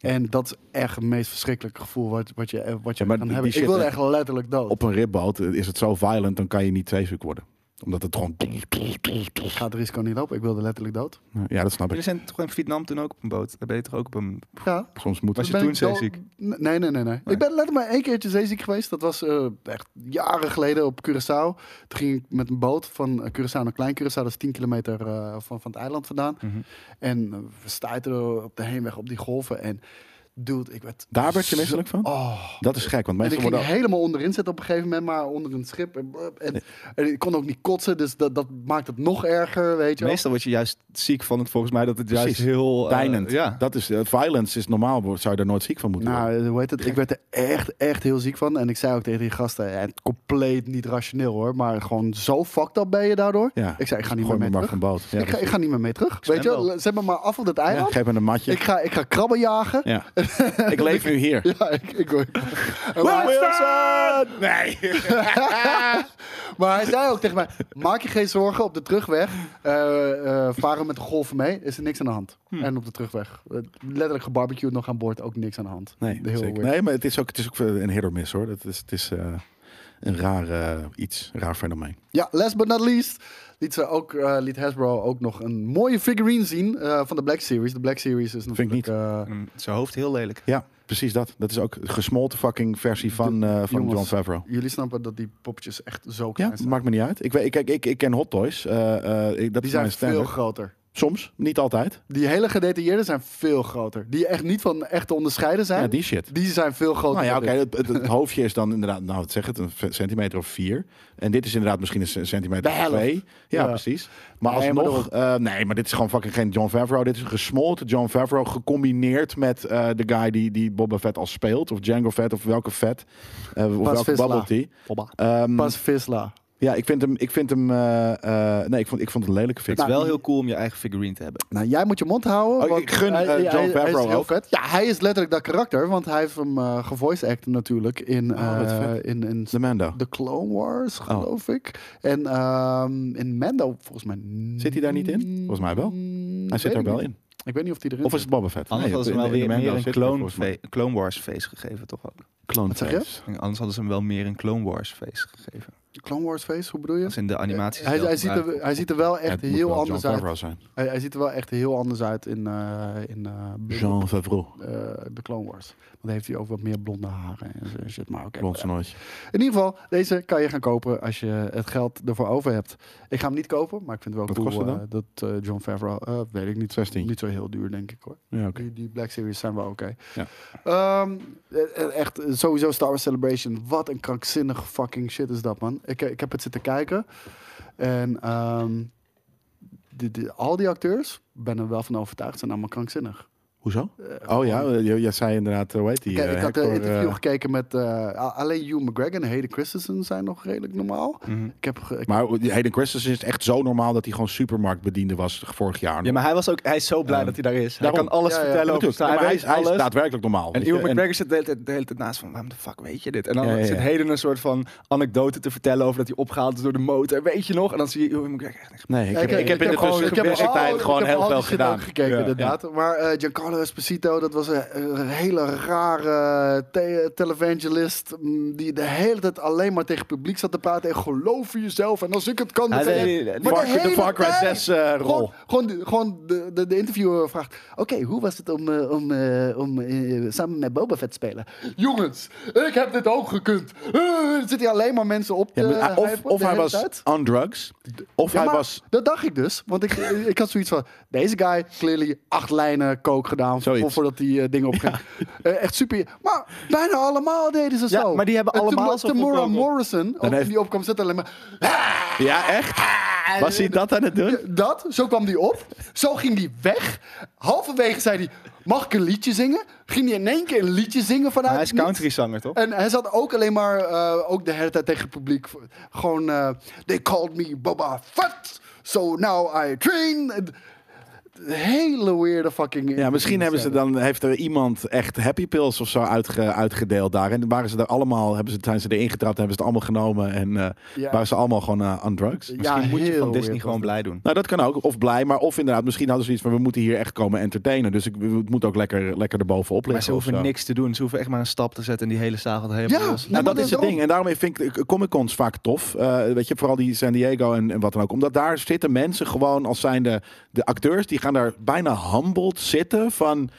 [SPEAKER 4] En dat is echt het meest verschrikkelijke gevoel wat, wat je, eh, wat je
[SPEAKER 2] Ja, maar
[SPEAKER 4] kan
[SPEAKER 2] die
[SPEAKER 4] hebben. Ik
[SPEAKER 2] shit,
[SPEAKER 4] wilde
[SPEAKER 2] hè?
[SPEAKER 4] echt letterlijk dood.
[SPEAKER 2] Op een ribboot eh, is het zo violent, dan kan je niet zeeziek worden. Omdat het gewoon...
[SPEAKER 4] Ik ga het risico niet lopen. Ik wilde letterlijk dood.
[SPEAKER 2] Ja, dat snap ik.
[SPEAKER 3] Jullie zijn toch in Vietnam toen ook op een boot? Daar ben je toch ook op een...
[SPEAKER 4] Ja.
[SPEAKER 2] Soms moet
[SPEAKER 3] Was
[SPEAKER 2] het.
[SPEAKER 3] je
[SPEAKER 4] ben
[SPEAKER 3] toen
[SPEAKER 4] ik dood-
[SPEAKER 3] zeeziek?
[SPEAKER 4] Nee, nee, nee, nee. Ik ben letterlijk maar één keertje zeeziek geweest. Dat was eh, echt jaren geleden op Curaçao. Toen ging ik met een boot van eh, Curaçao naar Klein Curaçao. Dat is 10 kilometer eh, van, van het eiland vandaan.
[SPEAKER 2] Mhm.
[SPEAKER 4] En eh, we stuiterden op de heenweg op die golven. En dude, ik werd...
[SPEAKER 2] Daar werd je
[SPEAKER 4] zo-
[SPEAKER 2] misselijk van?
[SPEAKER 4] Oh,
[SPEAKER 2] Dat is gek, want
[SPEAKER 4] en
[SPEAKER 2] mensen
[SPEAKER 4] ik ging
[SPEAKER 2] worden...
[SPEAKER 4] helemaal onderin zitten op een gegeven moment, maar onder een schip. En, en, en ik kon ook niet kotsen, dus dat, dat maakt het nog erger, weet je wel.
[SPEAKER 3] Meestal word je juist ziek van het volgens mij dat het juist
[SPEAKER 2] Precies.
[SPEAKER 3] heel... eh,
[SPEAKER 2] Deinend.
[SPEAKER 3] ja.
[SPEAKER 2] Dat is, eh, violence is normaal, wo- zou je daar nooit ziek van moeten worden.
[SPEAKER 4] Nou, hoe heet het? Ik werd er echt, echt heel ziek van. En ik zei ook tegen die gasten, ja, compleet niet rationeel hoor, maar gewoon zo fucked up ben je daardoor.
[SPEAKER 2] Ja.
[SPEAKER 4] Ik zei, ik ga niet
[SPEAKER 2] Gooi me
[SPEAKER 4] meer mee
[SPEAKER 2] maar
[SPEAKER 4] terug.
[SPEAKER 2] van boot. Ja,
[SPEAKER 4] ik, ga, ik ga niet meer mee terug.
[SPEAKER 3] zwem
[SPEAKER 4] Weet je, wel?
[SPEAKER 3] wel.
[SPEAKER 4] zet me maar af op het
[SPEAKER 2] ja,
[SPEAKER 4] eiland.
[SPEAKER 2] geef me een matje.
[SPEAKER 4] ik, ga, ik ga krabben jagen.
[SPEAKER 2] Ja. ik leef nu hier.
[SPEAKER 4] Ja, ik, ik, ik- En maar-
[SPEAKER 2] Wilson! Nee.
[SPEAKER 4] Maar hij zei ook tegen mij: Maak je geen zorgen op de terugweg. eh, eh, varen met de golven mee, is er niks aan de hand. En op de terugweg, eh, letterlijk gebarbecued nog aan boord, ook niks aan de hand.
[SPEAKER 2] Nee,
[SPEAKER 4] Heel
[SPEAKER 2] zeker.
[SPEAKER 4] weird.
[SPEAKER 2] nee, maar het is ook, het is ook een hit or miss hoor. Het is, het is, eh, een raar eh, iets, een raar fenomeen.
[SPEAKER 4] Ja, last but not least liet, ze ook, eh, liet Hasbro ook nog een mooie figurine zien eh, van de Black Series. De Black Series is natuurlijk...
[SPEAKER 2] niet.
[SPEAKER 4] eh,
[SPEAKER 3] En Zijn hoofd heel lelijk.
[SPEAKER 2] Ja, precies dat. Dat is ook een gesmolten fucking versie van, eh, van
[SPEAKER 4] jongens,
[SPEAKER 2] John Favreau.
[SPEAKER 4] jullie snappen dat die poppetjes echt zo klein
[SPEAKER 2] Ja,
[SPEAKER 4] zijn.
[SPEAKER 2] maakt me niet uit. Ik, weet, ik, ik, ik, ik ken Hot Toys. eh, eh, ik- dat
[SPEAKER 4] die
[SPEAKER 2] is mijn
[SPEAKER 4] zijn veel
[SPEAKER 2] standaard.
[SPEAKER 4] groter.
[SPEAKER 2] Soms, niet altijd.
[SPEAKER 4] Die hele gedetailleerde zijn veel groter. Die echt niet van echt te onderscheiden zijn.
[SPEAKER 2] Ja, die shit.
[SPEAKER 4] Die zijn veel groter.
[SPEAKER 2] Nou ja,
[SPEAKER 4] dan
[SPEAKER 2] oké,
[SPEAKER 4] dit.
[SPEAKER 2] het, het- het hoofdje is dan inderdaad, nou wat zeg het, een v- centimeter of vier. En dit is inderdaad misschien een c- centimeter
[SPEAKER 4] De
[SPEAKER 2] of
[SPEAKER 4] helft.
[SPEAKER 2] twee. Ja,
[SPEAKER 4] Ja.
[SPEAKER 2] precies. Maar
[SPEAKER 4] Nee, maar
[SPEAKER 2] alsnog, eh, nee, maar dit is gewoon fucking geen John Favreau. Dit is een gesmolten John Favreau, gecombineerd met eh, de guy die, die Boba Fett al speelt. Of Django Fett, of welke Fett. eh, of
[SPEAKER 4] Bas
[SPEAKER 2] welke
[SPEAKER 4] Vissla.
[SPEAKER 2] Bubble Tea.
[SPEAKER 3] Hoppa.
[SPEAKER 2] Ehm,
[SPEAKER 4] Pas Visla.
[SPEAKER 2] ja, ik vind hem, ik vind hem, eh, eh, nee, ik vond, ik vond het een lelijke fix.
[SPEAKER 3] Het is wel heel cool om je eigen figurine te hebben.
[SPEAKER 4] Nou, jij moet je mond houden.
[SPEAKER 2] Oh,
[SPEAKER 4] want
[SPEAKER 2] ik gun,
[SPEAKER 4] hij,
[SPEAKER 2] eh, John
[SPEAKER 4] hij- hij
[SPEAKER 2] Favreau
[SPEAKER 4] is heel
[SPEAKER 2] ook.
[SPEAKER 4] vet. Ja, hij is letterlijk dat karakter, want hij heeft hem eh gevoice acted natuurlijk in,
[SPEAKER 2] Oh, wat
[SPEAKER 4] eh,
[SPEAKER 2] vet.
[SPEAKER 4] in, in
[SPEAKER 2] De Oh. Mando.
[SPEAKER 4] The Clone Wars, geloof ik. En ehm, in Mando, volgens mij.
[SPEAKER 2] Zit hij daar niet in? Volgens mij wel. Hij zit daar wel in.
[SPEAKER 4] Ik weet niet of hij erin
[SPEAKER 2] Of is
[SPEAKER 4] zit.
[SPEAKER 2] het Boba Vet?
[SPEAKER 3] Anders
[SPEAKER 2] Nee,
[SPEAKER 3] hadden ze
[SPEAKER 2] in-
[SPEAKER 3] hem
[SPEAKER 2] in
[SPEAKER 3] wel
[SPEAKER 2] de
[SPEAKER 3] weer
[SPEAKER 2] Mando
[SPEAKER 3] meer een
[SPEAKER 2] zit hij
[SPEAKER 3] Clone,
[SPEAKER 2] volgens mij.
[SPEAKER 3] fe- Clone Wars feest gegeven, toch ook?
[SPEAKER 2] Clone
[SPEAKER 4] zeg je?
[SPEAKER 2] Face.
[SPEAKER 3] En Anders hadden ze hem wel meer een Clone Wars feest gegeven.
[SPEAKER 4] Clone Wars face, hoe bedoel je?
[SPEAKER 3] Als in de animaties.
[SPEAKER 4] Hij,
[SPEAKER 3] wel
[SPEAKER 4] hij, ziet er,
[SPEAKER 3] gebruikt.
[SPEAKER 4] hij ziet er wel echt
[SPEAKER 2] Het moet
[SPEAKER 4] heel
[SPEAKER 2] wel John
[SPEAKER 4] anders uit.
[SPEAKER 2] Favreau zijn.
[SPEAKER 4] Hij, hij ziet er wel echt heel anders uit in, eh, in eh,
[SPEAKER 2] Jean Favreau.
[SPEAKER 4] eh, de Clone Wars. Want dan heeft hij ook wat meer blonde haren en zo shit. Maar oké.
[SPEAKER 2] Blond nooit.
[SPEAKER 4] In ieder geval, deze kan je gaan kopen als je het geld ervoor over hebt. Ik ga hem niet kopen, maar ik vind het wel
[SPEAKER 2] Wat
[SPEAKER 4] cool
[SPEAKER 2] kost het
[SPEAKER 4] eh, dat eh, John Favreau, eh, weet ik niet,
[SPEAKER 2] 16.
[SPEAKER 4] niet zo heel duur denk ik hoor.
[SPEAKER 2] Ja, oké.
[SPEAKER 4] Die, die Black Series zijn wel oké.
[SPEAKER 2] Ja.
[SPEAKER 4] Ehm, eh, eh, echt, eh, sowieso Star Wars Celebration. Wat een krankzinnige fucking shit is dat, man. Ik, ik heb het zitten kijken. En ehm, die- die- al die acteurs, ben er wel van overtuigd, zijn allemaal krankzinnig.
[SPEAKER 2] Hoezo?
[SPEAKER 4] Eh,
[SPEAKER 2] Oh ja, eh, jij jij zei inderdaad, eh, hoe heet die?
[SPEAKER 4] Kijk,
[SPEAKER 2] eh,
[SPEAKER 4] ik had
[SPEAKER 2] Hector,
[SPEAKER 4] een interview
[SPEAKER 2] eh,
[SPEAKER 4] gekeken met eh, a- alleen Hugh McGregor en Hayden Christensen zijn nog redelijk normaal.
[SPEAKER 3] Mhm.
[SPEAKER 4] Ik heb ge- ik-
[SPEAKER 2] maar Hayden Christensen is echt zo normaal dat hij gewoon supermarktbediende was vorig jaar.
[SPEAKER 3] Ja, maar hij was ook. Hij is zo blij
[SPEAKER 2] Ehm,
[SPEAKER 3] dat hij daar is.
[SPEAKER 2] daarom.
[SPEAKER 3] Hij kan alles
[SPEAKER 4] Ja, ja,
[SPEAKER 2] Ja,
[SPEAKER 3] vertellen. over
[SPEAKER 2] natuurlijk.
[SPEAKER 3] Star-
[SPEAKER 2] Ja, maar hij,
[SPEAKER 3] hij
[SPEAKER 2] is,
[SPEAKER 3] weet
[SPEAKER 2] hij is
[SPEAKER 3] alles.
[SPEAKER 2] daadwerkelijk normaal.
[SPEAKER 3] En
[SPEAKER 2] weet je.
[SPEAKER 3] Ewan McGregor zit de hele, tijd- de hele tijd naast van, waarom de fuck weet je dit? En dan
[SPEAKER 2] Ja, ja, ja.
[SPEAKER 3] zit Heden een soort van anekdote te vertellen over dat hij opgehaald is door de motor. Weet je nog? En dan zie je Ewan McGregor echt niks.
[SPEAKER 2] Nee, ik,
[SPEAKER 4] Ja,
[SPEAKER 2] heb,
[SPEAKER 4] kijk,
[SPEAKER 2] ik heb in de
[SPEAKER 4] gewoon-
[SPEAKER 2] tussen-
[SPEAKER 4] ik heb
[SPEAKER 2] tussentijd
[SPEAKER 4] al- Oh, ik
[SPEAKER 2] gewoon
[SPEAKER 4] heb
[SPEAKER 2] heel
[SPEAKER 4] al die
[SPEAKER 2] veel
[SPEAKER 4] shit ook
[SPEAKER 2] gedaan.
[SPEAKER 4] gekeken,
[SPEAKER 2] Ja,
[SPEAKER 4] inderdaad. Maar eh, Giancarlo Esposito, dat was een, een hele rare te- televangelist. mm, Die de hele tijd alleen maar tegen het publiek zat te praten. En geloof in jezelf. En als ik het kan, dan
[SPEAKER 3] Hij
[SPEAKER 4] kan
[SPEAKER 3] deed-
[SPEAKER 4] jij-
[SPEAKER 3] hij deed-
[SPEAKER 4] Maar
[SPEAKER 2] Far-
[SPEAKER 4] hele
[SPEAKER 2] de Far Cry
[SPEAKER 4] tijd-
[SPEAKER 2] 6 eh,
[SPEAKER 4] Gewoon,
[SPEAKER 2] rol.
[SPEAKER 4] gewoon, de, gewoon de, de, de interviewer vraagt: Oké, hoe was het om, eh, om, eh, om eh, samen met Boba Fett te spelen? Jongens, ik heb dit ook gekund. Eh, er zitten hier alleen maar mensen op.
[SPEAKER 2] Ja,
[SPEAKER 4] te
[SPEAKER 2] maar hij- of
[SPEAKER 4] hypen
[SPEAKER 2] of
[SPEAKER 4] de
[SPEAKER 2] hij
[SPEAKER 4] hele
[SPEAKER 2] was
[SPEAKER 4] tijd.
[SPEAKER 2] on drugs, of
[SPEAKER 4] Ja,
[SPEAKER 2] hij
[SPEAKER 4] maar
[SPEAKER 2] was...
[SPEAKER 4] Dat dacht ik dus. Want ik, ik had zoiets van... Deze guy, clearly acht lijnen kook gedaan... voor-
[SPEAKER 2] Zoiets.
[SPEAKER 4] voordat die eh, dingen opging. Eh, echt super... Maar bijna allemaal deden ze
[SPEAKER 3] Ja,
[SPEAKER 4] zo.
[SPEAKER 3] maar die hebben
[SPEAKER 4] En
[SPEAKER 3] allemaal
[SPEAKER 4] Tam-
[SPEAKER 3] zo
[SPEAKER 4] Tamora
[SPEAKER 3] gekoken.
[SPEAKER 4] Morrison, ook
[SPEAKER 2] heeft-
[SPEAKER 4] die opkwam, zat alleen maar...
[SPEAKER 2] Ja, echt? Was hij dat aan het doen?
[SPEAKER 4] Dat, zo kwam die op. Zo ging die weg. Halverwege zei hij... Mag ik een liedje zingen? Ging hij in één keer een liedje zingen vanuit
[SPEAKER 3] Hij is
[SPEAKER 4] het niets.
[SPEAKER 3] countryzanger, toch?
[SPEAKER 4] En hij zat ook alleen maar, eh, ook de hele tijd tegen het publiek. Gewoon, eh, they called me Boba Fett, so now I train. En- Hele weirde fucking...
[SPEAKER 2] Ja, misschien hebben ze dan, heeft er iemand echt happy pills of zo uitge- uitgedeeld daar. En waren ze daar allemaal, hebben ze, zijn ze erin getrapt, hebben ze het allemaal genomen en eh,
[SPEAKER 4] Ja.
[SPEAKER 2] waren ze allemaal gewoon aan on drugs.
[SPEAKER 3] Misschien moet je
[SPEAKER 4] heel
[SPEAKER 3] van Disney
[SPEAKER 4] weird
[SPEAKER 3] gewoon
[SPEAKER 4] was
[SPEAKER 3] blij doen.
[SPEAKER 2] Nou, dat kan ook. Of blij, maar of inderdaad, misschien hadden ze iets van, we moeten hier echt komen entertainen. Dus ik, het moet ook lekker, lekker erbovenop liggen.
[SPEAKER 3] Maar ze
[SPEAKER 2] of
[SPEAKER 3] hoeven
[SPEAKER 2] zo.
[SPEAKER 3] niks te doen. Ze hoeven echt maar een stap te zetten en die hele zaal gaat helemaal
[SPEAKER 4] Ja,
[SPEAKER 3] los.
[SPEAKER 4] nee,
[SPEAKER 2] Nou, dat
[SPEAKER 4] maar
[SPEAKER 2] is het
[SPEAKER 4] daarom.
[SPEAKER 2] ding. En daarom vind ik eh, Comic-Cons vaak tof. Eh, weet je, vooral die San Diego en, en wat dan ook. Omdat daar zitten mensen gewoon als zijn de, de acteurs. Die gaan daar bijna humbled zitten van...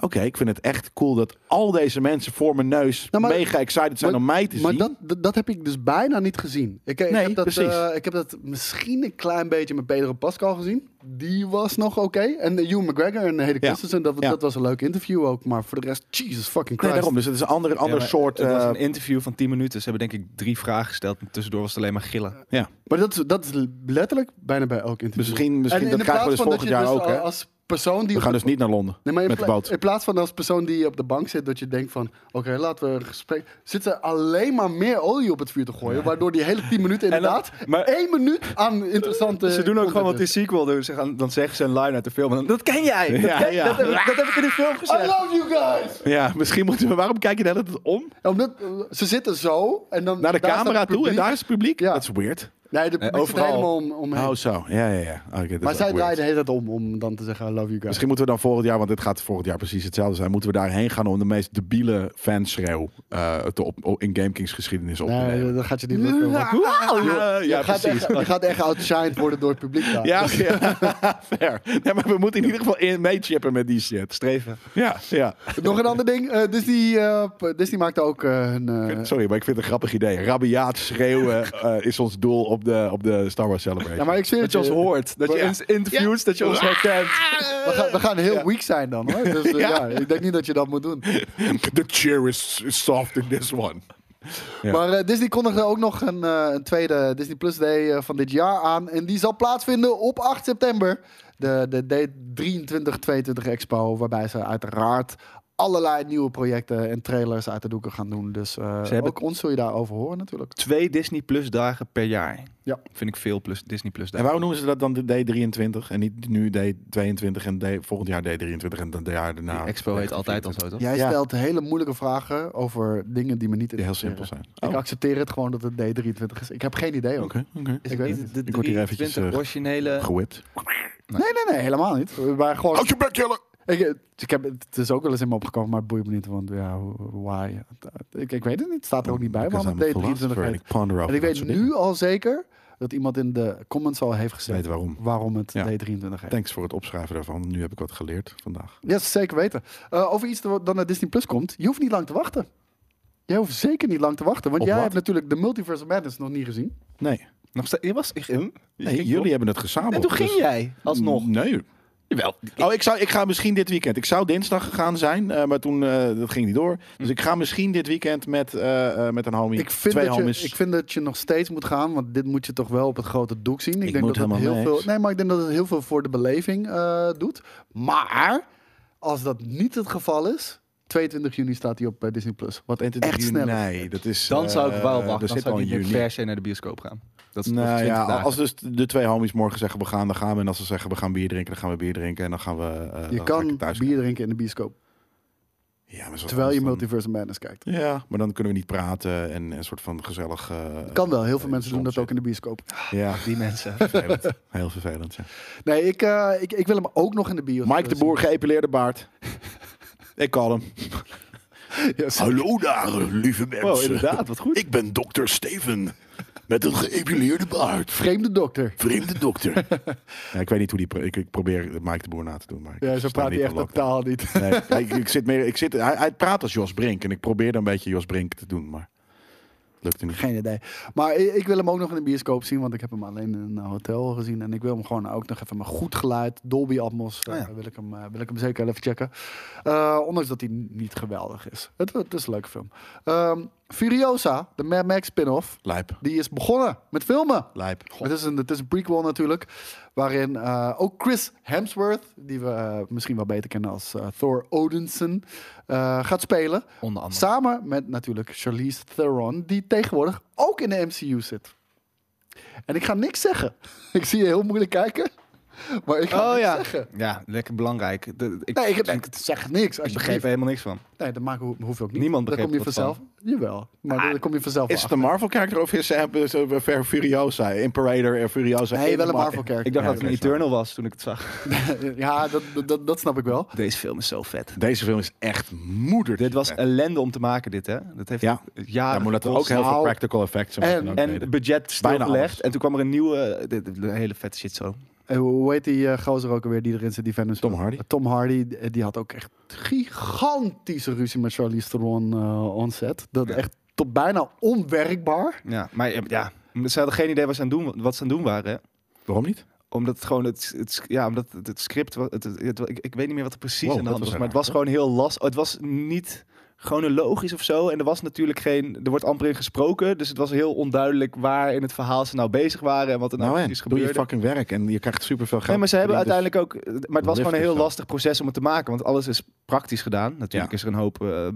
[SPEAKER 2] Oké, ik vind het echt cool dat al deze mensen voor mijn neus
[SPEAKER 4] Nou, maar-
[SPEAKER 2] mega excited zijn
[SPEAKER 4] maar-
[SPEAKER 2] om mij te
[SPEAKER 4] maar
[SPEAKER 2] zien.
[SPEAKER 4] dat, dat, dat heb ik dus bijna niet gezien. Ik, ik,
[SPEAKER 2] Nee,
[SPEAKER 4] heb dat,
[SPEAKER 2] precies.
[SPEAKER 4] eh, ik heb dat misschien een klein beetje met Pedro Pascal gezien. Die was nog oké. En eh, Hugh McGregor en Hayden
[SPEAKER 2] Ja.
[SPEAKER 4] Christensen, dat,
[SPEAKER 2] Ja.
[SPEAKER 4] dat was een leuk interview ook. Maar voor de rest, Jesus fucking
[SPEAKER 2] nee,
[SPEAKER 4] Christ.
[SPEAKER 2] daarom. Dus het is een ander, ander
[SPEAKER 3] Ja, maar
[SPEAKER 2] soort...
[SPEAKER 3] Het was
[SPEAKER 2] eh,
[SPEAKER 3] een interview van 10 minuten. Ze hebben denk ik drie vragen gesteld. En tussendoor was het alleen maar gillen.
[SPEAKER 2] ja,
[SPEAKER 4] Maar dat, is- dat is letterlijk bijna bij elk interview.
[SPEAKER 2] misschien, misschien
[SPEAKER 4] En in
[SPEAKER 2] dat
[SPEAKER 4] de
[SPEAKER 2] krijgen we
[SPEAKER 4] plaats
[SPEAKER 2] dus
[SPEAKER 4] van dat
[SPEAKER 2] volgend
[SPEAKER 4] je
[SPEAKER 2] jaar
[SPEAKER 4] dus
[SPEAKER 2] ook. Hè?
[SPEAKER 4] Als persoon die
[SPEAKER 2] We
[SPEAKER 4] op
[SPEAKER 2] gaan
[SPEAKER 4] de-
[SPEAKER 2] dus niet naar Londen
[SPEAKER 4] Nee, maar in,
[SPEAKER 2] met de
[SPEAKER 4] pla-
[SPEAKER 2] boot.
[SPEAKER 4] in plaats van als persoon die op de bank zit, dat je denkt van... Oké, laten we een gesprek... Zit ze alleen maar meer olie op het vuur te gooien. Waardoor die hele tien minuten
[SPEAKER 3] dan-
[SPEAKER 4] inderdaad...
[SPEAKER 3] maar-
[SPEAKER 4] één minuut aan interessante...
[SPEAKER 3] Ze doen ook gewoon wat die
[SPEAKER 4] content
[SPEAKER 3] sequel doen. Ze gaan, dan zeggen ze een line uit de film. En dan, Oh, dat ken jij! Dat,
[SPEAKER 2] Ja,
[SPEAKER 3] ken-
[SPEAKER 2] ja.
[SPEAKER 3] dat heb, ik- dat heb ik in die film
[SPEAKER 4] is. I
[SPEAKER 3] gezegd.
[SPEAKER 4] love you guys!
[SPEAKER 2] Ja, misschien moeten we... Waarom kijk je de hele tijd om?
[SPEAKER 4] Ja, omdat, eh, ze zitten zo en dan...
[SPEAKER 2] Naar de
[SPEAKER 4] daar staat
[SPEAKER 2] camera
[SPEAKER 4] het
[SPEAKER 2] toe en
[SPEAKER 4] publiek.
[SPEAKER 2] daar is het publiek?
[SPEAKER 4] Ja.
[SPEAKER 2] Dat is weird.
[SPEAKER 4] Nee, de,
[SPEAKER 3] Nee,
[SPEAKER 4] ik zit
[SPEAKER 3] Eh, overal.
[SPEAKER 4] helemaal om, omheen.
[SPEAKER 2] Oh, zo. Ja, ja, ja. Oké, dat
[SPEAKER 4] maar
[SPEAKER 2] is
[SPEAKER 4] zij
[SPEAKER 2] ook weird.
[SPEAKER 4] draaide de hele tijd om, om dan te zeggen I love you guys.
[SPEAKER 2] Misschien moeten we dan volgend jaar, want dit gaat volgend jaar precies hetzelfde zijn, moeten we daarheen gaan om de meest debiele fanschreeuw eh, te op, op- in GameKings geschiedenis op te
[SPEAKER 4] Nee,
[SPEAKER 2] nemen.
[SPEAKER 4] dat gaat je niet lukken. want-
[SPEAKER 2] Ja,
[SPEAKER 4] je, gaat
[SPEAKER 2] precies.
[SPEAKER 4] Echt, je gaat echt outshined worden door het publiek daar.
[SPEAKER 2] Ja, ja, fair. Nee, maar we moeten in ieder geval in meechippen met die shit.
[SPEAKER 3] Streven.
[SPEAKER 2] Ja, ja.
[SPEAKER 4] Nog een ander ding. eh, Disney, eh, p- Disney maakte ook eh, hun... eh,
[SPEAKER 2] Sorry, maar ik vind het een grappig idee. Rabiaat schreeuwen eh, is ons doel op de, op de Star Wars Celebration.
[SPEAKER 4] ja, maar ik zweer
[SPEAKER 3] Dat je
[SPEAKER 4] het
[SPEAKER 3] ons
[SPEAKER 4] je.
[SPEAKER 3] hoort. Dat je
[SPEAKER 2] Ja.
[SPEAKER 3] ons interviewt. Dat je ons herkent.
[SPEAKER 4] We gaan, we gaan heel weak zijn dan, hoor. Dus eh,
[SPEAKER 2] Ja.
[SPEAKER 4] ja. ik denk niet dat je dat moet doen.
[SPEAKER 2] The cheer is, is soft in this one. Ja.
[SPEAKER 4] Maar eh, Disney kondigde ook nog een, eh, een tweede Disney Plus Day eh, van dit jaar aan. En die zal plaatsvinden op 8 september. De, de D23-22 Expo, waarbij ze uiteraard allerlei nieuwe projecten en trailers uit de doeken gaan doen. Dus eh,
[SPEAKER 3] Ze hebben-
[SPEAKER 4] ook ons zul je daarover horen natuurlijk.
[SPEAKER 3] Twee Disney Plus dagen per jaar.
[SPEAKER 4] Ja.
[SPEAKER 3] Vind ik veel plus Disney Plus
[SPEAKER 2] En
[SPEAKER 3] dagen.
[SPEAKER 2] waarom noemen ze dat dan de D23 en niet nu D22 en D, volgend jaar D23 en dan de jaar daarna?
[SPEAKER 3] Die Expo heet altijd al zo, toch?
[SPEAKER 4] Jij
[SPEAKER 2] Ja.
[SPEAKER 4] stelt hele moeilijke vragen over dingen die me niet
[SPEAKER 2] Die heel
[SPEAKER 4] interesseren.
[SPEAKER 2] simpel zijn. Oh,
[SPEAKER 4] Ik accepteer het gewoon dat het D23 is. Ik heb geen idee ook.
[SPEAKER 2] Oké, oké.
[SPEAKER 4] Ik weet het
[SPEAKER 3] de
[SPEAKER 2] Ik word hier eventjes,
[SPEAKER 3] 23
[SPEAKER 2] eh,
[SPEAKER 3] originele...
[SPEAKER 2] Gewit.
[SPEAKER 4] Nee, nee, nee, helemaal niet. Maar gewoon...
[SPEAKER 2] Houd je bek, Jelle!
[SPEAKER 4] Ik, eh, ik heb, het is ook wel eens in me opgekomen, maar het boeit me niet. Want ja, why? Ik, ik weet het niet. Het staat er ook niet bij.
[SPEAKER 2] Because
[SPEAKER 4] Waarom
[SPEAKER 2] I'm a
[SPEAKER 4] het D23
[SPEAKER 2] philosopher and
[SPEAKER 4] heet.
[SPEAKER 2] ik ponder over
[SPEAKER 4] En ik
[SPEAKER 2] dat
[SPEAKER 4] weet
[SPEAKER 2] soort
[SPEAKER 4] nu
[SPEAKER 2] dingen.
[SPEAKER 4] al zeker dat iemand in de comments al heeft gezegd
[SPEAKER 2] Weet waarom.
[SPEAKER 4] waarom het
[SPEAKER 2] Ja.
[SPEAKER 4] D23 heet.
[SPEAKER 2] Thanks voor het opschrijven daarvan. Nu heb ik wat geleerd vandaag.
[SPEAKER 4] Ja, yes, zeker weten. Eh, over iets dat dan naar Disney Plus komt. Je hoeft niet lang te wachten. Jij hoeft zeker niet lang te wachten. Want
[SPEAKER 2] Op
[SPEAKER 4] jij
[SPEAKER 2] wat?
[SPEAKER 4] hebt natuurlijk de Multiverse of Madness nog niet gezien.
[SPEAKER 2] Nee,
[SPEAKER 3] Nog steeds, je was... ik- hm? Je
[SPEAKER 2] nee
[SPEAKER 3] ging
[SPEAKER 2] jullie
[SPEAKER 3] toch?
[SPEAKER 2] hebben het gezamenlijk.
[SPEAKER 3] En toen ging
[SPEAKER 2] dus-
[SPEAKER 3] jij. Alsnog.
[SPEAKER 2] Nee.
[SPEAKER 3] Jawel.
[SPEAKER 2] Oh, ik, zou, ik ga misschien dit weekend. Ik zou dinsdag gegaan zijn, eh, maar toen eh, dat ging niet door.
[SPEAKER 3] Hm.
[SPEAKER 2] Dus ik ga misschien dit weekend met, eh, eh, met een homie.
[SPEAKER 4] Ik vind,
[SPEAKER 2] twee
[SPEAKER 4] dat je,
[SPEAKER 2] homies.
[SPEAKER 4] ik vind dat je nog steeds moet gaan, want dit moet je toch wel op het grote doek zien. Ik,
[SPEAKER 2] Ik
[SPEAKER 4] denk
[SPEAKER 2] moet
[SPEAKER 4] dat dat heel
[SPEAKER 2] helemaal niks.
[SPEAKER 4] veel. Nee, maar ik denk dat het heel veel voor de beleving eh, doet. Maar als dat niet het geval is, 22 juni staat hij op eh, Disney Plus. Wat
[SPEAKER 2] 21
[SPEAKER 4] echt
[SPEAKER 2] juni.
[SPEAKER 4] snel.
[SPEAKER 2] Nee, dat is.
[SPEAKER 3] Dan zou
[SPEAKER 2] eh,
[SPEAKER 3] ik wel
[SPEAKER 2] daar
[SPEAKER 3] wachten. Dan
[SPEAKER 2] zit
[SPEAKER 3] zou
[SPEAKER 2] al
[SPEAKER 3] ik
[SPEAKER 2] een
[SPEAKER 3] niet
[SPEAKER 2] juni.
[SPEAKER 3] per se naar de bioscoop gaan. Dat is nog
[SPEAKER 2] Nou
[SPEAKER 3] 20
[SPEAKER 2] ja,
[SPEAKER 3] dagen.
[SPEAKER 2] als dus de twee homies morgen zeggen we gaan, dan gaan we. En als ze zeggen we gaan bier drinken, dan gaan we bier drinken. En dan gaan we. eh,
[SPEAKER 4] Je
[SPEAKER 2] dan ga
[SPEAKER 4] kan
[SPEAKER 2] ik thuis
[SPEAKER 4] bier drinken in de bioscoop,
[SPEAKER 2] Ja, maar zo-
[SPEAKER 4] terwijl je
[SPEAKER 2] dan-
[SPEAKER 4] Multiverse of Madness kijkt.
[SPEAKER 2] Ja, maar dan kunnen we niet praten en en een soort van gezellig. eh,
[SPEAKER 4] Kan wel, heel veel
[SPEAKER 2] eh,
[SPEAKER 4] mensen doen dat
[SPEAKER 2] zon
[SPEAKER 4] ook in de bioscoop.
[SPEAKER 2] zitten. Ja,
[SPEAKER 3] Die mensen.
[SPEAKER 2] vervelend. heel vervelend. Ja.
[SPEAKER 4] Nee, ik, eh, ik, ik wil hem ook nog in de bioscoop.
[SPEAKER 2] Mike de Boer, geëpileerde baard. ik call hem. Hallo daar, lieve
[SPEAKER 4] Oh,
[SPEAKER 2] mensen.
[SPEAKER 3] Wow, inderdaad. Wat goed.
[SPEAKER 2] Ik ben dokter Steven. Met een geëpileerde baard.
[SPEAKER 4] Vreemde dokter.
[SPEAKER 2] Vreemde dokter. ja, ik weet niet hoe die... pro- Ik, ik probeer Mike de Boer na te doen. Maar ik
[SPEAKER 4] Ja, zo
[SPEAKER 2] sta
[SPEAKER 4] praat
[SPEAKER 2] niet
[SPEAKER 4] hij echt
[SPEAKER 2] aan
[SPEAKER 4] op
[SPEAKER 2] lokken.
[SPEAKER 4] taal niet.
[SPEAKER 2] Nee, ik, ik zit meer, ik zit, hij, hij praat als Jos Brink. En ik probeer dan een beetje Jos Brink te doen. Maar lukte niet.
[SPEAKER 4] Geen idee. Maar i- ik wil hem ook nog in de bioscoop zien, want ik heb hem alleen in een hotel gezien. En ik wil hem gewoon ook nog even met goed geluid, Dolby Atmos, eh,
[SPEAKER 3] Oh ja.
[SPEAKER 4] wil, ik hem, eh, wil ik hem zeker even checken. Eh, ondanks dat hij n- niet geweldig is. Het, het is een leuke film. Ehm, Furiosa, de Mad Max spin-off,
[SPEAKER 2] Lijp.
[SPEAKER 4] die is begonnen met filmen.
[SPEAKER 2] Lijp.
[SPEAKER 4] Het is, een, het is een prequel natuurlijk, waarin eh, ook Chris Hemsworth, die we eh, misschien wel beter kennen als eh, Thor Odinson, eh, gaat spelen.
[SPEAKER 3] Onder andere.
[SPEAKER 4] Samen met natuurlijk Charlize Theron, die tegenwoordig ook in de MCU zit. En ik ga niks zeggen. Ik zie je heel moeilijk kijken, maar ik ga
[SPEAKER 3] Oh
[SPEAKER 4] niks
[SPEAKER 3] ja.
[SPEAKER 4] zeggen.
[SPEAKER 3] Ja, lekker belangrijk. De- ik,
[SPEAKER 4] Nee, ik, ik zeg niks.
[SPEAKER 3] ik
[SPEAKER 4] Als
[SPEAKER 3] begreep er helemaal niks van.
[SPEAKER 4] Nee, dat maakt, ho- hoeft ook niet.
[SPEAKER 3] Niemand
[SPEAKER 4] Daar kom je
[SPEAKER 3] begreep er wat Ah,
[SPEAKER 4] vanzelf. Jawel, maar daar kom je vanzelf
[SPEAKER 2] Is
[SPEAKER 4] wel
[SPEAKER 2] het een Marvel-character of is hij is hij Ver Furiosa? Imperator en Furiosa.
[SPEAKER 4] achter. Nee,
[SPEAKER 2] in
[SPEAKER 4] wel een
[SPEAKER 2] Mar-
[SPEAKER 4] Marvel-kerk.
[SPEAKER 3] Ik dacht
[SPEAKER 2] Ja,
[SPEAKER 3] dat het een
[SPEAKER 2] oké,
[SPEAKER 3] Eternal was toen ik het zag.
[SPEAKER 4] Ja, dat, dat, dat snap ik wel.
[SPEAKER 3] Deze film is zo vet.
[SPEAKER 2] Deze film is echt moeder.
[SPEAKER 3] Dit was ellende om te maken, dit hè? Dat heeft
[SPEAKER 2] Ja.
[SPEAKER 3] jaren
[SPEAKER 2] Ja, maar dat er ook
[SPEAKER 3] gekost.
[SPEAKER 2] heel veel
[SPEAKER 4] Nou,
[SPEAKER 2] practical effects zijn.
[SPEAKER 4] en-
[SPEAKER 2] moeten
[SPEAKER 3] En
[SPEAKER 2] optreden.
[SPEAKER 3] het budget
[SPEAKER 2] alles.
[SPEAKER 3] stilgelegd. En toen kwam er een nieuwe... eh, dit- dit- een hele vette shit zo.
[SPEAKER 4] En hoe heet die eh, gozer ook alweer die erin zit, die Venom? speelt?
[SPEAKER 2] Hardy.
[SPEAKER 4] Tom Hardy, eh, die had ook echt gigantische ruzie met Charlize Theron eh on set. Dat
[SPEAKER 3] Ja.
[SPEAKER 4] echt tot bijna onwerkbaar.
[SPEAKER 3] Ja, maar eh, ja. Ze hadden geen idee wat ze aan doen, wat ze aan het doen waren. hè.
[SPEAKER 2] Waarom niet?
[SPEAKER 3] Omdat het gewoon het, het, ja, omdat het, het script. wa- Het, het- het- ik, ik weet niet meer wat er precies
[SPEAKER 2] Wow,
[SPEAKER 3] aan de
[SPEAKER 2] dat
[SPEAKER 3] hand was.
[SPEAKER 2] was
[SPEAKER 3] Maar het was gewoon heel lastig. Het was niet chronologisch of zo. En er was natuurlijk geen. Er wordt amper in gesproken. Dus het was heel onduidelijk waar in het verhaal ze nou bezig waren. En wat er nou,
[SPEAKER 2] Nou, en,
[SPEAKER 3] precies
[SPEAKER 2] doe
[SPEAKER 3] gebeurde.
[SPEAKER 2] je fucking werk en je krijgt superveel geld.
[SPEAKER 3] Nee, maar ze hebben
[SPEAKER 2] verdiend, dus-
[SPEAKER 3] uiteindelijk ook. Maar het was gewoon een
[SPEAKER 2] lift
[SPEAKER 3] heel
[SPEAKER 2] of zo.
[SPEAKER 3] lastig proces om het te maken. Want alles is praktisch gedaan. Natuurlijk
[SPEAKER 2] Ja.
[SPEAKER 3] is er een hoop eh,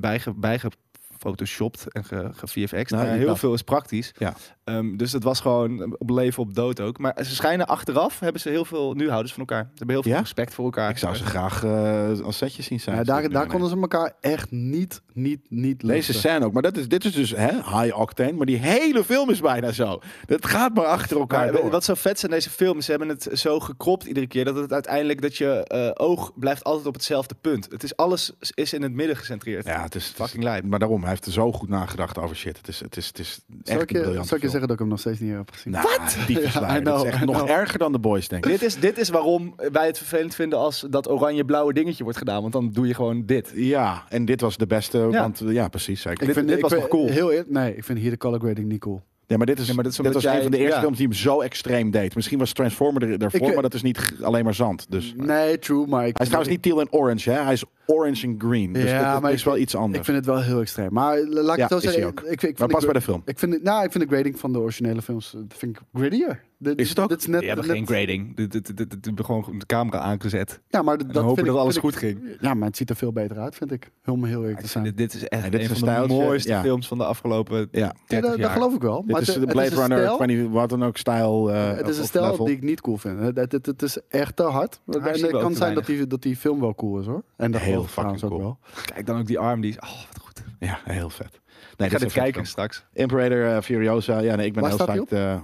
[SPEAKER 3] bijge, bijge, gefotoshopt en ge, ge-VFX.
[SPEAKER 2] Nou,
[SPEAKER 3] Nou, heel
[SPEAKER 2] dat.
[SPEAKER 3] veel is praktisch.
[SPEAKER 2] Ja.
[SPEAKER 3] Ehm, dus dat was gewoon op leven op dood ook. Maar ze schijnen achteraf, hebben ze heel veel, nu houden ze van elkaar. Ze hebben heel veel
[SPEAKER 2] Ja?
[SPEAKER 3] respect voor elkaar.
[SPEAKER 2] Ik zou ze graag eh, als setje zien zijn.
[SPEAKER 4] Ja, daar daar konden ze elkaar echt niet, niet, niet
[SPEAKER 2] Deze
[SPEAKER 4] lusten.
[SPEAKER 2] scène ook. Maar dat is, dit is dus hè, high octane. Maar die hele film is bijna zo. Dat gaat maar eh, achter elkaar
[SPEAKER 3] Maar
[SPEAKER 2] door.
[SPEAKER 3] wat zo vet zijn deze film, ze hebben het zo gekropt iedere keer dat het uiteindelijk dat je eh, oog blijft altijd op hetzelfde punt. Het is alles is in het midden gecentreerd.
[SPEAKER 2] ja, het is het is-
[SPEAKER 3] Fucking lijp.
[SPEAKER 2] Maar daarom, hij heeft er zo goed nagedacht over shit. Het is, het is, het is
[SPEAKER 4] Zal
[SPEAKER 2] echt
[SPEAKER 4] ik
[SPEAKER 2] een
[SPEAKER 4] je,
[SPEAKER 2] briljant. Nou,
[SPEAKER 4] zal ik je zeggen dat ik hem nog steeds niet heb gezien?
[SPEAKER 2] Wat? Die
[SPEAKER 4] Ja, I
[SPEAKER 2] verslaan.
[SPEAKER 4] know,
[SPEAKER 2] dat is echt
[SPEAKER 4] I
[SPEAKER 2] nog
[SPEAKER 4] know.
[SPEAKER 2] erger dan de boys, denk ik.
[SPEAKER 3] Dit is, dit is waarom wij het vervelend vinden als dat oranje-blauwe dingetje wordt gedaan. Want dan doe je gewoon dit.
[SPEAKER 2] Ja, en dit was de beste.
[SPEAKER 3] Ja.
[SPEAKER 2] Want ja, precies. Zeker.
[SPEAKER 3] dit- dit was
[SPEAKER 4] vind-
[SPEAKER 3] nog cool.
[SPEAKER 4] Heel eer- nee, ik vind hier de color grading niet cool.
[SPEAKER 2] Ja, maar dit, is,
[SPEAKER 3] Nee, maar dat is
[SPEAKER 2] dit was
[SPEAKER 3] omdat
[SPEAKER 2] een
[SPEAKER 3] jij-
[SPEAKER 2] van de eerste
[SPEAKER 3] ja.
[SPEAKER 2] films die hem zo extreem deed. Misschien was Transformer er- daarvoor,
[SPEAKER 4] Ik-
[SPEAKER 2] maar dat is niet g- alleen maar zand. Dus. Hij
[SPEAKER 4] Nee, true, maar ik...
[SPEAKER 2] is trouwens niet teal en orange, hè? Hij is orange en green. Dus
[SPEAKER 4] Ja,
[SPEAKER 2] ja, dat
[SPEAKER 4] maar
[SPEAKER 2] is
[SPEAKER 4] ik-
[SPEAKER 2] wel iets anders.
[SPEAKER 4] Ik vind het wel heel extreem. Maar eh, laat ik
[SPEAKER 2] Ja,
[SPEAKER 4] het zo
[SPEAKER 2] is
[SPEAKER 4] zeggen.
[SPEAKER 2] hij
[SPEAKER 4] Ik,
[SPEAKER 2] ook.
[SPEAKER 4] ik, vind- ik
[SPEAKER 2] maar
[SPEAKER 4] vind
[SPEAKER 2] pas
[SPEAKER 4] de
[SPEAKER 2] bij de film.
[SPEAKER 4] gra- ik vind, het- nou, ik vind de grading van de originele films eh, vind ik grittier. Dit,
[SPEAKER 2] Is het ook?
[SPEAKER 4] Dit is net,
[SPEAKER 3] Je hebt
[SPEAKER 4] net-
[SPEAKER 3] geen grading. Dit, dit, dit, dit- dit- gewoon de camera aangezet.
[SPEAKER 4] Ja, maar d-
[SPEAKER 3] En
[SPEAKER 4] dat
[SPEAKER 3] hopen
[SPEAKER 4] vind
[SPEAKER 3] dat
[SPEAKER 4] ik,
[SPEAKER 3] alles
[SPEAKER 4] vind
[SPEAKER 3] goed ging.
[SPEAKER 4] ik- Ja, maar het ziet er veel beter uit, vind ik. Heel, heel eerlijk te zijn.
[SPEAKER 3] Dit, dit is echt
[SPEAKER 2] Ja, dit
[SPEAKER 3] een
[SPEAKER 2] is een
[SPEAKER 3] van de
[SPEAKER 2] stijltje,
[SPEAKER 3] mooiste
[SPEAKER 2] ja.
[SPEAKER 3] films van de afgelopen
[SPEAKER 2] Ja.
[SPEAKER 3] 30
[SPEAKER 4] dat,
[SPEAKER 3] jaar.
[SPEAKER 4] dat geloof ik wel.
[SPEAKER 2] Dit
[SPEAKER 4] maar
[SPEAKER 2] is
[SPEAKER 4] het-
[SPEAKER 2] de
[SPEAKER 4] het
[SPEAKER 2] Blade
[SPEAKER 4] een
[SPEAKER 2] Runner,
[SPEAKER 4] stijl-
[SPEAKER 2] 20, wat dan ook, stijl. eh,
[SPEAKER 4] Het
[SPEAKER 2] of-
[SPEAKER 4] is een
[SPEAKER 2] of
[SPEAKER 4] stijl
[SPEAKER 2] level.
[SPEAKER 4] die ik niet cool vind. Het, het, het, het is echt te hard. En
[SPEAKER 3] zien we
[SPEAKER 4] het
[SPEAKER 3] ook
[SPEAKER 4] kan
[SPEAKER 3] te
[SPEAKER 4] zijn
[SPEAKER 3] weinig.
[SPEAKER 4] dat die, dat die film wel cool is hoor. En dat
[SPEAKER 2] Heel
[SPEAKER 4] geloof ik
[SPEAKER 2] fucking
[SPEAKER 4] trouwens ook
[SPEAKER 2] cool.
[SPEAKER 4] wel.
[SPEAKER 3] Kijk dan ook die arm. Die is, oh, wat goed.
[SPEAKER 2] Ja, heel vet. Nee,
[SPEAKER 3] Ik ga
[SPEAKER 2] is een vet
[SPEAKER 3] dit kijken
[SPEAKER 2] film.
[SPEAKER 3] straks.
[SPEAKER 2] Imperator, eh, Furiosa. Ja, nee, ik ben
[SPEAKER 4] Waar
[SPEAKER 2] heel
[SPEAKER 4] staat die
[SPEAKER 2] psyched. eh,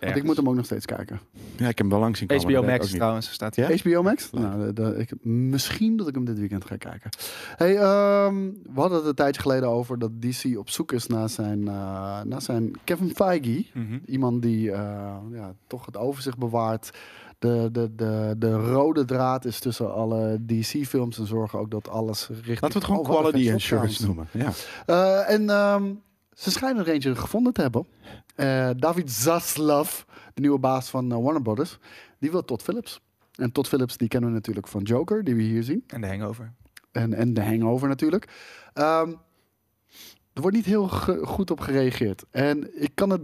[SPEAKER 4] Want ik moet hem ook nog steeds kijken.
[SPEAKER 2] ja, ik heb hem wel lang zien komen.
[SPEAKER 3] HBO
[SPEAKER 2] maar dat weet ik
[SPEAKER 3] Max
[SPEAKER 2] ook niet.
[SPEAKER 3] trouwens staat
[SPEAKER 2] Ja?
[SPEAKER 4] HBO Max? Nou, de- de- ik, misschien dat ik hem dit weekend ga kijken. Hey, ehm, we hadden het een tijdje geleden over dat DC op zoek is naar zijn, eh, naar zijn Kevin Feige.
[SPEAKER 2] Mhm.
[SPEAKER 4] Iemand die eh, ja, toch het overzicht bewaart. De, de, de, de rode draad is tussen alle DC-films en zorgen ook dat alles richting...
[SPEAKER 2] Laten we het gewoon
[SPEAKER 4] Oh, wat een
[SPEAKER 2] quality
[SPEAKER 4] vet
[SPEAKER 2] insurance
[SPEAKER 4] shot
[SPEAKER 2] noemen. Ja.
[SPEAKER 4] trouwens. Eh, en ehm, ze schijnen er eentje gevonden te hebben. Eh, David Zaslav, de nieuwe baas van eh, Warner Brothers, die wil Todd Phillips. En Todd Phillips, die kennen we natuurlijk van Joker, die we hier zien.
[SPEAKER 3] En de hangover.
[SPEAKER 4] En, en de hangover natuurlijk. Ehm, er wordt niet heel ge- goed op gereageerd. En ik kan het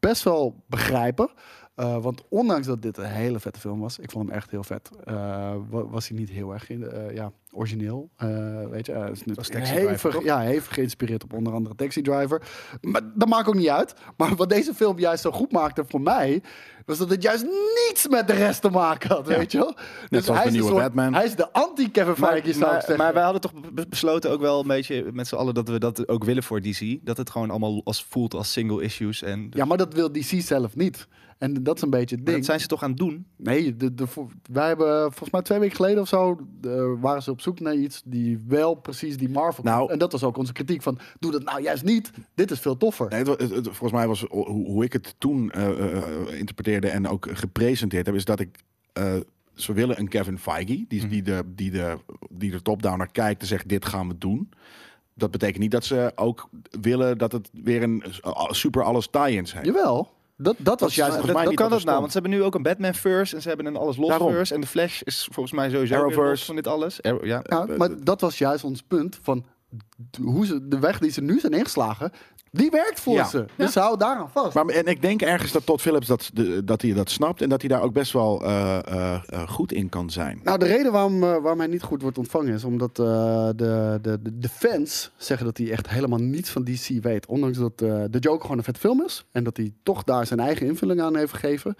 [SPEAKER 4] best wel begrijpen. eh, want ondanks dat dit een hele vette film was, ik vond hem echt heel vet. eh, wa- was hij niet heel erg in, eh, ja, origineel. eh, weet je, eh, is
[SPEAKER 3] was
[SPEAKER 4] natuurlijk
[SPEAKER 3] Taxi Driver,
[SPEAKER 4] hevig,
[SPEAKER 3] toch?
[SPEAKER 4] ja, hevig geïnspireerd op onder andere Taxi Driver. Maar dat maakt ook niet uit. Maar wat deze film juist zo goed maakte voor mij, was dat het juist niets met de rest te maken had. Weet je wel? Dus
[SPEAKER 2] zoals de
[SPEAKER 4] hij is een
[SPEAKER 2] nieuwe
[SPEAKER 4] soort-
[SPEAKER 2] Batman.
[SPEAKER 4] Hij is de anti-Kevin
[SPEAKER 3] Maar,
[SPEAKER 4] Feige, zou ik
[SPEAKER 3] maar,
[SPEAKER 4] zeggen.
[SPEAKER 3] maar wij hadden toch be- be- besloten ook wel een beetje met z'n allen dat we dat ook willen voor DC. Dat het gewoon allemaal als voelt als single issues. En
[SPEAKER 4] Ja, maar dat wil DC zelf niet. En dat is een beetje
[SPEAKER 3] Maar
[SPEAKER 4] het ding.
[SPEAKER 3] dat zijn ze toch aan het doen?
[SPEAKER 4] Nee, de, de, vo- wij hebben eh, volgens mij twee weken geleden of zo... eh, waren ze op zoek naar iets die wel precies die Marvel...
[SPEAKER 2] Nou-
[SPEAKER 4] kon. en dat was ook onze kritiek van... doe dat nou juist niet, dit is veel toffer.
[SPEAKER 2] Nee, het, wa- het- het- volgens mij was ho- hoe, hoe ik het toen eh, eh, eh, interpreteerde en ook gepresenteerd heb, is dat ik. eh, ze willen een Kevin Feige, die, die, de, die, de, die de top-down naar kijkt en zegt: Dit gaan we doen. Dat betekent niet dat ze ook willen dat het weer een eh, super alles tie-ins heeft.
[SPEAKER 4] Jawel, dat, dat was juist...
[SPEAKER 2] volgens
[SPEAKER 4] dat-
[SPEAKER 2] mij
[SPEAKER 4] dat
[SPEAKER 2] niet
[SPEAKER 4] kan
[SPEAKER 2] wat
[SPEAKER 4] dat
[SPEAKER 2] er
[SPEAKER 3] Nou,
[SPEAKER 2] stond.
[SPEAKER 4] nou.
[SPEAKER 3] want ze hebben nu ook een Batman verse en ze hebben een alles los
[SPEAKER 2] Daarom.
[SPEAKER 3] verse. En de Flash is volgens mij sowieso weer
[SPEAKER 2] Arrowverse.
[SPEAKER 3] los van dit alles. Arrow- ja.
[SPEAKER 4] Ja, maar dat was juist ons punt van... d- Hoe ze, de weg die ze nu zijn ingeslagen, die werkt voor
[SPEAKER 2] Ja.
[SPEAKER 4] ze. Dus hou daaraan vast.
[SPEAKER 2] Maar, en ik denk ergens dat Todd Phillips dat, de- dat hij dat snapt en dat hij daar ook best wel eh, eh, eh, goed in kan zijn.
[SPEAKER 4] Nou, de reden waarom, eh, waarom hij niet goed wordt ontvangen is omdat eh, de, de, de, de fans zeggen dat hij echt helemaal niets van DC weet. Ondanks dat eh, de Joker gewoon een vet film is en dat hij toch daar zijn eigen invulling aan heeft gegeven,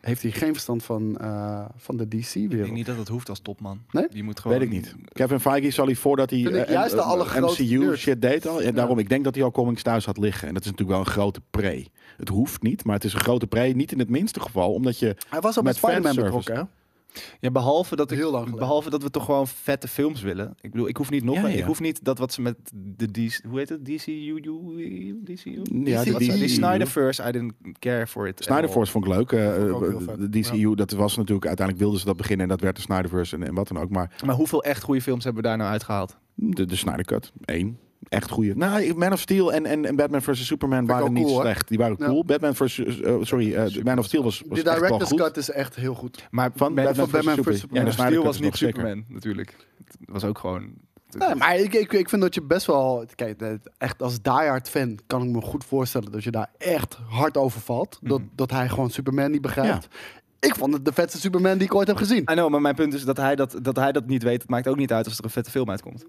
[SPEAKER 4] heeft hij geen verstand van, eh, van de
[SPEAKER 3] Ik denk
[SPEAKER 4] DC-wereld.
[SPEAKER 3] niet dat dat hoeft als topman.
[SPEAKER 4] Nee?
[SPEAKER 3] Die moet gewoon...
[SPEAKER 2] Weet ik niet. Kevin Feige zal hij voordat hij
[SPEAKER 4] Vind ik
[SPEAKER 2] eh,
[SPEAKER 4] juist de
[SPEAKER 2] eh,
[SPEAKER 4] allergrootste
[SPEAKER 2] MCU
[SPEAKER 4] nerd.
[SPEAKER 2] shit deed al. En daarom, ik denk dat hij al comics thuis had liggen. En dat is natuurlijk wel een grote pre. Het hoeft niet, maar het is een grote pre. Niet in het minste geval, omdat je...
[SPEAKER 4] Hij was al met,
[SPEAKER 2] Met
[SPEAKER 4] Spider-Man
[SPEAKER 2] fanservice.
[SPEAKER 4] betrokken, hè?
[SPEAKER 3] Ja, behalve dat, ik,
[SPEAKER 4] Heel lang geleden.
[SPEAKER 3] behalve dat we toch gewoon vette films willen. Ik bedoel, ik hoef niet nog...
[SPEAKER 2] Ja, ja.
[SPEAKER 3] Ik hoef niet dat wat ze met de DC... Hoe heet het? DCU? DCU?
[SPEAKER 2] Ja,
[SPEAKER 3] Die,
[SPEAKER 2] de
[SPEAKER 3] die, die
[SPEAKER 2] DCU.
[SPEAKER 3] Snyder verse, I didn't care for it. at all.
[SPEAKER 2] Snyderverse vond ik leuk. eh,
[SPEAKER 4] ik ook heel
[SPEAKER 2] eh,
[SPEAKER 4] vet.
[SPEAKER 2] de DCU, dat was natuurlijk... Uiteindelijk wilden ze dat beginnen en dat werd de Snyderverse en, en wat dan ook. Maar
[SPEAKER 3] Maar hoeveel echt goede films hebben we daar nou uitgehaald?
[SPEAKER 2] de, de Snyder Cut, één. Echt goede. Nou, Man of Steel en, en, en Batman vs. Superman waren
[SPEAKER 4] ook
[SPEAKER 2] niet
[SPEAKER 4] cool, hoor.
[SPEAKER 2] slecht. Die waren
[SPEAKER 4] Ja.
[SPEAKER 2] cool. Batman vs. eh, sorry, eh, Man of Steel was, was
[SPEAKER 4] De
[SPEAKER 2] echt wel
[SPEAKER 4] director's
[SPEAKER 2] goed.
[SPEAKER 4] cut is echt heel goed.
[SPEAKER 3] Maar
[SPEAKER 2] Van
[SPEAKER 3] Man-
[SPEAKER 2] Batman,
[SPEAKER 4] van Batman
[SPEAKER 2] vs.
[SPEAKER 4] vs.
[SPEAKER 2] Superman. Ja,
[SPEAKER 4] Superman.
[SPEAKER 2] de
[SPEAKER 3] Man
[SPEAKER 2] Snyder
[SPEAKER 3] of
[SPEAKER 2] Cut is
[SPEAKER 3] Steel was niet
[SPEAKER 2] nog zeker.
[SPEAKER 3] Superman, natuurlijk. Het was ook gewoon...
[SPEAKER 4] Nee, maar ik, ik, ik vind dat je best wel... Kijk, eh, echt als diehard fan kan ik me goed voorstellen dat je daar echt hard over valt. Dat,
[SPEAKER 2] Mhm.
[SPEAKER 4] dat hij gewoon Superman niet begrijpt. Ik vond het de vetste Superman die ik ooit heb gezien.
[SPEAKER 3] I know, maar mijn punt is dat hij dat, dat hij dat niet weet. Het maakt ook niet uit als er een vette film uitkomt.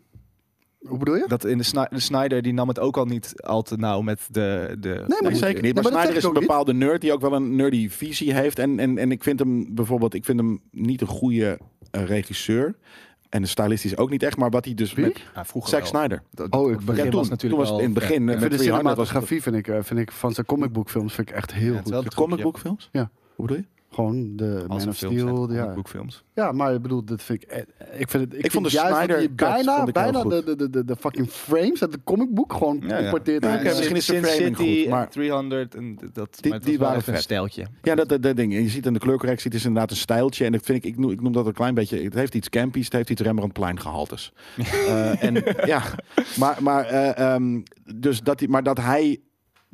[SPEAKER 4] Hoe bedoel je?
[SPEAKER 3] Dat in de, Sni- de Snyder die nam het ook al niet al te nauw met de. de
[SPEAKER 4] maar
[SPEAKER 2] Nee, zeker niet.
[SPEAKER 4] Nee,
[SPEAKER 2] Maar,
[SPEAKER 4] maar dat zeg
[SPEAKER 2] Snyder
[SPEAKER 4] ik
[SPEAKER 2] is een
[SPEAKER 4] ook niet.
[SPEAKER 2] bepaalde nerd die ook wel een nerdy visie heeft. En, en, en ik vind hem bijvoorbeeld, ik vind hem niet een goede eh, regisseur. En stylistisch ook niet echt. Maar wat hij dus
[SPEAKER 4] Wie?
[SPEAKER 2] met
[SPEAKER 3] Ja, vroeger
[SPEAKER 2] Zack
[SPEAKER 3] wel.
[SPEAKER 2] Snyder.
[SPEAKER 4] Oh, ik
[SPEAKER 3] Het begin
[SPEAKER 2] Ja, toen,
[SPEAKER 3] was natuurlijk
[SPEAKER 2] toen was het
[SPEAKER 3] wel
[SPEAKER 2] in het
[SPEAKER 3] vet.
[SPEAKER 2] begin. eh,
[SPEAKER 4] Ik
[SPEAKER 2] met
[SPEAKER 4] vind de
[SPEAKER 2] 300 was het
[SPEAKER 4] cinematografie vind ik, eh, vind ik van zijn comicboekfilms vind ik echt heel
[SPEAKER 3] Ja, het
[SPEAKER 4] goed.
[SPEAKER 3] is wel
[SPEAKER 2] de
[SPEAKER 3] het trucje.
[SPEAKER 2] comicbookfilms?
[SPEAKER 4] Ja.
[SPEAKER 2] Hoe bedoel je?
[SPEAKER 4] Gewoon de
[SPEAKER 3] Als
[SPEAKER 4] Man
[SPEAKER 3] een
[SPEAKER 4] of
[SPEAKER 3] film zijn
[SPEAKER 4] Steel.
[SPEAKER 3] het
[SPEAKER 4] Ja.
[SPEAKER 3] boekfilms.
[SPEAKER 4] ja, maar ik bedoel, dat vind ik. eh, Ik, vind het, ik,
[SPEAKER 2] Ik vond
[SPEAKER 4] vind
[SPEAKER 2] de
[SPEAKER 4] juist dat
[SPEAKER 2] Snyder
[SPEAKER 4] hij
[SPEAKER 2] Cut
[SPEAKER 4] bijna,
[SPEAKER 2] vond ik heel
[SPEAKER 4] bijna
[SPEAKER 2] goed.
[SPEAKER 4] de, de, de, de, de fucking frames uit de comicboek gewoon
[SPEAKER 3] Ja, ja.
[SPEAKER 4] importeert.
[SPEAKER 2] Ja,
[SPEAKER 4] hij.
[SPEAKER 2] oké,
[SPEAKER 4] En-
[SPEAKER 2] misschien is de
[SPEAKER 3] Sin
[SPEAKER 2] framing
[SPEAKER 3] City
[SPEAKER 2] goed,
[SPEAKER 3] en
[SPEAKER 2] maar-
[SPEAKER 3] 300 en dat. maar het
[SPEAKER 2] die
[SPEAKER 3] was wel
[SPEAKER 2] waren
[SPEAKER 3] even een
[SPEAKER 2] vet.
[SPEAKER 3] stijltje.
[SPEAKER 2] Ja, dat, dat, dat ding. En je ziet in de kleurcorrectie, het is inderdaad een stijltje. En dat vind ik, ik noem, ik noem dat een klein beetje, het heeft iets campies, het heeft iets Rembrandtplein gehaltes. Eh, en ja, maar, maar, eh, ehm, dus dat hij, maar dat hij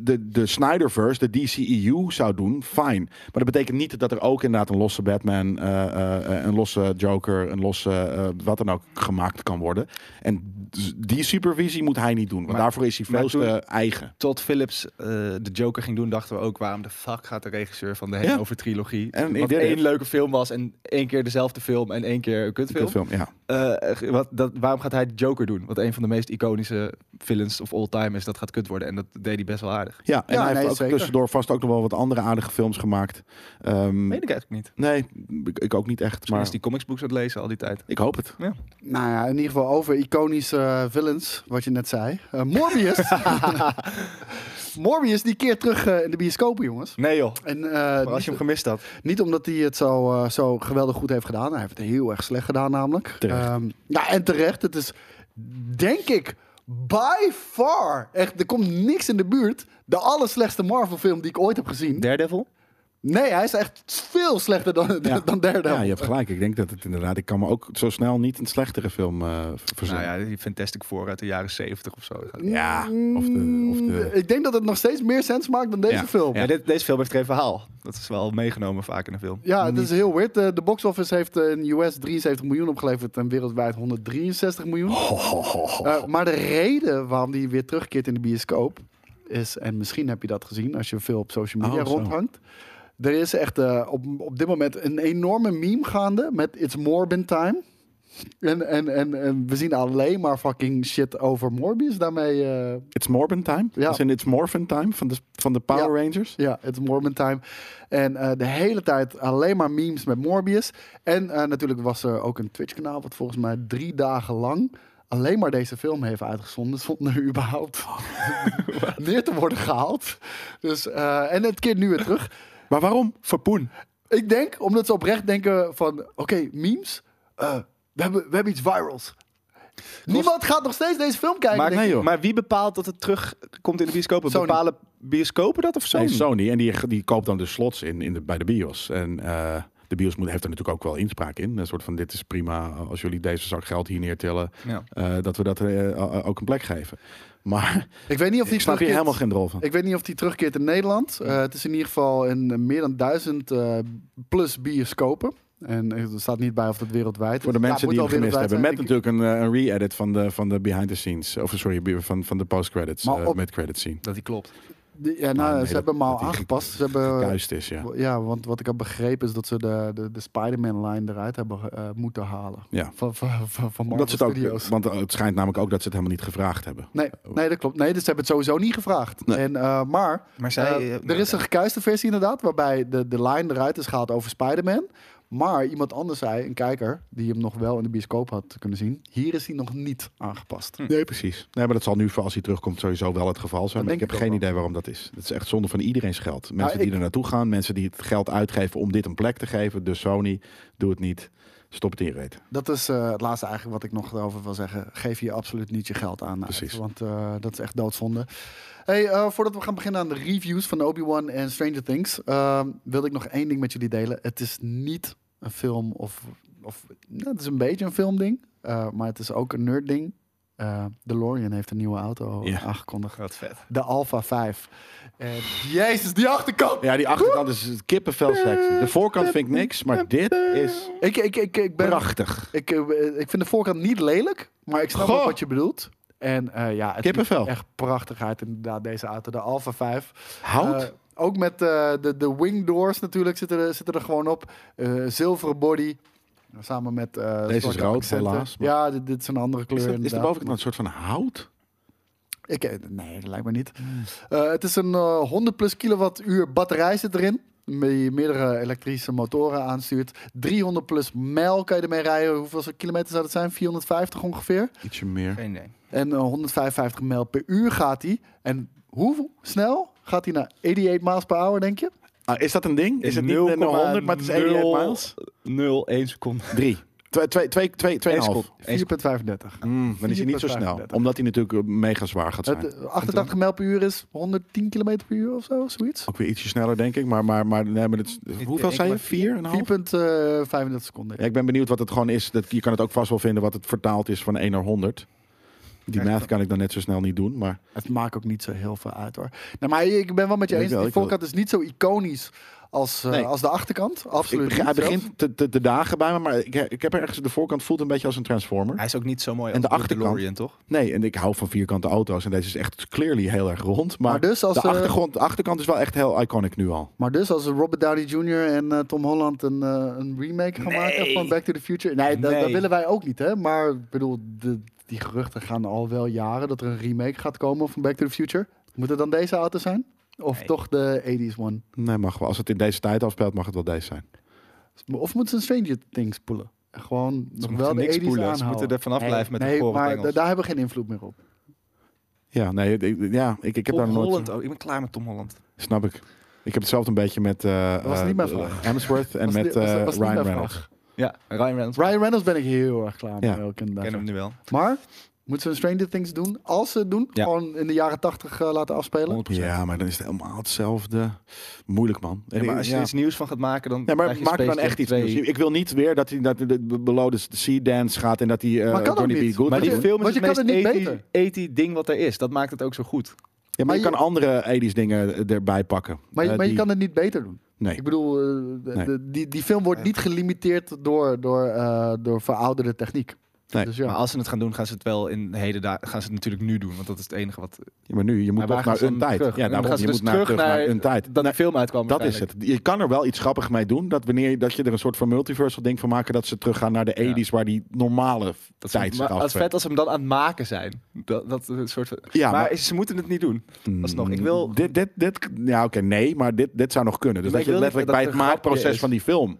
[SPEAKER 2] de, de Snyderverse, de DCEU zou doen, fijn. Maar dat betekent niet dat er ook inderdaad een losse Batman, eh, eh, eh, een losse Joker, een losse eh, wat dan ook gemaakt kan worden. En dus die supervisie moet hij niet doen, want
[SPEAKER 3] Maar-
[SPEAKER 2] daarvoor is hij
[SPEAKER 3] maar
[SPEAKER 2] veel te
[SPEAKER 3] toen-
[SPEAKER 2] eigen.
[SPEAKER 3] Tot Philips eh, de Joker ging doen, dachten we ook: waarom de fuck gaat de regisseur van de
[SPEAKER 2] Ja.
[SPEAKER 3] Hangover trilogie?
[SPEAKER 2] En ik
[SPEAKER 3] wat
[SPEAKER 2] deed
[SPEAKER 3] één
[SPEAKER 2] het.
[SPEAKER 3] leuke film was en één keer dezelfde film en één keer een kutfilm.
[SPEAKER 2] Film, ja.
[SPEAKER 3] Eh, wat, dat, waarom gaat hij de Joker doen? Wat een van de meest iconische villains of all time is, dat gaat kut worden. En dat deed hij best wel aardig.
[SPEAKER 2] Ja, en
[SPEAKER 4] Ja,
[SPEAKER 2] hij
[SPEAKER 4] nee,
[SPEAKER 2] heeft ook
[SPEAKER 4] zeker.
[SPEAKER 2] tussendoor vast ook nog wel wat andere aardige films gemaakt. Ehm,
[SPEAKER 3] Weet ik eigenlijk niet.
[SPEAKER 2] nee, ik, ik ook niet echt.
[SPEAKER 3] Misschien
[SPEAKER 2] Maar
[SPEAKER 3] is die comicsbooks aan het lezen al die tijd.
[SPEAKER 2] ik hoop het.
[SPEAKER 4] Nou ja, in ieder geval over iconische eh, villains, wat je net zei. Eh, Morbius. Morbius die keert terug eh, in de bioscopen, jongens.
[SPEAKER 3] Nee joh,
[SPEAKER 4] En eh,
[SPEAKER 3] maar als
[SPEAKER 4] niet,
[SPEAKER 3] je hem gemist had.
[SPEAKER 4] niet omdat hij het zo, eh, zo geweldig goed heeft gedaan. Hij heeft het heel erg slecht gedaan namelijk.
[SPEAKER 2] Terecht.
[SPEAKER 4] Ehm, ja, en terecht. Het is, denk ik, by far, echt, er komt niks in de buurt. De allerslechtste Marvel film die ik ooit heb gezien.
[SPEAKER 3] Daredevil?
[SPEAKER 4] Nee, hij is echt veel slechter dan, dan Daredevil.
[SPEAKER 2] Ja, je hebt gelijk. Ik denk dat het inderdaad. Ik kan me ook zo snel niet een slechtere film eh
[SPEAKER 3] Nou
[SPEAKER 2] verzinnen.
[SPEAKER 3] ja, die Fantastic Four uit de jaren 70 of zo.
[SPEAKER 2] ja. of de. Of de
[SPEAKER 4] Mm, Ik denk dat het nog steeds meer sens maakt dan deze
[SPEAKER 2] Ja.
[SPEAKER 4] film.
[SPEAKER 3] Ja, dit- deze film heeft geen verhaal. Dat is wel meegenomen vaak in de film.
[SPEAKER 4] Ja, het is heel weird. Eh, De box office heeft eh, in de US 73 miljoen opgeleverd en wereldwijd 163 miljoen. Eh, maar de reden waarom die weer terugkeert in de bioscoop is, en misschien heb je dat gezien als je veel op social media
[SPEAKER 2] Oh, zo.
[SPEAKER 4] rondhangt. Er is echt eh, op, op dit moment een enorme meme gaande met It's Morbin Time. En, en, en, en we zien alleen maar fucking shit over Morbius daarmee. eh,
[SPEAKER 2] It's Morbin Time.
[SPEAKER 4] Ja.
[SPEAKER 2] Als in It's Morphin Time van de, van de Power
[SPEAKER 4] Ja.
[SPEAKER 2] Rangers.
[SPEAKER 4] Ja, het is Mormon Time. En eh, de hele tijd alleen maar memes met Morbius. En eh, natuurlijk was er ook een Twitch-kanaal, wat volgens mij drie dagen lang alleen maar deze film heeft uitgezonden. Zonder überhaupt neer te worden gehaald. Dus, eh, en het keert nu weer terug.
[SPEAKER 2] Maar waarom? Verpoen.
[SPEAKER 4] Ik denk, omdat ze oprecht denken van... Oké, memes, eh, we, hebben, we hebben iets virals. Niemand gaat nog steeds deze film kijken.
[SPEAKER 3] Maar,
[SPEAKER 4] denk ik.
[SPEAKER 2] nee, joh.
[SPEAKER 3] maar wie bepaalt dat het terugkomt in de bioscopen?
[SPEAKER 4] Sony.
[SPEAKER 3] Bepalen bioscopen dat of zo?
[SPEAKER 2] Sony. Sony. En die, die koopt dan de slots in, in de, bij de bios. En eh, de bios moet, heeft er natuurlijk ook wel inspraak in. Een soort van: dit is prima als jullie deze zak geld hier neertillen.
[SPEAKER 3] Ja.
[SPEAKER 2] eh, dat we dat eh, o- o- ook een plek geven. Maar
[SPEAKER 4] ik weet niet of die
[SPEAKER 2] ik snap hier
[SPEAKER 4] terugkeert.
[SPEAKER 2] helemaal geen rol van.
[SPEAKER 4] Ik weet niet of die terugkeert in Nederland. Eh, het is in ieder geval in eh, meer dan duizend eh, plus bioscopen. En eh, er staat niet bij of dat wereldwijd is.
[SPEAKER 2] Voor de
[SPEAKER 4] Ja,
[SPEAKER 2] mensen
[SPEAKER 4] het
[SPEAKER 2] die
[SPEAKER 4] moet
[SPEAKER 2] hem
[SPEAKER 4] wel
[SPEAKER 2] gemist
[SPEAKER 4] wereldwijd
[SPEAKER 2] hebben.
[SPEAKER 4] zijn,
[SPEAKER 2] Met
[SPEAKER 4] denk ik.
[SPEAKER 2] natuurlijk een, eh, een re-edit van de, van de behind the scenes. Of sorry, be- van, van de post-credits.
[SPEAKER 4] Maar
[SPEAKER 2] eh,
[SPEAKER 4] op-
[SPEAKER 2] mid-credit scene.
[SPEAKER 3] Dat die klopt.
[SPEAKER 4] Die- Ja, nou,
[SPEAKER 2] Ah, nee,
[SPEAKER 4] ze
[SPEAKER 2] dat-
[SPEAKER 4] hebben hem al
[SPEAKER 2] dat die ge-
[SPEAKER 4] aangepast. Ze hebben,
[SPEAKER 2] Juist is, ja.
[SPEAKER 4] ja, want wat ik heb begrepen is dat ze de, de, de Spider-Man-line eruit hebben eh, moeten halen.
[SPEAKER 2] ja.
[SPEAKER 4] Van, van, van, van Marvel
[SPEAKER 2] Dat ze het ook,
[SPEAKER 4] Studios.
[SPEAKER 2] want eh, het schijnt namelijk ook dat ze het helemaal niet gevraagd hebben.
[SPEAKER 4] Oh. Nee, nee, dat klopt. Nee, dus ze hebben het sowieso niet gevraagd.
[SPEAKER 2] Nee.
[SPEAKER 4] En, eh, maar
[SPEAKER 3] Maar zij,
[SPEAKER 4] eh,
[SPEAKER 3] eh,
[SPEAKER 4] er is een gekuiste versie inderdaad, waarbij de, de line eruit is gehaald over Spider-Man. Maar iemand anders zei, een kijker, die hem nog wel in de bioscoop had kunnen zien. Hier is hij nog niet aangepast.
[SPEAKER 2] Nee, precies. Nee, maar dat zal nu voor als hij terugkomt sowieso wel het geval zijn. Maar
[SPEAKER 4] Dat
[SPEAKER 2] ik Nou,
[SPEAKER 4] denk
[SPEAKER 2] heb
[SPEAKER 4] ik ook
[SPEAKER 2] geen
[SPEAKER 4] wel.
[SPEAKER 2] idee waarom dat is. Dat is echt zonde van iedereen's geld. Mensen die
[SPEAKER 4] ik-
[SPEAKER 2] er naartoe gaan, mensen die het geld uitgeven om dit een plek te geven. Dus Sony, doe het niet. Stop het in je reet.
[SPEAKER 4] Dat is eh, het laatste eigenlijk wat ik nog over wil zeggen. Geef je absoluut niet je geld aan. uit,
[SPEAKER 2] Precies.
[SPEAKER 4] want eh, dat is echt doodzonde. Hey, eh, voordat we gaan beginnen aan de reviews van Obi-Wan en Stranger Things, eh, wilde ik nog één ding met jullie delen. Het is niet een film of. of nou, het is een beetje een filmding, eh, maar het is ook een nerdding. Eh DeLorean heeft een nieuwe auto
[SPEAKER 2] Ja.
[SPEAKER 4] aangekondigd.
[SPEAKER 3] Wat vet.
[SPEAKER 4] De Alpha 5. En jezus, die achterkant!
[SPEAKER 2] Ja, die achterkant is het kippenvel sexy. De voorkant vind ik niks, maar dit is
[SPEAKER 4] Ik, ik, ik, ik ben
[SPEAKER 2] prachtig.
[SPEAKER 4] Ik, eh, ik vind de voorkant niet lelijk, maar ik snap
[SPEAKER 2] Goh.
[SPEAKER 4] ook wat je bedoelt. En eh, ja, het
[SPEAKER 2] Kippenvel.
[SPEAKER 4] ziet er echt prachtig uit inderdaad, deze auto. De Alfa 5.
[SPEAKER 2] Hout?
[SPEAKER 4] Eh, ook met eh, de, de wing doors natuurlijk zitten er, zitten er gewoon op. Eh, zilveren body. Samen met... eh,
[SPEAKER 2] Deze is
[SPEAKER 4] zwarte
[SPEAKER 2] rood,
[SPEAKER 4] accenten.
[SPEAKER 2] helaas, maar-
[SPEAKER 4] Ja, dit, dit is een andere kleur
[SPEAKER 2] Is, dat, is de
[SPEAKER 4] inderdaad.
[SPEAKER 2] bovenkant een soort van hout?
[SPEAKER 4] Ik, eh, nee, dat lijkt me niet. Eh, het is een eh, 100 plus kilowattuur batterij zit erin. Die meerdere elektrische motoren aanstuurt. 300 plus mijl kan je ermee rijden. Hoeveel kilometer zou dat zijn? 450 ongeveer.
[SPEAKER 2] Ietsje meer.
[SPEAKER 3] Geen idee.
[SPEAKER 4] En eh, 155 mijl per uur gaat hij. En hoe snel gaat hij naar 88 miles per hour, denk je?
[SPEAKER 2] Ah, is dat een ding? Is het niet
[SPEAKER 3] 0,0
[SPEAKER 2] een 100, maar het is 88 miles?
[SPEAKER 3] 0,1 seconde.
[SPEAKER 2] 3. 2,5.
[SPEAKER 4] 4,35.
[SPEAKER 2] Dan is hij niet zo
[SPEAKER 4] 4,35.
[SPEAKER 2] snel. Omdat hij natuurlijk eh, mega zwaar gaat zijn.
[SPEAKER 4] Het, eh, 88 mijl per uur is 110 kilometer per uur of zo, zoiets. 4,35
[SPEAKER 2] Ook weer ietsje sneller, denk ik. Maar, maar, maar, nee, maar het is- hoeveel
[SPEAKER 3] ik
[SPEAKER 2] zei je?
[SPEAKER 3] maar vier.
[SPEAKER 2] 4,5?
[SPEAKER 4] eh, seconden.
[SPEAKER 2] Ja, ik ben benieuwd wat het gewoon is. Dat, je kan het ook vast wel vinden wat het vertaald is van 1 naar 100. Die math kan ik dan net zo snel niet doen. Maar
[SPEAKER 4] Het maakt ook niet zo heel veel uit hoor. Nou, maar ik ben wel met je
[SPEAKER 2] Ik
[SPEAKER 4] eens.
[SPEAKER 2] wel,
[SPEAKER 4] die
[SPEAKER 2] ik wel.
[SPEAKER 4] voorkant is niet zo iconisch als, eh,
[SPEAKER 2] Nee.
[SPEAKER 4] als de achterkant. Absoluut.
[SPEAKER 2] ik, hij
[SPEAKER 4] niet zelfs.
[SPEAKER 2] begint te, te, te dagen bij me. Maar ik, ik heb ergens... De voorkant voelt een beetje als een Transformer.
[SPEAKER 3] Hij is ook niet zo mooi
[SPEAKER 2] En de
[SPEAKER 3] als
[SPEAKER 2] achterkant.
[SPEAKER 3] DeLorean, toch?
[SPEAKER 2] Nee, en ik hou van vierkante auto's. En deze is echt clearly heel erg rond. Maar,
[SPEAKER 4] Maar dus als,
[SPEAKER 2] de,
[SPEAKER 4] eh,
[SPEAKER 2] achtergrond, de achterkant is wel echt heel iconic nu al.
[SPEAKER 4] Maar dus als Robert Downey Jr. en eh, Tom Holland een, eh, een remake gaan maken van Back to the Future. Nee, dat, dat
[SPEAKER 3] Nee.
[SPEAKER 4] willen wij ook niet hè. Maar ik bedoel, de, die geruchten gaan al wel jaren dat er een remake gaat komen van Back to the Future. Moet het dan deze auto zijn? Of
[SPEAKER 3] Nee.
[SPEAKER 4] toch de 80s one?
[SPEAKER 2] Nee, mag wel. Als het in deze tijd afspeelt, mag het wel deze zijn.
[SPEAKER 4] Of moeten ze een Stranger Things spoelen? Gewoon nog
[SPEAKER 3] moeten
[SPEAKER 4] wel de
[SPEAKER 3] niks
[SPEAKER 4] 80s
[SPEAKER 3] spoelen. Ze
[SPEAKER 4] aanhouden.
[SPEAKER 3] moeten er vanaf blijven met de gore
[SPEAKER 4] maar
[SPEAKER 3] Engels.
[SPEAKER 4] da- daar hebben we geen invloed meer op.
[SPEAKER 2] Ja, nee, ik, ja, ik, ik heb daar
[SPEAKER 3] Tom
[SPEAKER 2] nooit...
[SPEAKER 3] Holland ook. Ik ben klaar met Tom Holland.
[SPEAKER 2] Snap ik. Ik heb hetzelfde een beetje met eh
[SPEAKER 4] was
[SPEAKER 2] eh,
[SPEAKER 4] niet mijn vraag.
[SPEAKER 2] Hemsworth en
[SPEAKER 4] Was
[SPEAKER 2] met
[SPEAKER 4] niet- was-
[SPEAKER 2] eh,
[SPEAKER 4] was niet
[SPEAKER 2] Ryan
[SPEAKER 4] mijn
[SPEAKER 2] Reynolds.
[SPEAKER 4] vraag.
[SPEAKER 3] Ja, Ryan Reynolds. Ik
[SPEAKER 4] Ryan Reynolds ben ik heel erg klaar mee.
[SPEAKER 2] Ja.
[SPEAKER 4] Ook inderdaad.
[SPEAKER 3] ken hem nu wel.
[SPEAKER 4] Maar moeten ze een Stranger Things doen? Als ze het doen,
[SPEAKER 3] Ja.
[SPEAKER 4] gewoon in de jaren 80 eh, laten afspelen.
[SPEAKER 3] 100%.
[SPEAKER 2] Ja, maar dan is het helemaal hetzelfde. Moeilijk, man. En
[SPEAKER 3] Ja, maar
[SPEAKER 2] ik-
[SPEAKER 3] als je
[SPEAKER 2] ja.
[SPEAKER 3] er iets nieuws van gaat maken, dan
[SPEAKER 2] Nee, maar
[SPEAKER 3] krijg je
[SPEAKER 2] maak dan
[SPEAKER 3] Space Jam
[SPEAKER 2] echt iets.
[SPEAKER 3] 2.
[SPEAKER 2] nieuws. Ik wil niet weer dat hij dat de- de below the sea dance gaat en dat hij eh
[SPEAKER 4] Maar kan ook
[SPEAKER 2] Johnny B.
[SPEAKER 4] niet.
[SPEAKER 2] Good
[SPEAKER 3] Maar die
[SPEAKER 2] gaat
[SPEAKER 4] je-
[SPEAKER 2] doen.
[SPEAKER 3] film is
[SPEAKER 4] want
[SPEAKER 3] het
[SPEAKER 4] je kan
[SPEAKER 3] meest
[SPEAKER 4] het niet
[SPEAKER 3] 80 80 ding wat er is. Dat maakt het ook zo goed.
[SPEAKER 2] Ja, maar je
[SPEAKER 4] maar
[SPEAKER 2] kan andere 80s dingen erbij pakken.
[SPEAKER 4] Maar, je-
[SPEAKER 2] Eh,
[SPEAKER 4] maar je
[SPEAKER 2] die-
[SPEAKER 4] kan het niet beter doen.
[SPEAKER 2] Nee.
[SPEAKER 4] Ik bedoel, eh, de-
[SPEAKER 2] Nee.
[SPEAKER 4] de- die, die film wordt niet gelimiteerd door, door, eh, door verouderde techniek.
[SPEAKER 2] Nee.
[SPEAKER 4] Dus ja.
[SPEAKER 3] Maar als ze het gaan doen, gaan ze het wel in de heden daar gaan ze het natuurlijk nu doen, want dat is het enige wat.
[SPEAKER 2] Ja, maar nu, je moet
[SPEAKER 3] Maar waar
[SPEAKER 2] toch
[SPEAKER 3] gaan
[SPEAKER 2] naar
[SPEAKER 3] ze dan
[SPEAKER 2] een tijd.
[SPEAKER 3] dus terug?
[SPEAKER 2] Ja,
[SPEAKER 3] En dan
[SPEAKER 2] daarom,
[SPEAKER 3] gaan ze
[SPEAKER 2] je
[SPEAKER 3] dus
[SPEAKER 2] moet naar,
[SPEAKER 3] terug
[SPEAKER 2] terug naar
[SPEAKER 3] naar
[SPEAKER 2] een tijd.
[SPEAKER 3] Dat de film uitkwam.
[SPEAKER 2] Dat is het.
[SPEAKER 3] waarschijnlijk.
[SPEAKER 2] Je kan er wel iets grappigs mee doen. Dat wanneer dat je er een soort van multiversal ding van maken, dat ze teruggaan naar de
[SPEAKER 3] Ja.
[SPEAKER 2] 80s waar die normale
[SPEAKER 3] Dat
[SPEAKER 2] tijd zich
[SPEAKER 3] maar als
[SPEAKER 2] afspeelt.
[SPEAKER 3] vet als ze hem dan aan het maken zijn. Dat, dat eh, soort van-
[SPEAKER 2] Ja,
[SPEAKER 3] maar,
[SPEAKER 2] maar- Hmm.
[SPEAKER 3] ze moeten het niet doen. Alsnog, ik wil.
[SPEAKER 2] Dit, dit, dit, ja, oké, nee, maar dit, dit zou nog kunnen. Dus
[SPEAKER 3] Maar
[SPEAKER 2] dat
[SPEAKER 3] ik
[SPEAKER 2] je
[SPEAKER 3] wil niet
[SPEAKER 2] letterlijk
[SPEAKER 3] dat
[SPEAKER 2] bij het
[SPEAKER 3] het een grapje
[SPEAKER 2] maakproces
[SPEAKER 3] is.
[SPEAKER 2] van die film.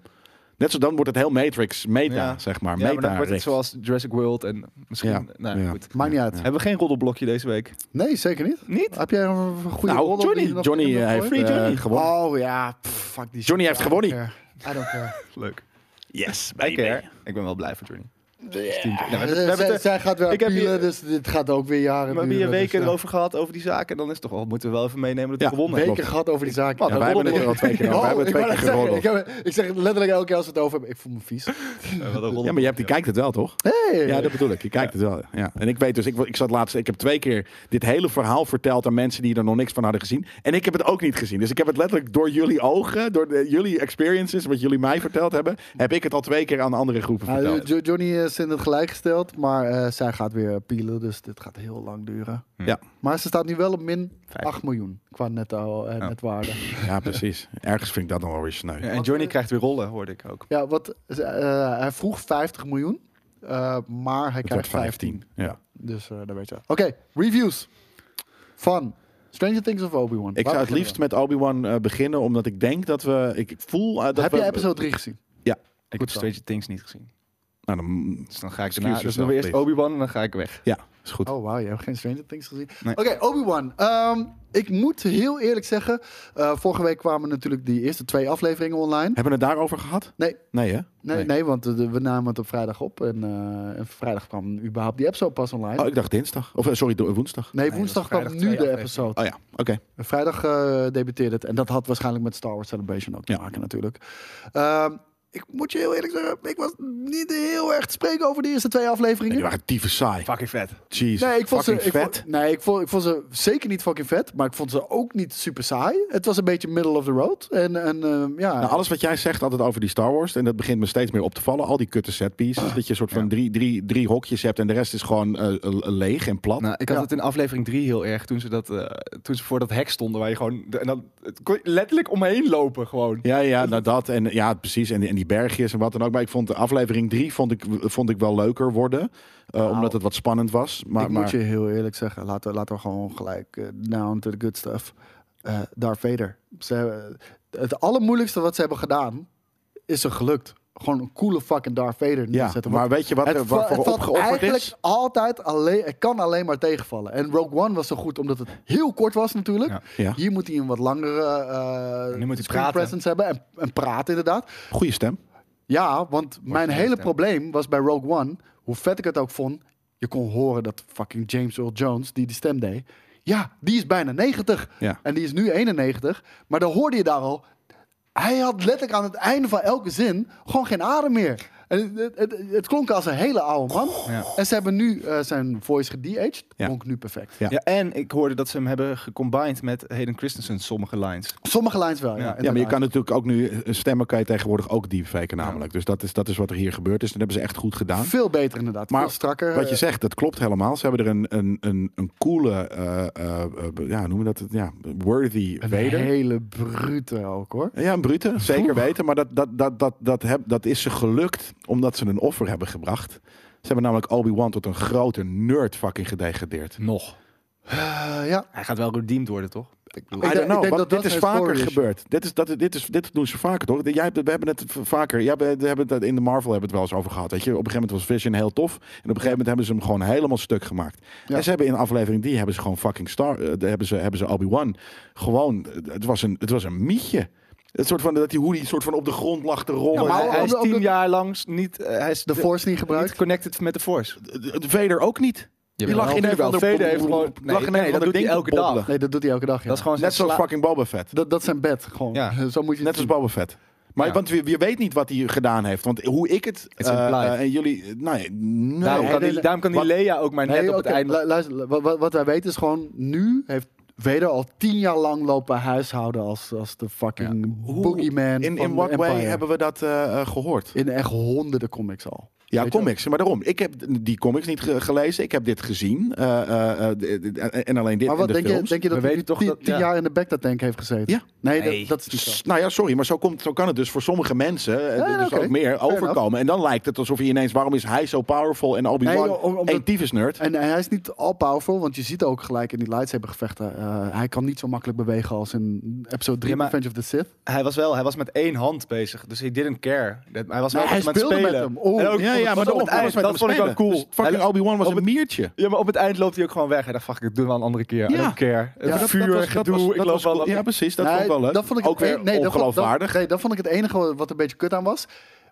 [SPEAKER 2] Net zo dan wordt het heel Matrix meta,
[SPEAKER 3] Ja.
[SPEAKER 2] zeg maar.
[SPEAKER 3] Ja, maar dan
[SPEAKER 2] meta
[SPEAKER 3] wordt het zoals Jurassic World en misschien.
[SPEAKER 2] Ja,
[SPEAKER 3] Nou,
[SPEAKER 2] ja.
[SPEAKER 3] Goed.
[SPEAKER 4] Maakt niet uit.
[SPEAKER 3] Hebben we geen roddelblokje deze week?
[SPEAKER 4] Nee, zeker niet.
[SPEAKER 3] Niet?
[SPEAKER 4] Heb jij een goede rol
[SPEAKER 2] Nou,
[SPEAKER 4] op die je
[SPEAKER 2] Johnny,
[SPEAKER 4] nog
[SPEAKER 2] Johnny
[SPEAKER 4] in wil
[SPEAKER 2] eh, heeft
[SPEAKER 4] gooien?
[SPEAKER 2] eh,
[SPEAKER 3] Johnny.
[SPEAKER 2] gewonnen.
[SPEAKER 4] Oh ja, pff, fuck die shit.
[SPEAKER 2] Johnny heeft
[SPEAKER 4] I don't
[SPEAKER 2] gewonnen.
[SPEAKER 4] care. I don't care.
[SPEAKER 3] Leuk.
[SPEAKER 2] Yes,
[SPEAKER 3] Ik,
[SPEAKER 2] baby.
[SPEAKER 3] hè? ik ben wel blij voor Journey. Ja, maar we- we
[SPEAKER 4] Eh,
[SPEAKER 3] hebben het
[SPEAKER 4] zij,
[SPEAKER 3] er-
[SPEAKER 4] zij gaat weer
[SPEAKER 3] ik heb hier-
[SPEAKER 4] appealen, dus dit gaat ook weer jaren
[SPEAKER 3] We hebben hier
[SPEAKER 4] duren, dus,
[SPEAKER 3] weken
[SPEAKER 4] ja.
[SPEAKER 3] erover gehad, over die zaken. En dan is het toch al, moeten we wel even meenemen dat we
[SPEAKER 2] Ja,
[SPEAKER 3] gewonnen
[SPEAKER 2] weet-
[SPEAKER 3] hebben.
[SPEAKER 4] weken
[SPEAKER 2] Klopt.
[SPEAKER 4] gehad over die zaak.
[SPEAKER 3] Man,
[SPEAKER 2] Ja, wij hebben het er al twee keer over. Wij hebben
[SPEAKER 4] Oh, ik,
[SPEAKER 2] het twee
[SPEAKER 4] wou
[SPEAKER 2] keer
[SPEAKER 4] net zeggen,
[SPEAKER 2] geroddeld.
[SPEAKER 4] ik, heb- ik zeg het letterlijk elke keer als we het over hebben. Ik voel me vies.
[SPEAKER 3] Eh, wat een
[SPEAKER 2] Ja, maar je, hebt, je kijkt het wel, toch?
[SPEAKER 4] Hey.
[SPEAKER 2] Ja, dat bedoel ik. Je kijkt het wel. Ja. En ik weet dus, ik, wa- ik zat laatst, ik heb twee keer dit hele verhaal verteld aan mensen die er nog niks van hadden gezien. En ik heb het ook niet gezien. Dus ik heb het letterlijk door jullie ogen, door de- jullie experiences, wat jullie mij verteld hebben, heb ik het al twee keer aan andere groepen
[SPEAKER 4] Nou,
[SPEAKER 2] verteld.
[SPEAKER 4] Jo- Johnny is in het gelijk gesteld, maar eh, zij gaat weer pielen, dus dit gaat heel lang duren.
[SPEAKER 2] Ja.
[SPEAKER 4] Maar ze staat nu wel op min
[SPEAKER 3] Vijf.
[SPEAKER 4] 8 miljoen qua netto, eh, netwaarde.
[SPEAKER 2] Ja, precies. Ergens vind ik dat dan wel weer sneu.
[SPEAKER 3] Ja, en Johnny krijgt weer rollen, hoorde ik ook.
[SPEAKER 4] Ja, wat, ze- eh, hij vroeg 50 miljoen, eh, maar hij
[SPEAKER 2] Het
[SPEAKER 4] krijgt
[SPEAKER 2] wordt
[SPEAKER 4] 15.
[SPEAKER 2] 15. Ja.
[SPEAKER 4] Dus eh daar weet je. wel. Oké, reviews van Stranger Things of Obi-Wan.
[SPEAKER 2] Ik
[SPEAKER 4] Waar
[SPEAKER 2] zou het
[SPEAKER 4] beginnen
[SPEAKER 2] liefst
[SPEAKER 4] we?
[SPEAKER 2] met Obi-Wan eh, beginnen, omdat ik denk dat we... Ik ik voel eh, dat
[SPEAKER 4] Heb
[SPEAKER 2] we...
[SPEAKER 4] je episode 3 gezien?
[SPEAKER 3] Ik
[SPEAKER 4] Goed
[SPEAKER 3] heb
[SPEAKER 4] zo.
[SPEAKER 3] Stranger Things niet gezien.
[SPEAKER 2] Nou, dan,
[SPEAKER 3] Dus dan ga ik
[SPEAKER 2] Excuse
[SPEAKER 3] daarna. Dus
[SPEAKER 2] yourself,
[SPEAKER 3] dan weer eerst
[SPEAKER 2] please.
[SPEAKER 3] Obi-Wan en dan ga ik weg.
[SPEAKER 2] ja, is goed.
[SPEAKER 4] Oh, wauw, je hebt geen Stranger Things gezien.
[SPEAKER 3] Nee.
[SPEAKER 4] Oké, Obi-Wan. Ehm, ik moet heel eerlijk zeggen, eh, vorige week kwamen natuurlijk die eerste twee afleveringen online.
[SPEAKER 2] Hebben we het daarover gehad?
[SPEAKER 4] Nee.
[SPEAKER 2] Nee, hè?
[SPEAKER 4] Nee, nee. want eh, de- we namen het op vrijdag op en, eh, en vrijdag kwam überhaupt die episode pas online.
[SPEAKER 2] Oh, ik dacht dinsdag. Of eh, sorry, do- woensdag.
[SPEAKER 4] Nee,
[SPEAKER 3] was
[SPEAKER 4] woensdag kwam
[SPEAKER 3] vrijdag
[SPEAKER 4] nu
[SPEAKER 3] twee
[SPEAKER 4] de
[SPEAKER 3] afleveringen.
[SPEAKER 4] episode.
[SPEAKER 2] Oh ja, oké.
[SPEAKER 4] En Vrijdag eh debuteerde het. En dat had waarschijnlijk met Star Wars Celebration ook te
[SPEAKER 2] Ja.
[SPEAKER 4] maken natuurlijk. Ehm, ik moet je heel eerlijk zeggen, ik was niet heel erg te spreken over de eerste twee
[SPEAKER 2] Nee,
[SPEAKER 4] afleveringen.
[SPEAKER 2] die waren tyfus saai.
[SPEAKER 3] Fucking vet.
[SPEAKER 2] Jeez,
[SPEAKER 4] Nee, ik vond, ze,
[SPEAKER 2] fucking
[SPEAKER 4] ik,
[SPEAKER 2] vet.
[SPEAKER 4] vond, nee ik, vond, ik vond ze zeker niet fucking vet, maar ik vond ze ook niet super saai. Het was een beetje middle of the road. En, en ehm, ja,
[SPEAKER 2] Nou, alles wat jij zegt altijd over die Star Wars, en dat begint me steeds meer op te vallen, al die kutte
[SPEAKER 4] Ah,
[SPEAKER 2] setpieces, dat je een soort van drie, drie, drie hokjes hebt en de rest is gewoon eh, eh, leeg en plat.
[SPEAKER 3] Nou, ik had
[SPEAKER 4] Ja.
[SPEAKER 3] het in aflevering 3 heel erg toen ze, dat, eh, toen ze voor dat hek stonden waar je gewoon. de- en dan het kon je letterlijk omheen lopen gewoon.
[SPEAKER 2] ja, ja, nou dat en ja, precies. En, die- en die bergjes en wat dan ook. Maar ik vond de aflevering 3 vond ik, vond ik wel leuker worden. eh,
[SPEAKER 4] Nou,
[SPEAKER 2] omdat het wat spannend was. Maar,
[SPEAKER 4] ik
[SPEAKER 2] maar
[SPEAKER 4] moet je heel eerlijk zeggen, laten we, laten we gewoon gelijk eh, down to the good stuff. Eh Darth Vader. Ze, hebben- het allermoeilijkste wat ze hebben gedaan, is er gelukt. Gewoon een coole fucking Darth Vader
[SPEAKER 2] ja,
[SPEAKER 4] neerzetten.
[SPEAKER 2] maar
[SPEAKER 4] Want
[SPEAKER 2] weet je wat er
[SPEAKER 4] het, va-
[SPEAKER 2] waarvoor
[SPEAKER 4] het valt
[SPEAKER 2] opgeofferd
[SPEAKER 4] eigenlijk
[SPEAKER 2] is?
[SPEAKER 4] altijd alleen, het kan alleen maar tegenvallen. En Rogue One was zo goed omdat het heel kort was natuurlijk.
[SPEAKER 3] Ja.
[SPEAKER 2] Ja.
[SPEAKER 4] Hier moet hij een wat langere eh
[SPEAKER 3] Nu moet hij
[SPEAKER 4] screen
[SPEAKER 3] praten.
[SPEAKER 4] presence hebben en, en praten inderdaad.
[SPEAKER 2] Goede stem.
[SPEAKER 4] Ja, want mijn
[SPEAKER 3] geen
[SPEAKER 4] hele
[SPEAKER 3] stem.
[SPEAKER 4] probleem was bij Rogue One, hoe vet ik het ook vond, je kon horen dat fucking James Earl Jones, die die stem deed, ja, die is bijna 90.
[SPEAKER 2] Ja.
[SPEAKER 4] En die is nu 91. Maar dan hoorde je daar al, hij had letterlijk aan het einde van elke zin gewoon geen adem meer. En het, het, het, het klonk als een hele oude man.
[SPEAKER 3] Ja.
[SPEAKER 4] En ze hebben nu eh, zijn voice gedieaged.
[SPEAKER 2] Oh. Ja.
[SPEAKER 4] Klonk nu perfect.
[SPEAKER 2] Ja.
[SPEAKER 3] Ja. en ik hoorde dat ze hem hebben gecombined met Hayden Christensen sommige lines.
[SPEAKER 4] Sommige lines wel, ja.
[SPEAKER 3] Ja. Ja, maar
[SPEAKER 2] Ja, maar je
[SPEAKER 4] inderdaad.
[SPEAKER 2] kan natuurlijk ook nu eh, stemmen kan je tegenwoordig ook deepfaken namelijk. Dus dat is, dat is wat er hier gebeurd is. Dat hebben ze echt goed gedaan.
[SPEAKER 4] Veel beter inderdaad.
[SPEAKER 2] Maar
[SPEAKER 4] Veel strakker. eh,
[SPEAKER 2] Wat je zegt, dat klopt helemaal. Ze hebben er een, een, een, een coole, eh, eh, eh, ja, hoe noem je dat? Ja, worthy
[SPEAKER 4] een
[SPEAKER 2] Vader.
[SPEAKER 4] hele brute ook, hoor.
[SPEAKER 2] Ja, een brute, zeker weten. Maar dat, dat, dat, dat, dat, heb, dat is ze gelukt omdat ze een offer hebben gebracht. Ze hebben namelijk Obi-Wan tot een grote nerd fucking gedegradeerd.
[SPEAKER 3] Nog.
[SPEAKER 4] Eh, ja,
[SPEAKER 3] Hij gaat wel redeemed worden, toch?
[SPEAKER 2] I
[SPEAKER 4] ik
[SPEAKER 2] don't know,
[SPEAKER 4] denk
[SPEAKER 2] want
[SPEAKER 4] dat
[SPEAKER 2] dit
[SPEAKER 4] dat
[SPEAKER 2] is
[SPEAKER 4] een
[SPEAKER 2] vaker
[SPEAKER 4] spoiler is.
[SPEAKER 2] gebeurd. Dit, is, dat, dit, is, dit doen ze vaker, toch? Jij hebt, het- we hebben het v- vaker. Ja, we hebben het, dat- in de Marvel hebben we het wel eens over gehad. Weet je? Op een gegeven moment was Vision heel tof. En op een gegeven moment hebben ze hem gewoon helemaal stuk gemaakt.
[SPEAKER 4] Ja.
[SPEAKER 2] En ze hebben in aflevering die hebben ze gewoon fucking Star... eh, hebben ze, hebben ze Obi-Wan gewoon... Het was een, het was een mietje. Het soort van, dat die, hoe die soort van op de grond lag te rollen.
[SPEAKER 4] Ja, maar
[SPEAKER 3] hij, hij is
[SPEAKER 4] ook- ook-
[SPEAKER 3] tien jaar lang niet... eh, hij is
[SPEAKER 4] de Force niet gebruikt.
[SPEAKER 3] Niet connected met de Force.
[SPEAKER 2] Het Vader ook niet. Die lag in een
[SPEAKER 3] Jawel,
[SPEAKER 2] van de
[SPEAKER 3] Vader heeft gewoon- Nee,
[SPEAKER 2] lag in
[SPEAKER 3] nee,
[SPEAKER 2] een van
[SPEAKER 3] dat
[SPEAKER 2] de
[SPEAKER 3] doet hij
[SPEAKER 2] ding
[SPEAKER 3] elke
[SPEAKER 2] te
[SPEAKER 3] dag.
[SPEAKER 2] bobbelen.
[SPEAKER 4] Nee, dat doet hij elke dag. Ja.
[SPEAKER 3] Dat is gewoon zijn
[SPEAKER 2] Net zoals
[SPEAKER 3] sla-
[SPEAKER 2] fucking Boba Fett.
[SPEAKER 4] dat, dat zijn bed gewoon.
[SPEAKER 3] Ja.
[SPEAKER 4] Zo moet je het
[SPEAKER 2] Net als
[SPEAKER 4] zien.
[SPEAKER 2] Boba Fett. Maar
[SPEAKER 3] Ja.
[SPEAKER 2] want je, je weet niet wat hij gedaan heeft. Want hoe ik het.
[SPEAKER 3] is
[SPEAKER 2] eh,
[SPEAKER 3] implied.
[SPEAKER 2] eh, en jullie. eh, Nou, nee, nee,
[SPEAKER 3] Daarom kan,
[SPEAKER 2] nee,
[SPEAKER 3] die, daarom kan die
[SPEAKER 2] wat-
[SPEAKER 3] Leia ook maar net
[SPEAKER 4] Nee,
[SPEAKER 3] op
[SPEAKER 4] oké,
[SPEAKER 3] het einde...
[SPEAKER 4] lu- luister, lu- wat, wat- wat wij weten is gewoon, nu heeft Vader al tien jaar lang lopen huishouden als, als de fucking
[SPEAKER 2] hoe-
[SPEAKER 4] boogeyman
[SPEAKER 2] In,
[SPEAKER 4] van
[SPEAKER 2] in
[SPEAKER 4] de
[SPEAKER 2] what way
[SPEAKER 4] Empire.
[SPEAKER 2] hebben we dat eh, eh, gehoord?
[SPEAKER 4] In echt honderden comics al.
[SPEAKER 2] Ja,
[SPEAKER 4] Weet je
[SPEAKER 2] comics. Maar daarom, ik heb die comics niet ge- gelezen. Ik heb dit gezien. eh, eh, eh, d- d- en alleen dit
[SPEAKER 4] Maar wat
[SPEAKER 2] in de
[SPEAKER 4] denk je,
[SPEAKER 2] films.
[SPEAKER 4] denk je dat
[SPEAKER 3] We
[SPEAKER 4] hij
[SPEAKER 3] weten
[SPEAKER 4] nu
[SPEAKER 3] toch
[SPEAKER 4] tien,
[SPEAKER 3] dat-
[SPEAKER 4] tien
[SPEAKER 3] ja.
[SPEAKER 4] jaar in de Bacta tank heeft gezeten?
[SPEAKER 2] Ja.
[SPEAKER 4] Nee,
[SPEAKER 3] Nee.
[SPEAKER 4] Dat, dat is niet zo.
[SPEAKER 2] S- Nou ja, sorry, maar zo, komt, zo kan het dus voor sommige mensen, eh,
[SPEAKER 4] Ja, ja,
[SPEAKER 2] dus
[SPEAKER 4] oké.
[SPEAKER 2] ook meer,
[SPEAKER 4] Fair
[SPEAKER 2] overkomen. En dan lijkt het alsof je ineens, waarom is hij zo powerful en
[SPEAKER 4] Nee,
[SPEAKER 2] Obi-Wan
[SPEAKER 4] joh, om- omdat-
[SPEAKER 2] een tyfusnerd?
[SPEAKER 4] En hij is niet all powerful, want je ziet ook gelijk in die lightsabergevechten. gevechten. hij kan niet zo makkelijk bewegen als in episode 3
[SPEAKER 3] Ja, maar-
[SPEAKER 4] Revenge of the Sith.
[SPEAKER 3] Hij was wel, hij was met één hand bezig. Dus he didn't care. Dat- Hij was
[SPEAKER 4] Nee,
[SPEAKER 3] wel
[SPEAKER 4] hij
[SPEAKER 3] met hem aan
[SPEAKER 4] speelde
[SPEAKER 3] het
[SPEAKER 4] met
[SPEAKER 3] spelen.
[SPEAKER 4] hem. Oeh.
[SPEAKER 3] En ook-
[SPEAKER 2] Ja, ja, maar
[SPEAKER 3] op
[SPEAKER 2] daarom,
[SPEAKER 3] het
[SPEAKER 2] hij was
[SPEAKER 3] eind,
[SPEAKER 2] met
[SPEAKER 3] dat
[SPEAKER 2] hem
[SPEAKER 3] vond ik wel
[SPEAKER 2] spelen.
[SPEAKER 3] cool.
[SPEAKER 2] Dus fucking
[SPEAKER 3] Hij-
[SPEAKER 2] Obi-Wan was
[SPEAKER 3] op
[SPEAKER 2] een
[SPEAKER 3] het-
[SPEAKER 2] miertje.
[SPEAKER 3] Ja, maar op het eind loopt hij ook gewoon weg. Hij dacht, fuck, ik doe het wel een andere keer.
[SPEAKER 2] Ja.
[SPEAKER 3] I don't care.
[SPEAKER 2] Ja,
[SPEAKER 3] Het
[SPEAKER 2] dat-
[SPEAKER 3] vuur,
[SPEAKER 2] dat was- dat
[SPEAKER 3] gedoe,
[SPEAKER 2] was-
[SPEAKER 3] ik
[SPEAKER 2] dat
[SPEAKER 3] loop
[SPEAKER 2] was
[SPEAKER 3] wel...
[SPEAKER 2] cool. Ja, precies. Dat
[SPEAKER 4] Nee,
[SPEAKER 2] vond ik wel leuk.
[SPEAKER 4] dat vond ik het
[SPEAKER 2] ook weer
[SPEAKER 4] een- nee, dat vond-
[SPEAKER 2] ongeloofwaardig.
[SPEAKER 4] dat- nee, dat vond ik het enige wat- wat een beetje kut aan was.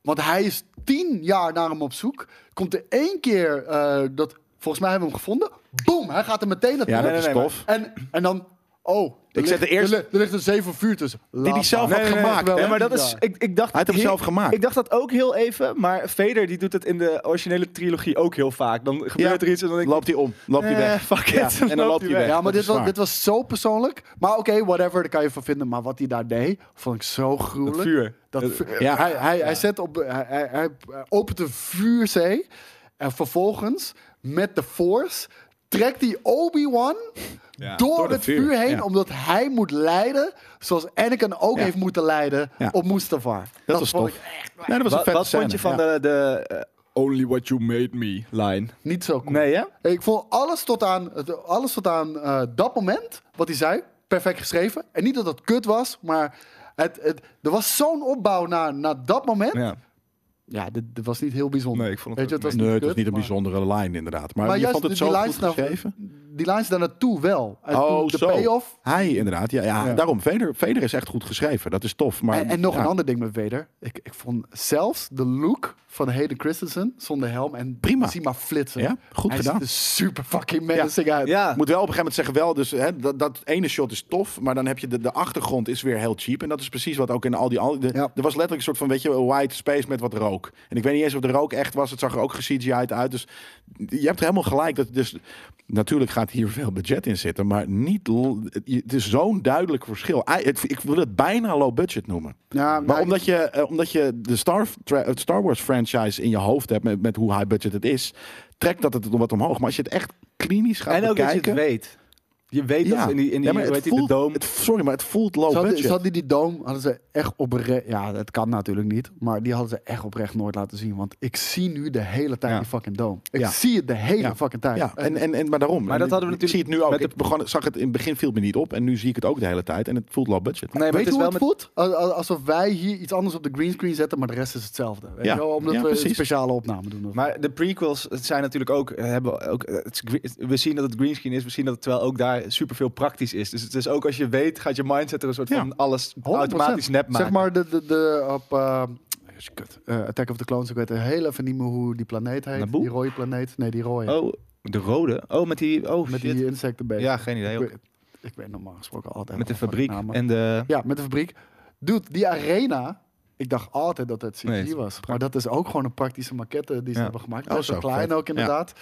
[SPEAKER 4] Want hij is tien jaar naar hem op zoek. Komt er één keer eh, dat... Volgens mij hebben we hem gevonden. Boom, hij gaat er meteen naartoe.
[SPEAKER 2] ja, dat
[SPEAKER 3] nee,
[SPEAKER 2] is
[SPEAKER 3] nee,
[SPEAKER 2] tof.
[SPEAKER 4] En, en dan... Oh, er
[SPEAKER 2] zet de eerste-
[SPEAKER 4] Er, li- er ligt een zeven vuur tussen.
[SPEAKER 2] Die hij zelf had gemaakt.
[SPEAKER 4] wel,
[SPEAKER 3] Ja,
[SPEAKER 4] hè?
[SPEAKER 3] maar dat is,
[SPEAKER 4] Ja.
[SPEAKER 3] ik, ik dacht,
[SPEAKER 2] Hij had hem
[SPEAKER 3] heel-
[SPEAKER 2] zelf gemaakt.
[SPEAKER 3] Ik dacht dat ook heel even, maar Vader die doet het in de originele trilogie ook heel vaak. Dan gebeurt er iets en dan denk ik,
[SPEAKER 2] Loopt hij om, loopt hij
[SPEAKER 3] eh,
[SPEAKER 2] weg.
[SPEAKER 3] fuck it.
[SPEAKER 2] Ja, en dan loopt hij weg.
[SPEAKER 4] Ja,
[SPEAKER 2] dat
[SPEAKER 4] maar dit
[SPEAKER 2] is
[SPEAKER 4] was,
[SPEAKER 2] waar.
[SPEAKER 4] dit was zo persoonlijk. Maar oké, whatever, daar kan je van vinden. Maar wat hij daar deed, vond ik zo gruwelijk.
[SPEAKER 3] Het vuur.
[SPEAKER 4] Dat
[SPEAKER 3] Het-
[SPEAKER 4] vuur.
[SPEAKER 2] ja.
[SPEAKER 4] Hij, hij, hij, zet op, hij, hij, hij opent een vuurzee. En vervolgens, met de force, trekt hij Obi-Wan door,
[SPEAKER 2] door het
[SPEAKER 4] het vuur,
[SPEAKER 2] vuur,
[SPEAKER 4] heen.
[SPEAKER 2] ja.
[SPEAKER 4] Omdat hij moet leiden zoals Anakin ook
[SPEAKER 2] Ja.
[SPEAKER 4] heeft moeten leiden
[SPEAKER 2] Ja.
[SPEAKER 4] op Mustafar. Dat,
[SPEAKER 2] was
[SPEAKER 4] vond
[SPEAKER 2] tof.
[SPEAKER 4] ik
[SPEAKER 2] Nee, dat was een
[SPEAKER 3] Wat,
[SPEAKER 2] vette
[SPEAKER 3] wat vond je van
[SPEAKER 2] scène,
[SPEAKER 3] de, de eh, Only What You Made Me line?
[SPEAKER 4] niet zo cool.
[SPEAKER 3] Nee, hè?
[SPEAKER 4] Ik vond alles tot aan, het- alles tot aan eh, dat moment, wat hij zei, perfect geschreven. En niet dat dat kut was, maar het, het, er was zo'n opbouw naar, naar dat moment. Ja,
[SPEAKER 3] Ja.
[SPEAKER 4] dit, dit was niet heel bijzonder.
[SPEAKER 3] Nee, ik vond het
[SPEAKER 4] Weet je,
[SPEAKER 3] ook
[SPEAKER 4] was
[SPEAKER 2] ja. Nee, het
[SPEAKER 4] kut,
[SPEAKER 2] was niet een
[SPEAKER 4] maar-
[SPEAKER 2] bijzondere line inderdaad. Maar,
[SPEAKER 4] Maar
[SPEAKER 2] je
[SPEAKER 4] juist
[SPEAKER 2] vond het zo
[SPEAKER 4] die
[SPEAKER 2] goed
[SPEAKER 4] lines naar-
[SPEAKER 2] geschreven.
[SPEAKER 4] Die lines daar naartoe wel. En
[SPEAKER 2] Oh,
[SPEAKER 4] toen de
[SPEAKER 2] zo.
[SPEAKER 4] payoff.
[SPEAKER 2] Hij inderdaad, ja, ja,
[SPEAKER 4] Ja.
[SPEAKER 2] daarom. Vader, Vader is echt goed geschreven, dat is tof. Maar,
[SPEAKER 4] en, en nog
[SPEAKER 2] ja.
[SPEAKER 4] een ander ding met Vader. Ik, ik vond zelfs de look van Hayden Christensen zonder helm en
[SPEAKER 2] Prima.
[SPEAKER 4] zie maar flitsen.
[SPEAKER 2] Ja, goed
[SPEAKER 4] Hij
[SPEAKER 2] gedaan.
[SPEAKER 4] ziet er super fucking menacing uit.
[SPEAKER 3] Ja.
[SPEAKER 2] Moet wel op een gegeven moment zeggen, wel, dus hè, dat, dat ene shot is tof, maar dan heb je de, de achtergrond is weer heel cheap. En dat is precies wat ook in al die. Al, de-
[SPEAKER 4] Ja.
[SPEAKER 2] Er was letterlijk een soort van, weet je, een white space met wat rook. En ik weet niet eens of de rook echt was, het zag er ook gecgi'd uit. Dus je hebt helemaal gelijk. Dat, dus, natuurlijk gaat hier veel budget in zitten, maar niet. l- Het is zo'n duidelijk verschil. I- het- ik wil het bijna low budget noemen.
[SPEAKER 4] Ja, nou,
[SPEAKER 2] Maar
[SPEAKER 4] ik-
[SPEAKER 2] omdat je, eh, omdat je de Star, tra- het Star Wars franchise in je hoofd hebt met, met hoe high budget het is, trekt dat het wat omhoog. Maar als je het echt klinisch gaat
[SPEAKER 3] En ook dat je
[SPEAKER 2] bekijken.
[SPEAKER 3] het weet. Je weet dat in die, in
[SPEAKER 2] maar
[SPEAKER 3] die, hoe
[SPEAKER 2] het
[SPEAKER 3] heet die,
[SPEAKER 2] voelt,
[SPEAKER 3] de doom.
[SPEAKER 2] het- sorry, maar het voelt
[SPEAKER 3] Oh,
[SPEAKER 2] low
[SPEAKER 4] Ze hadden,
[SPEAKER 2] budget.
[SPEAKER 4] ze hadden die doom, hadden ze echt oprecht... Ja, dat kan natuurlijk niet. Maar die hadden ze echt oprecht nooit laten zien. Want ik zie nu de hele tijd
[SPEAKER 2] Ja.
[SPEAKER 4] die fucking doom. Ik
[SPEAKER 2] Ja.
[SPEAKER 4] zie het de hele
[SPEAKER 2] Ja.
[SPEAKER 4] fucking tijd.
[SPEAKER 2] Ja, en, en, en, maar daarom.
[SPEAKER 3] Maar dat hadden we
[SPEAKER 2] Ik zie het nu ook.
[SPEAKER 3] met de-
[SPEAKER 2] Ik begon, zag het in het begin viel het me niet op. En nu zie ik het ook de hele tijd. En het voelt low budget.
[SPEAKER 3] nee, maar
[SPEAKER 4] Weet
[SPEAKER 3] het
[SPEAKER 4] je
[SPEAKER 3] is
[SPEAKER 4] hoe
[SPEAKER 3] wel
[SPEAKER 4] het
[SPEAKER 3] met
[SPEAKER 4] voelt? Al- al- Alsof wij hier iets anders op de greenscreen zetten, maar de rest is hetzelfde. Weet
[SPEAKER 2] Ja.
[SPEAKER 4] je wel? Omdat
[SPEAKER 2] Ja,
[SPEAKER 4] we een
[SPEAKER 2] precies.
[SPEAKER 4] speciale opname doen. of-
[SPEAKER 3] Maar de prequels het zijn natuurlijk ook, eh, hebben ook eh, het is gre- het- we zien dat het greenscreen is, we zien dat het terwijl ook daar superveel praktisch is. Dus het is ook als je weet, gaat je mindset er een soort
[SPEAKER 2] Ja.
[SPEAKER 3] van alles
[SPEAKER 4] 100%.
[SPEAKER 3] automatisch nep maken.
[SPEAKER 4] Zeg maar de, de, de op eh, is kut. Eh, Attack of the Clones. Ik weet heel even niet meer hoe die planeet heet.
[SPEAKER 3] Naboo?
[SPEAKER 4] Die rode planeet. Nee, die rode.
[SPEAKER 3] Oh, de rode. Oh, met die oh
[SPEAKER 4] met
[SPEAKER 3] shit.
[SPEAKER 4] die insectenbeest.
[SPEAKER 3] Ja, geen idee.
[SPEAKER 4] ik,
[SPEAKER 3] ook.
[SPEAKER 4] weet, ik weet normaal gesproken altijd.
[SPEAKER 3] Met de
[SPEAKER 4] wel van die
[SPEAKER 3] fabriek
[SPEAKER 4] namen.
[SPEAKER 3] en de
[SPEAKER 4] Ja, met de fabriek. Dude, die arena. Ik dacht altijd dat het CG
[SPEAKER 3] Nee, het is
[SPEAKER 4] was. Maar dat is ook gewoon een praktische maquette die ze
[SPEAKER 3] Ja.
[SPEAKER 4] hebben gemaakt.
[SPEAKER 2] Oh,
[SPEAKER 4] Best wel
[SPEAKER 2] zo,
[SPEAKER 4] klein
[SPEAKER 2] vet.
[SPEAKER 4] ook inderdaad.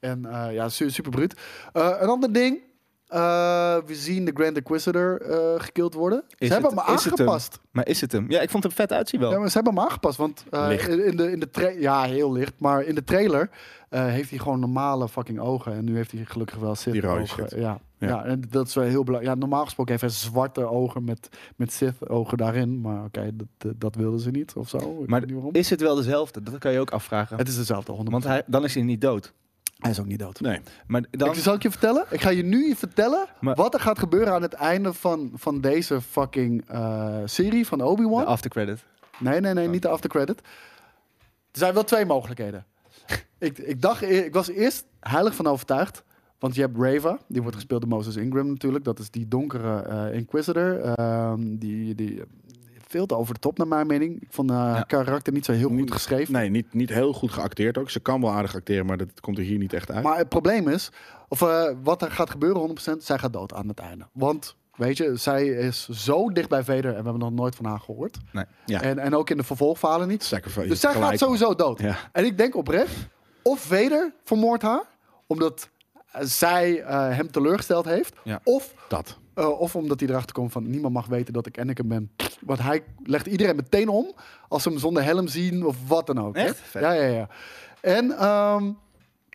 [SPEAKER 4] En eh, ja, su- super bruut. Eh, een ander ding. Eh, we zien de Grand Inquisitor eh gekild worden.
[SPEAKER 3] Is
[SPEAKER 4] ze hebben
[SPEAKER 3] het-
[SPEAKER 4] hem
[SPEAKER 3] is het hem?
[SPEAKER 4] aangepast.
[SPEAKER 3] Maar is het hem? Ja, ik vond het er vet uitzien wel.
[SPEAKER 4] Ja, maar ze hebben hem aangepast, want eh,
[SPEAKER 2] Licht.
[SPEAKER 4] in in de, in de tra- ja, heel licht, maar in de trailer eh, heeft hij gewoon normale fucking ogen en nu heeft hij gelukkig wel Sith
[SPEAKER 2] Die rode
[SPEAKER 4] ogen.
[SPEAKER 2] shit.
[SPEAKER 4] Ja. Ja.
[SPEAKER 2] Ja.
[SPEAKER 4] en dat is wel heel belangrijk. Ja, normaal gesproken heeft hij zwarte ogen met, met Sith ogen daarin, maar oké, dat, dat- dat wilden ze niet of zo. Ik
[SPEAKER 3] Maar
[SPEAKER 4] weet niet waarom.
[SPEAKER 3] Is het wel dezelfde? Dat kan je ook afvragen.
[SPEAKER 4] het is dezelfde hond,
[SPEAKER 3] Want hij, dan is hij niet dood.
[SPEAKER 4] hij is ook niet dood.
[SPEAKER 2] Nee.
[SPEAKER 3] Maar dan
[SPEAKER 4] Ik, zal ik je vertellen? Ik ga je nu vertellen
[SPEAKER 3] Maar-
[SPEAKER 4] wat er gaat gebeuren aan het einde van, van deze fucking eh, serie van Obi-Wan.
[SPEAKER 3] de aftercredit.
[SPEAKER 4] Nee, nee,
[SPEAKER 2] Oh.
[SPEAKER 4] nee, niet de aftercredit. Er zijn wel twee mogelijkheden. ik, ik, dacht, e- ik was eerst heilig van overtuigd. Want je hebt Reva, die wordt gespeeld door Moses Ingram natuurlijk. Dat is die donkere eh, Inquisitor. Ehm, die, die veel te over de top naar mijn mening. Ik vond haar
[SPEAKER 3] Ja.
[SPEAKER 4] karakter niet zo heel goed
[SPEAKER 2] Niet-
[SPEAKER 4] geschreven.
[SPEAKER 2] Nee, niet, niet heel goed geacteerd ook. Ze kan wel aardig acteren, maar dat komt er hier niet echt uit.
[SPEAKER 4] Maar het probleem is, of eh, wat er gaat gebeuren 100%, zij gaat dood aan het einde. Want, weet je, zij is zo dicht bij Vader en we hebben nog nooit van haar gehoord.
[SPEAKER 3] Nee.
[SPEAKER 2] Ja.
[SPEAKER 4] En, en ook in de vervolgfalen niet.
[SPEAKER 2] Sacrifice.
[SPEAKER 4] Dus zij
[SPEAKER 2] gelijk.
[SPEAKER 4] gaat sowieso dood.
[SPEAKER 2] Ja.
[SPEAKER 4] En ik denk oprecht, of Vader vermoordt haar, omdat eh, zij eh, hem teleurgesteld heeft.
[SPEAKER 3] Ja.
[SPEAKER 4] Of,
[SPEAKER 2] Dat.
[SPEAKER 4] eh, of omdat hij erachter komt van niemand mag weten dat ik Anakin ben. Want hij legt iedereen meteen om als ze hem zonder helm zien of wat dan ook. hè?
[SPEAKER 3] Echt? Vet.
[SPEAKER 4] Ja, ja, ja. En ehm,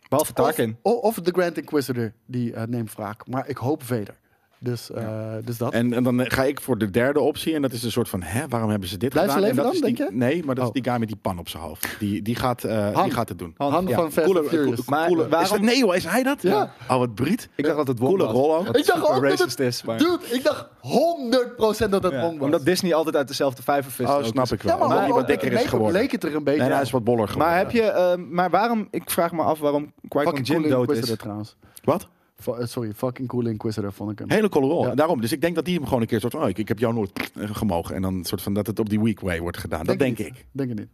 [SPEAKER 3] Behalve Tarkin.
[SPEAKER 4] of, of de Grand Inquisitor, die eh, neemt wraak. Maar ik hoop Vader. Dus, eh, dus dat.
[SPEAKER 2] En, en dan eh, ga ik voor de derde optie. En dat is een soort van, hè, waarom hebben ze dit
[SPEAKER 4] Blijft ze
[SPEAKER 2] gedaan?
[SPEAKER 4] leven
[SPEAKER 2] en dat
[SPEAKER 4] dan,
[SPEAKER 2] is die,
[SPEAKER 4] denk je?
[SPEAKER 2] Nee, maar dat
[SPEAKER 4] Oh.
[SPEAKER 2] is die guy met die pan op zijn hoofd. Die, die, gaat, eh,
[SPEAKER 4] Han.
[SPEAKER 2] die gaat het doen.
[SPEAKER 4] Han,
[SPEAKER 3] Han, ja.
[SPEAKER 4] van Fast and
[SPEAKER 2] Cooler-
[SPEAKER 4] Furious.
[SPEAKER 2] coo-
[SPEAKER 3] Maar
[SPEAKER 2] cooler-
[SPEAKER 3] waarom-
[SPEAKER 2] is dat, nee hoor, is hij dat?
[SPEAKER 4] Ja.
[SPEAKER 2] Oh, wat briet.
[SPEAKER 3] Ik dacht dat het Wong
[SPEAKER 2] Coole
[SPEAKER 3] was.
[SPEAKER 2] rollo.
[SPEAKER 3] Dat
[SPEAKER 4] Ik dacht
[SPEAKER 3] super
[SPEAKER 4] ook dat
[SPEAKER 3] racist
[SPEAKER 4] het-
[SPEAKER 3] is, maar...
[SPEAKER 4] Dude, ik dacht 100% dat het
[SPEAKER 3] Ja,
[SPEAKER 4] Wong was.
[SPEAKER 3] Omdat Disney altijd uit dezelfde vijver vist.
[SPEAKER 2] Oh,
[SPEAKER 3] ook.
[SPEAKER 2] snap ik wel.
[SPEAKER 4] Ja, maar,
[SPEAKER 2] Omdat
[SPEAKER 4] maar
[SPEAKER 2] hij wat dikker is geworden.
[SPEAKER 4] leek het er een beetje
[SPEAKER 2] Nee,
[SPEAKER 4] aan.
[SPEAKER 2] hij is wat boller geworden.
[SPEAKER 3] Maar heb je... ehm, maar waarom... Ik vraag me af waarom Qui-Gon
[SPEAKER 4] Fucking
[SPEAKER 3] Jinn
[SPEAKER 4] cool
[SPEAKER 3] dood
[SPEAKER 4] Inquisitor
[SPEAKER 3] is.
[SPEAKER 4] trouwens.
[SPEAKER 2] Wat?
[SPEAKER 4] Fu- eh, sorry, fucking cool Inquisitor vond ik hem.
[SPEAKER 2] Hele coole rol.
[SPEAKER 4] Ja.
[SPEAKER 2] Daarom. Dus ik denk dat die hem gewoon een keer soort van, oh, ik, ik heb jou nooit eh, gemogen. En dan soort van dat het op die weak way wordt gedaan. dat denk
[SPEAKER 4] het
[SPEAKER 2] ik.
[SPEAKER 4] niet. Denk het niet.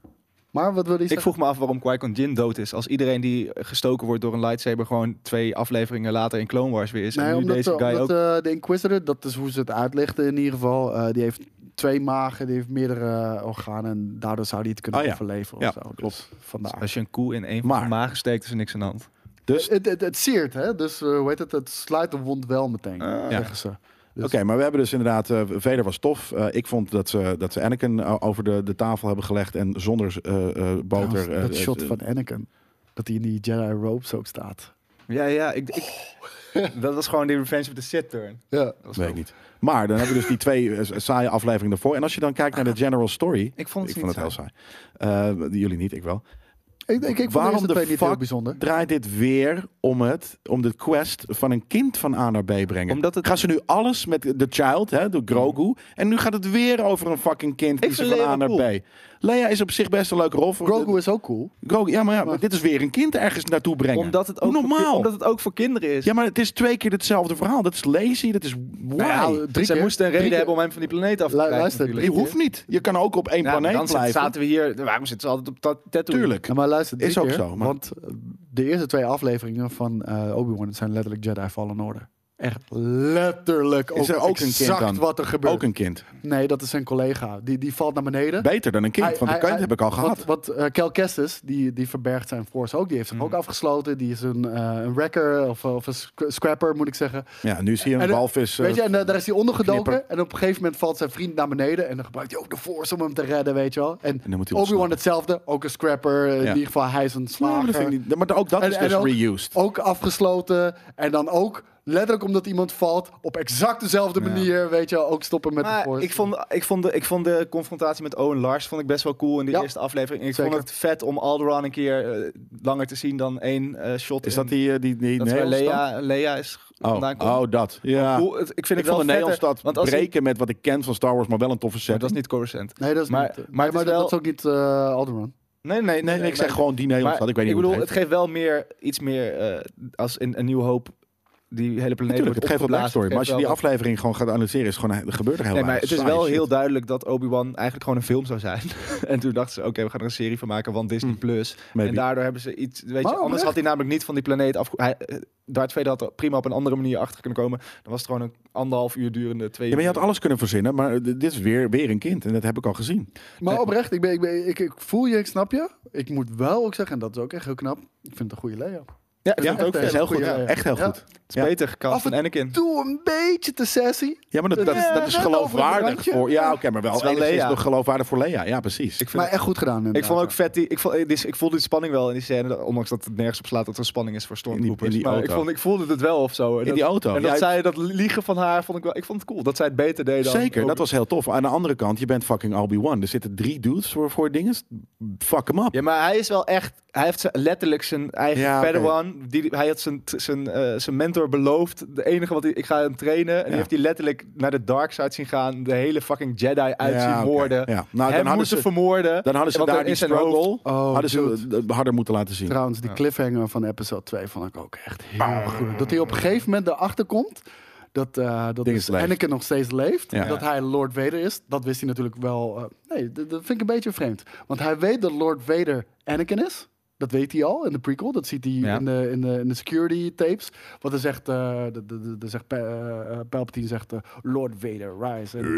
[SPEAKER 4] Maar wat wil je
[SPEAKER 3] Ik
[SPEAKER 4] zeggen?
[SPEAKER 3] vroeg me af waarom Qui-Gon Jinn dood is. Als iedereen die gestoken wordt door een lightsaber... gewoon twee afleveringen later in Clone Wars weer is.
[SPEAKER 4] Nee,
[SPEAKER 3] en nu
[SPEAKER 4] omdat,
[SPEAKER 3] deze guy
[SPEAKER 4] omdat,
[SPEAKER 3] ook...
[SPEAKER 4] eh, de Inquisitor, dat is hoe ze het uitlichten in ieder geval. eh, die heeft twee magen, die heeft meerdere eh, organen. En daardoor zou die het kunnen
[SPEAKER 2] Oh ja.
[SPEAKER 4] overleven
[SPEAKER 2] Ja,
[SPEAKER 4] of zo.
[SPEAKER 2] klopt.
[SPEAKER 4] Dus vandaar.
[SPEAKER 3] Nou,
[SPEAKER 4] Eh,
[SPEAKER 3] Als je een koe in één van
[SPEAKER 2] Maar-
[SPEAKER 3] zijn magen steekt, is er niks aan de hand.
[SPEAKER 2] Dus
[SPEAKER 4] Het, het, het siert, hè? Dus eh, hoe heet het? Het sluit de wond wel meteen,
[SPEAKER 3] Ah.
[SPEAKER 4] zeggen ze. Dus-
[SPEAKER 2] Oké, maar we hebben dus inderdaad, eh Vader was tof. Eh, ik vond dat ze, dat ze Anakin eh, over de, de tafel hebben gelegd en zonder eh, eh, boter. eh,
[SPEAKER 4] dat
[SPEAKER 2] eh,
[SPEAKER 4] shot
[SPEAKER 2] eh,
[SPEAKER 4] van Anakin. Dat hij in die Jedi robes ook staat.
[SPEAKER 3] Ja, ja. Ik, ik, dat was gewoon die Revenge of the Sith turn.
[SPEAKER 4] Ja.
[SPEAKER 3] Dat was
[SPEAKER 2] eh, weet ik
[SPEAKER 3] dope.
[SPEAKER 2] niet. Maar dan hebben we dus die twee eh, saaie afleveringen ervoor. En als je dan kijkt naar de general story,
[SPEAKER 3] Ik vond
[SPEAKER 2] ik
[SPEAKER 3] het
[SPEAKER 2] vond het heel
[SPEAKER 3] niet
[SPEAKER 2] saai. Eh, jullie niet, ik wel.
[SPEAKER 4] Ik, ik, ik
[SPEAKER 2] Waarom
[SPEAKER 4] vond de
[SPEAKER 2] de
[SPEAKER 4] twee niet heel
[SPEAKER 2] fuck
[SPEAKER 4] bijzonder.
[SPEAKER 2] Draait dit weer om het, om de quest van een kind van A naar B brengen?
[SPEAKER 3] Omdat het-
[SPEAKER 2] Gaan ze nu alles met de child, hè, door Grogu, en nu gaat het weer over een fucking kind die
[SPEAKER 3] Ik
[SPEAKER 2] ze
[SPEAKER 3] vind
[SPEAKER 2] van A
[SPEAKER 3] Lea
[SPEAKER 2] naar
[SPEAKER 3] cool.
[SPEAKER 2] B. Lea is op zich best een leuke rol. voor-
[SPEAKER 4] Grogu is ook cool.
[SPEAKER 2] Grogu, ja, maar, ja, maar dit is weer een kind ergens naartoe brengen.
[SPEAKER 3] Omdat het
[SPEAKER 2] Hoe
[SPEAKER 3] ook, Voor,
[SPEAKER 2] normaal.
[SPEAKER 3] omdat het ook voor kinderen is.
[SPEAKER 2] Ja, maar het is twee keer hetzelfde verhaal. Dat is lazy, dat is why.
[SPEAKER 4] Nou ja, drie
[SPEAKER 3] dus Zij moesten
[SPEAKER 4] keer.
[SPEAKER 3] een
[SPEAKER 4] Drie
[SPEAKER 3] reden
[SPEAKER 4] keer.
[SPEAKER 3] hebben om hem van die planeet af te
[SPEAKER 4] Lu-
[SPEAKER 3] krijgen.
[SPEAKER 4] luister,
[SPEAKER 2] je
[SPEAKER 3] natuurlijk.
[SPEAKER 2] hoeft niet. Je kan ook op één
[SPEAKER 3] Ja, maar
[SPEAKER 2] planeet
[SPEAKER 3] dan zitten-
[SPEAKER 2] blijven.
[SPEAKER 3] zaten we hier... Waarom zitten ze altijd op dat tattoo?
[SPEAKER 2] Tuurlijk.
[SPEAKER 4] Ja, maar luister, drie
[SPEAKER 2] Is ook
[SPEAKER 4] keer,
[SPEAKER 2] zo, maar-
[SPEAKER 4] Want eh, de eerste twee afleveringen van eh, Obi-Wan zijn letterlijk Jedi Fallen Order. Echt letterlijk.
[SPEAKER 2] Is er ook een kind
[SPEAKER 4] exact
[SPEAKER 2] dan?
[SPEAKER 4] wat er gebeurt.
[SPEAKER 2] Ook een kind.
[SPEAKER 4] Nee, dat is zijn collega. Die, die valt naar beneden.
[SPEAKER 2] Beter dan een kind,
[SPEAKER 4] Hij-
[SPEAKER 2] want een
[SPEAKER 4] hij-
[SPEAKER 2] kind heb ik al
[SPEAKER 4] hij-
[SPEAKER 2] gehad.
[SPEAKER 4] Want, want eh, Cal Kestis, die, die verbergt zijn force ook. Die heeft hem
[SPEAKER 2] Hmm.
[SPEAKER 4] ook afgesloten. Die is een, eh, een wrecker of, of een sc- scrapper, moet ik zeggen.
[SPEAKER 2] Ja, nu zie je een
[SPEAKER 4] En, eh,
[SPEAKER 2] walvis. eh,
[SPEAKER 4] Weet je, en eh, daar is hij ondergedoken.
[SPEAKER 2] knipper.
[SPEAKER 4] En op een gegeven moment valt zijn vriend naar beneden. En dan gebruikt hij ook de force om hem te redden, weet je wel. En,
[SPEAKER 2] En dan moet hij
[SPEAKER 4] Obi-Wan
[SPEAKER 2] ontsnappen.
[SPEAKER 4] hetzelfde. Ook een scrapper. eh, In
[SPEAKER 2] Ja.
[SPEAKER 4] ieder geval, hij is een
[SPEAKER 2] Ja, maar, dat dus
[SPEAKER 4] slager.
[SPEAKER 2] vind ik niet- maar ook dat
[SPEAKER 4] En-
[SPEAKER 2] is
[SPEAKER 4] en
[SPEAKER 2] dus
[SPEAKER 4] ook-
[SPEAKER 2] reused.
[SPEAKER 4] ook afgesloten. En dan ook Letterlijk omdat iemand valt op exact dezelfde
[SPEAKER 2] Ja.
[SPEAKER 4] manier, weet je wel, ook stoppen met de
[SPEAKER 3] Maar
[SPEAKER 4] force.
[SPEAKER 3] ik vond, ik, vond de, ik vond de confrontatie met Owen Lars vond ik best wel cool in de
[SPEAKER 4] Ja,
[SPEAKER 3] eerste aflevering. En ik
[SPEAKER 4] zeker.
[SPEAKER 3] vond het vet om Alderaan een keer eh, langer te zien dan één eh, shot.
[SPEAKER 2] Is
[SPEAKER 3] in-
[SPEAKER 2] dat die, eh, die, die
[SPEAKER 3] dat is waar
[SPEAKER 2] Nederlandstad?
[SPEAKER 3] Lea, Lea is
[SPEAKER 2] Oh,
[SPEAKER 3] vandaan komt.
[SPEAKER 2] oh, dat. Ja.
[SPEAKER 3] Hoe- het- ik
[SPEAKER 2] Ik
[SPEAKER 3] vind het wel
[SPEAKER 2] vond de
[SPEAKER 3] vetter,
[SPEAKER 2] Nederlandstad
[SPEAKER 3] want als
[SPEAKER 2] breken met wat ik ken van Star Wars, maar wel een toffe
[SPEAKER 3] Maar
[SPEAKER 2] set.
[SPEAKER 3] dat is niet Coruscant.
[SPEAKER 4] Nee, dat is
[SPEAKER 3] Maar-
[SPEAKER 4] niet.
[SPEAKER 3] maar
[SPEAKER 4] Maar,
[SPEAKER 3] het
[SPEAKER 4] maar
[SPEAKER 3] is
[SPEAKER 4] dat-
[SPEAKER 3] wel-
[SPEAKER 4] dat is ook niet eh Alderman.
[SPEAKER 3] Nee, nee,
[SPEAKER 2] Nee, nee, ik zeg gewoon die Nederlandstad. Ik weet niet
[SPEAKER 3] ik
[SPEAKER 2] hoe
[SPEAKER 3] bedoel,
[SPEAKER 2] het
[SPEAKER 3] het geeft wel meer, iets meer eh, als in een nieuw hoop die hele planeet
[SPEAKER 2] Natuurlijk,
[SPEAKER 3] wordt
[SPEAKER 2] het geeft wat
[SPEAKER 3] opgeblazen.
[SPEAKER 2] backstory. Maar als je
[SPEAKER 3] Het
[SPEAKER 2] die
[SPEAKER 3] geeft wel-
[SPEAKER 2] aflevering gewoon gaat analyseren, is gewoon, er gebeurt er heel
[SPEAKER 3] Nee,
[SPEAKER 2] weinig.
[SPEAKER 3] maar het is
[SPEAKER 2] Saaie
[SPEAKER 3] wel
[SPEAKER 2] Oh, shit.
[SPEAKER 3] heel duidelijk dat Obi-Wan eigenlijk gewoon een film zou zijn. en toen dachten ze, oké, we gaan er een serie van maken, want Disney+. Plus.
[SPEAKER 2] Hm. Maybe. Oh,
[SPEAKER 3] En daardoor hebben ze iets, weet je,
[SPEAKER 4] Maar
[SPEAKER 3] anders
[SPEAKER 4] oprecht.
[SPEAKER 3] had hij namelijk niet van die planeet af. Hij, eh, Darth Vader had er prima op een andere manier achter kunnen komen. Dan was het gewoon een anderhalf uur durende twee
[SPEAKER 2] Ja, maar je had
[SPEAKER 3] uur.
[SPEAKER 2] alles kunnen verzinnen, maar eh, dit is weer, weer een kind. En dat heb ik al gezien.
[SPEAKER 4] Maar oprecht, ik, ben, ik, ben, ik, ik voel je, ik snap je. Ik moet wel ook zeggen, en dat is ook echt heel knap. Ik vind het een goede layout.
[SPEAKER 3] Ja,
[SPEAKER 2] Ja,
[SPEAKER 4] vind het
[SPEAKER 2] ook
[SPEAKER 4] echt
[SPEAKER 2] is heel
[SPEAKER 4] een
[SPEAKER 2] goed.
[SPEAKER 4] goeie, ja, ja.
[SPEAKER 2] Echt heel
[SPEAKER 4] Ja.
[SPEAKER 2] goed.
[SPEAKER 3] het is beter gekast
[SPEAKER 4] Af en
[SPEAKER 3] dan Anakin.
[SPEAKER 4] Doe een beetje te sassy.
[SPEAKER 2] Ja, maar dat, dat, is- dat is
[SPEAKER 4] Ja, over het
[SPEAKER 2] geloofwaardig
[SPEAKER 4] randje.
[SPEAKER 2] voor... Ja, oké, maar
[SPEAKER 3] Het
[SPEAKER 2] wel
[SPEAKER 3] is wel
[SPEAKER 2] enigszins
[SPEAKER 3] Lea.
[SPEAKER 2] nog geloofwaardig voor Lea. Ja, precies.
[SPEAKER 3] Ik vind
[SPEAKER 4] Maar echt goed gedaan
[SPEAKER 3] Ik
[SPEAKER 4] inderdaad,
[SPEAKER 3] vond ook
[SPEAKER 4] ja.
[SPEAKER 3] vet die. Ik, vond, eh, die- ik voelde die spanning wel in die scène. dat- Ondanks dat het nergens op slaat dat er spanning is voor
[SPEAKER 2] In
[SPEAKER 3] stormtroopers.
[SPEAKER 2] die- in die
[SPEAKER 3] maar ik,
[SPEAKER 2] auto.
[SPEAKER 3] vond, ik voelde het wel of zo. En
[SPEAKER 2] in die
[SPEAKER 3] dat,
[SPEAKER 2] auto.
[SPEAKER 3] en dat
[SPEAKER 2] Ja,
[SPEAKER 3] zij dat liegen van haar vond ik wel. Ik vond het cool dat zij het beter deed dan.
[SPEAKER 2] Zeker,
[SPEAKER 3] ook-
[SPEAKER 2] dat was heel tof. Aan de andere kant, je bent fucking Obi-Wan. Er zitten drie dudes voor, voor dingen. Fuck hem up.
[SPEAKER 3] Ja, maar hij is wel echt. Hij heeft zijn- letterlijk zijn eigen
[SPEAKER 2] Ja, oké.
[SPEAKER 3] Padawan. Die, hij had zijn, zijn, eh, zijn mentor beloofd. De enige wat hij. Ik ga hem trainen. En die
[SPEAKER 2] Ja.
[SPEAKER 3] heeft hij letterlijk naar de dark side zien gaan. De hele fucking Jedi uit
[SPEAKER 2] Ja,
[SPEAKER 3] zien
[SPEAKER 2] oké.
[SPEAKER 3] moorden.
[SPEAKER 2] Ja. Nou,
[SPEAKER 3] Hem
[SPEAKER 2] dan hadden,
[SPEAKER 3] moeten
[SPEAKER 2] ze,
[SPEAKER 3] vermoorden.
[SPEAKER 2] dan hadden ze
[SPEAKER 3] want
[SPEAKER 2] daar
[SPEAKER 3] er
[SPEAKER 2] die
[SPEAKER 3] is een hoop-
[SPEAKER 2] struggle
[SPEAKER 4] Oh,
[SPEAKER 2] hadden ze
[SPEAKER 4] dude.
[SPEAKER 2] eh, harder moeten laten zien.
[SPEAKER 4] Trouwens, die cliffhanger van episode 2 vond ik ook echt heel goed. Dat hij op een gegeven moment erachter komt dat, eh dat
[SPEAKER 2] Ding
[SPEAKER 4] dus
[SPEAKER 2] is leeft.
[SPEAKER 4] Anakin nog steeds leeft.
[SPEAKER 2] Ja.
[SPEAKER 4] Dat hij Lord Vader is. Dat wist hij natuurlijk wel. eh, nee, dat, dat vind ik een beetje vreemd. Want hij weet dat Lord Vader Anakin is. Dat weet hij al in de prequel. Dat ziet hij
[SPEAKER 3] Ja.
[SPEAKER 4] in, de, in, de, in de security tapes. Want dan zegt, eh, de, de, de, de zegt Pa- eh, eh, Palpatine zegt, eh, Lord Vader, rise. En-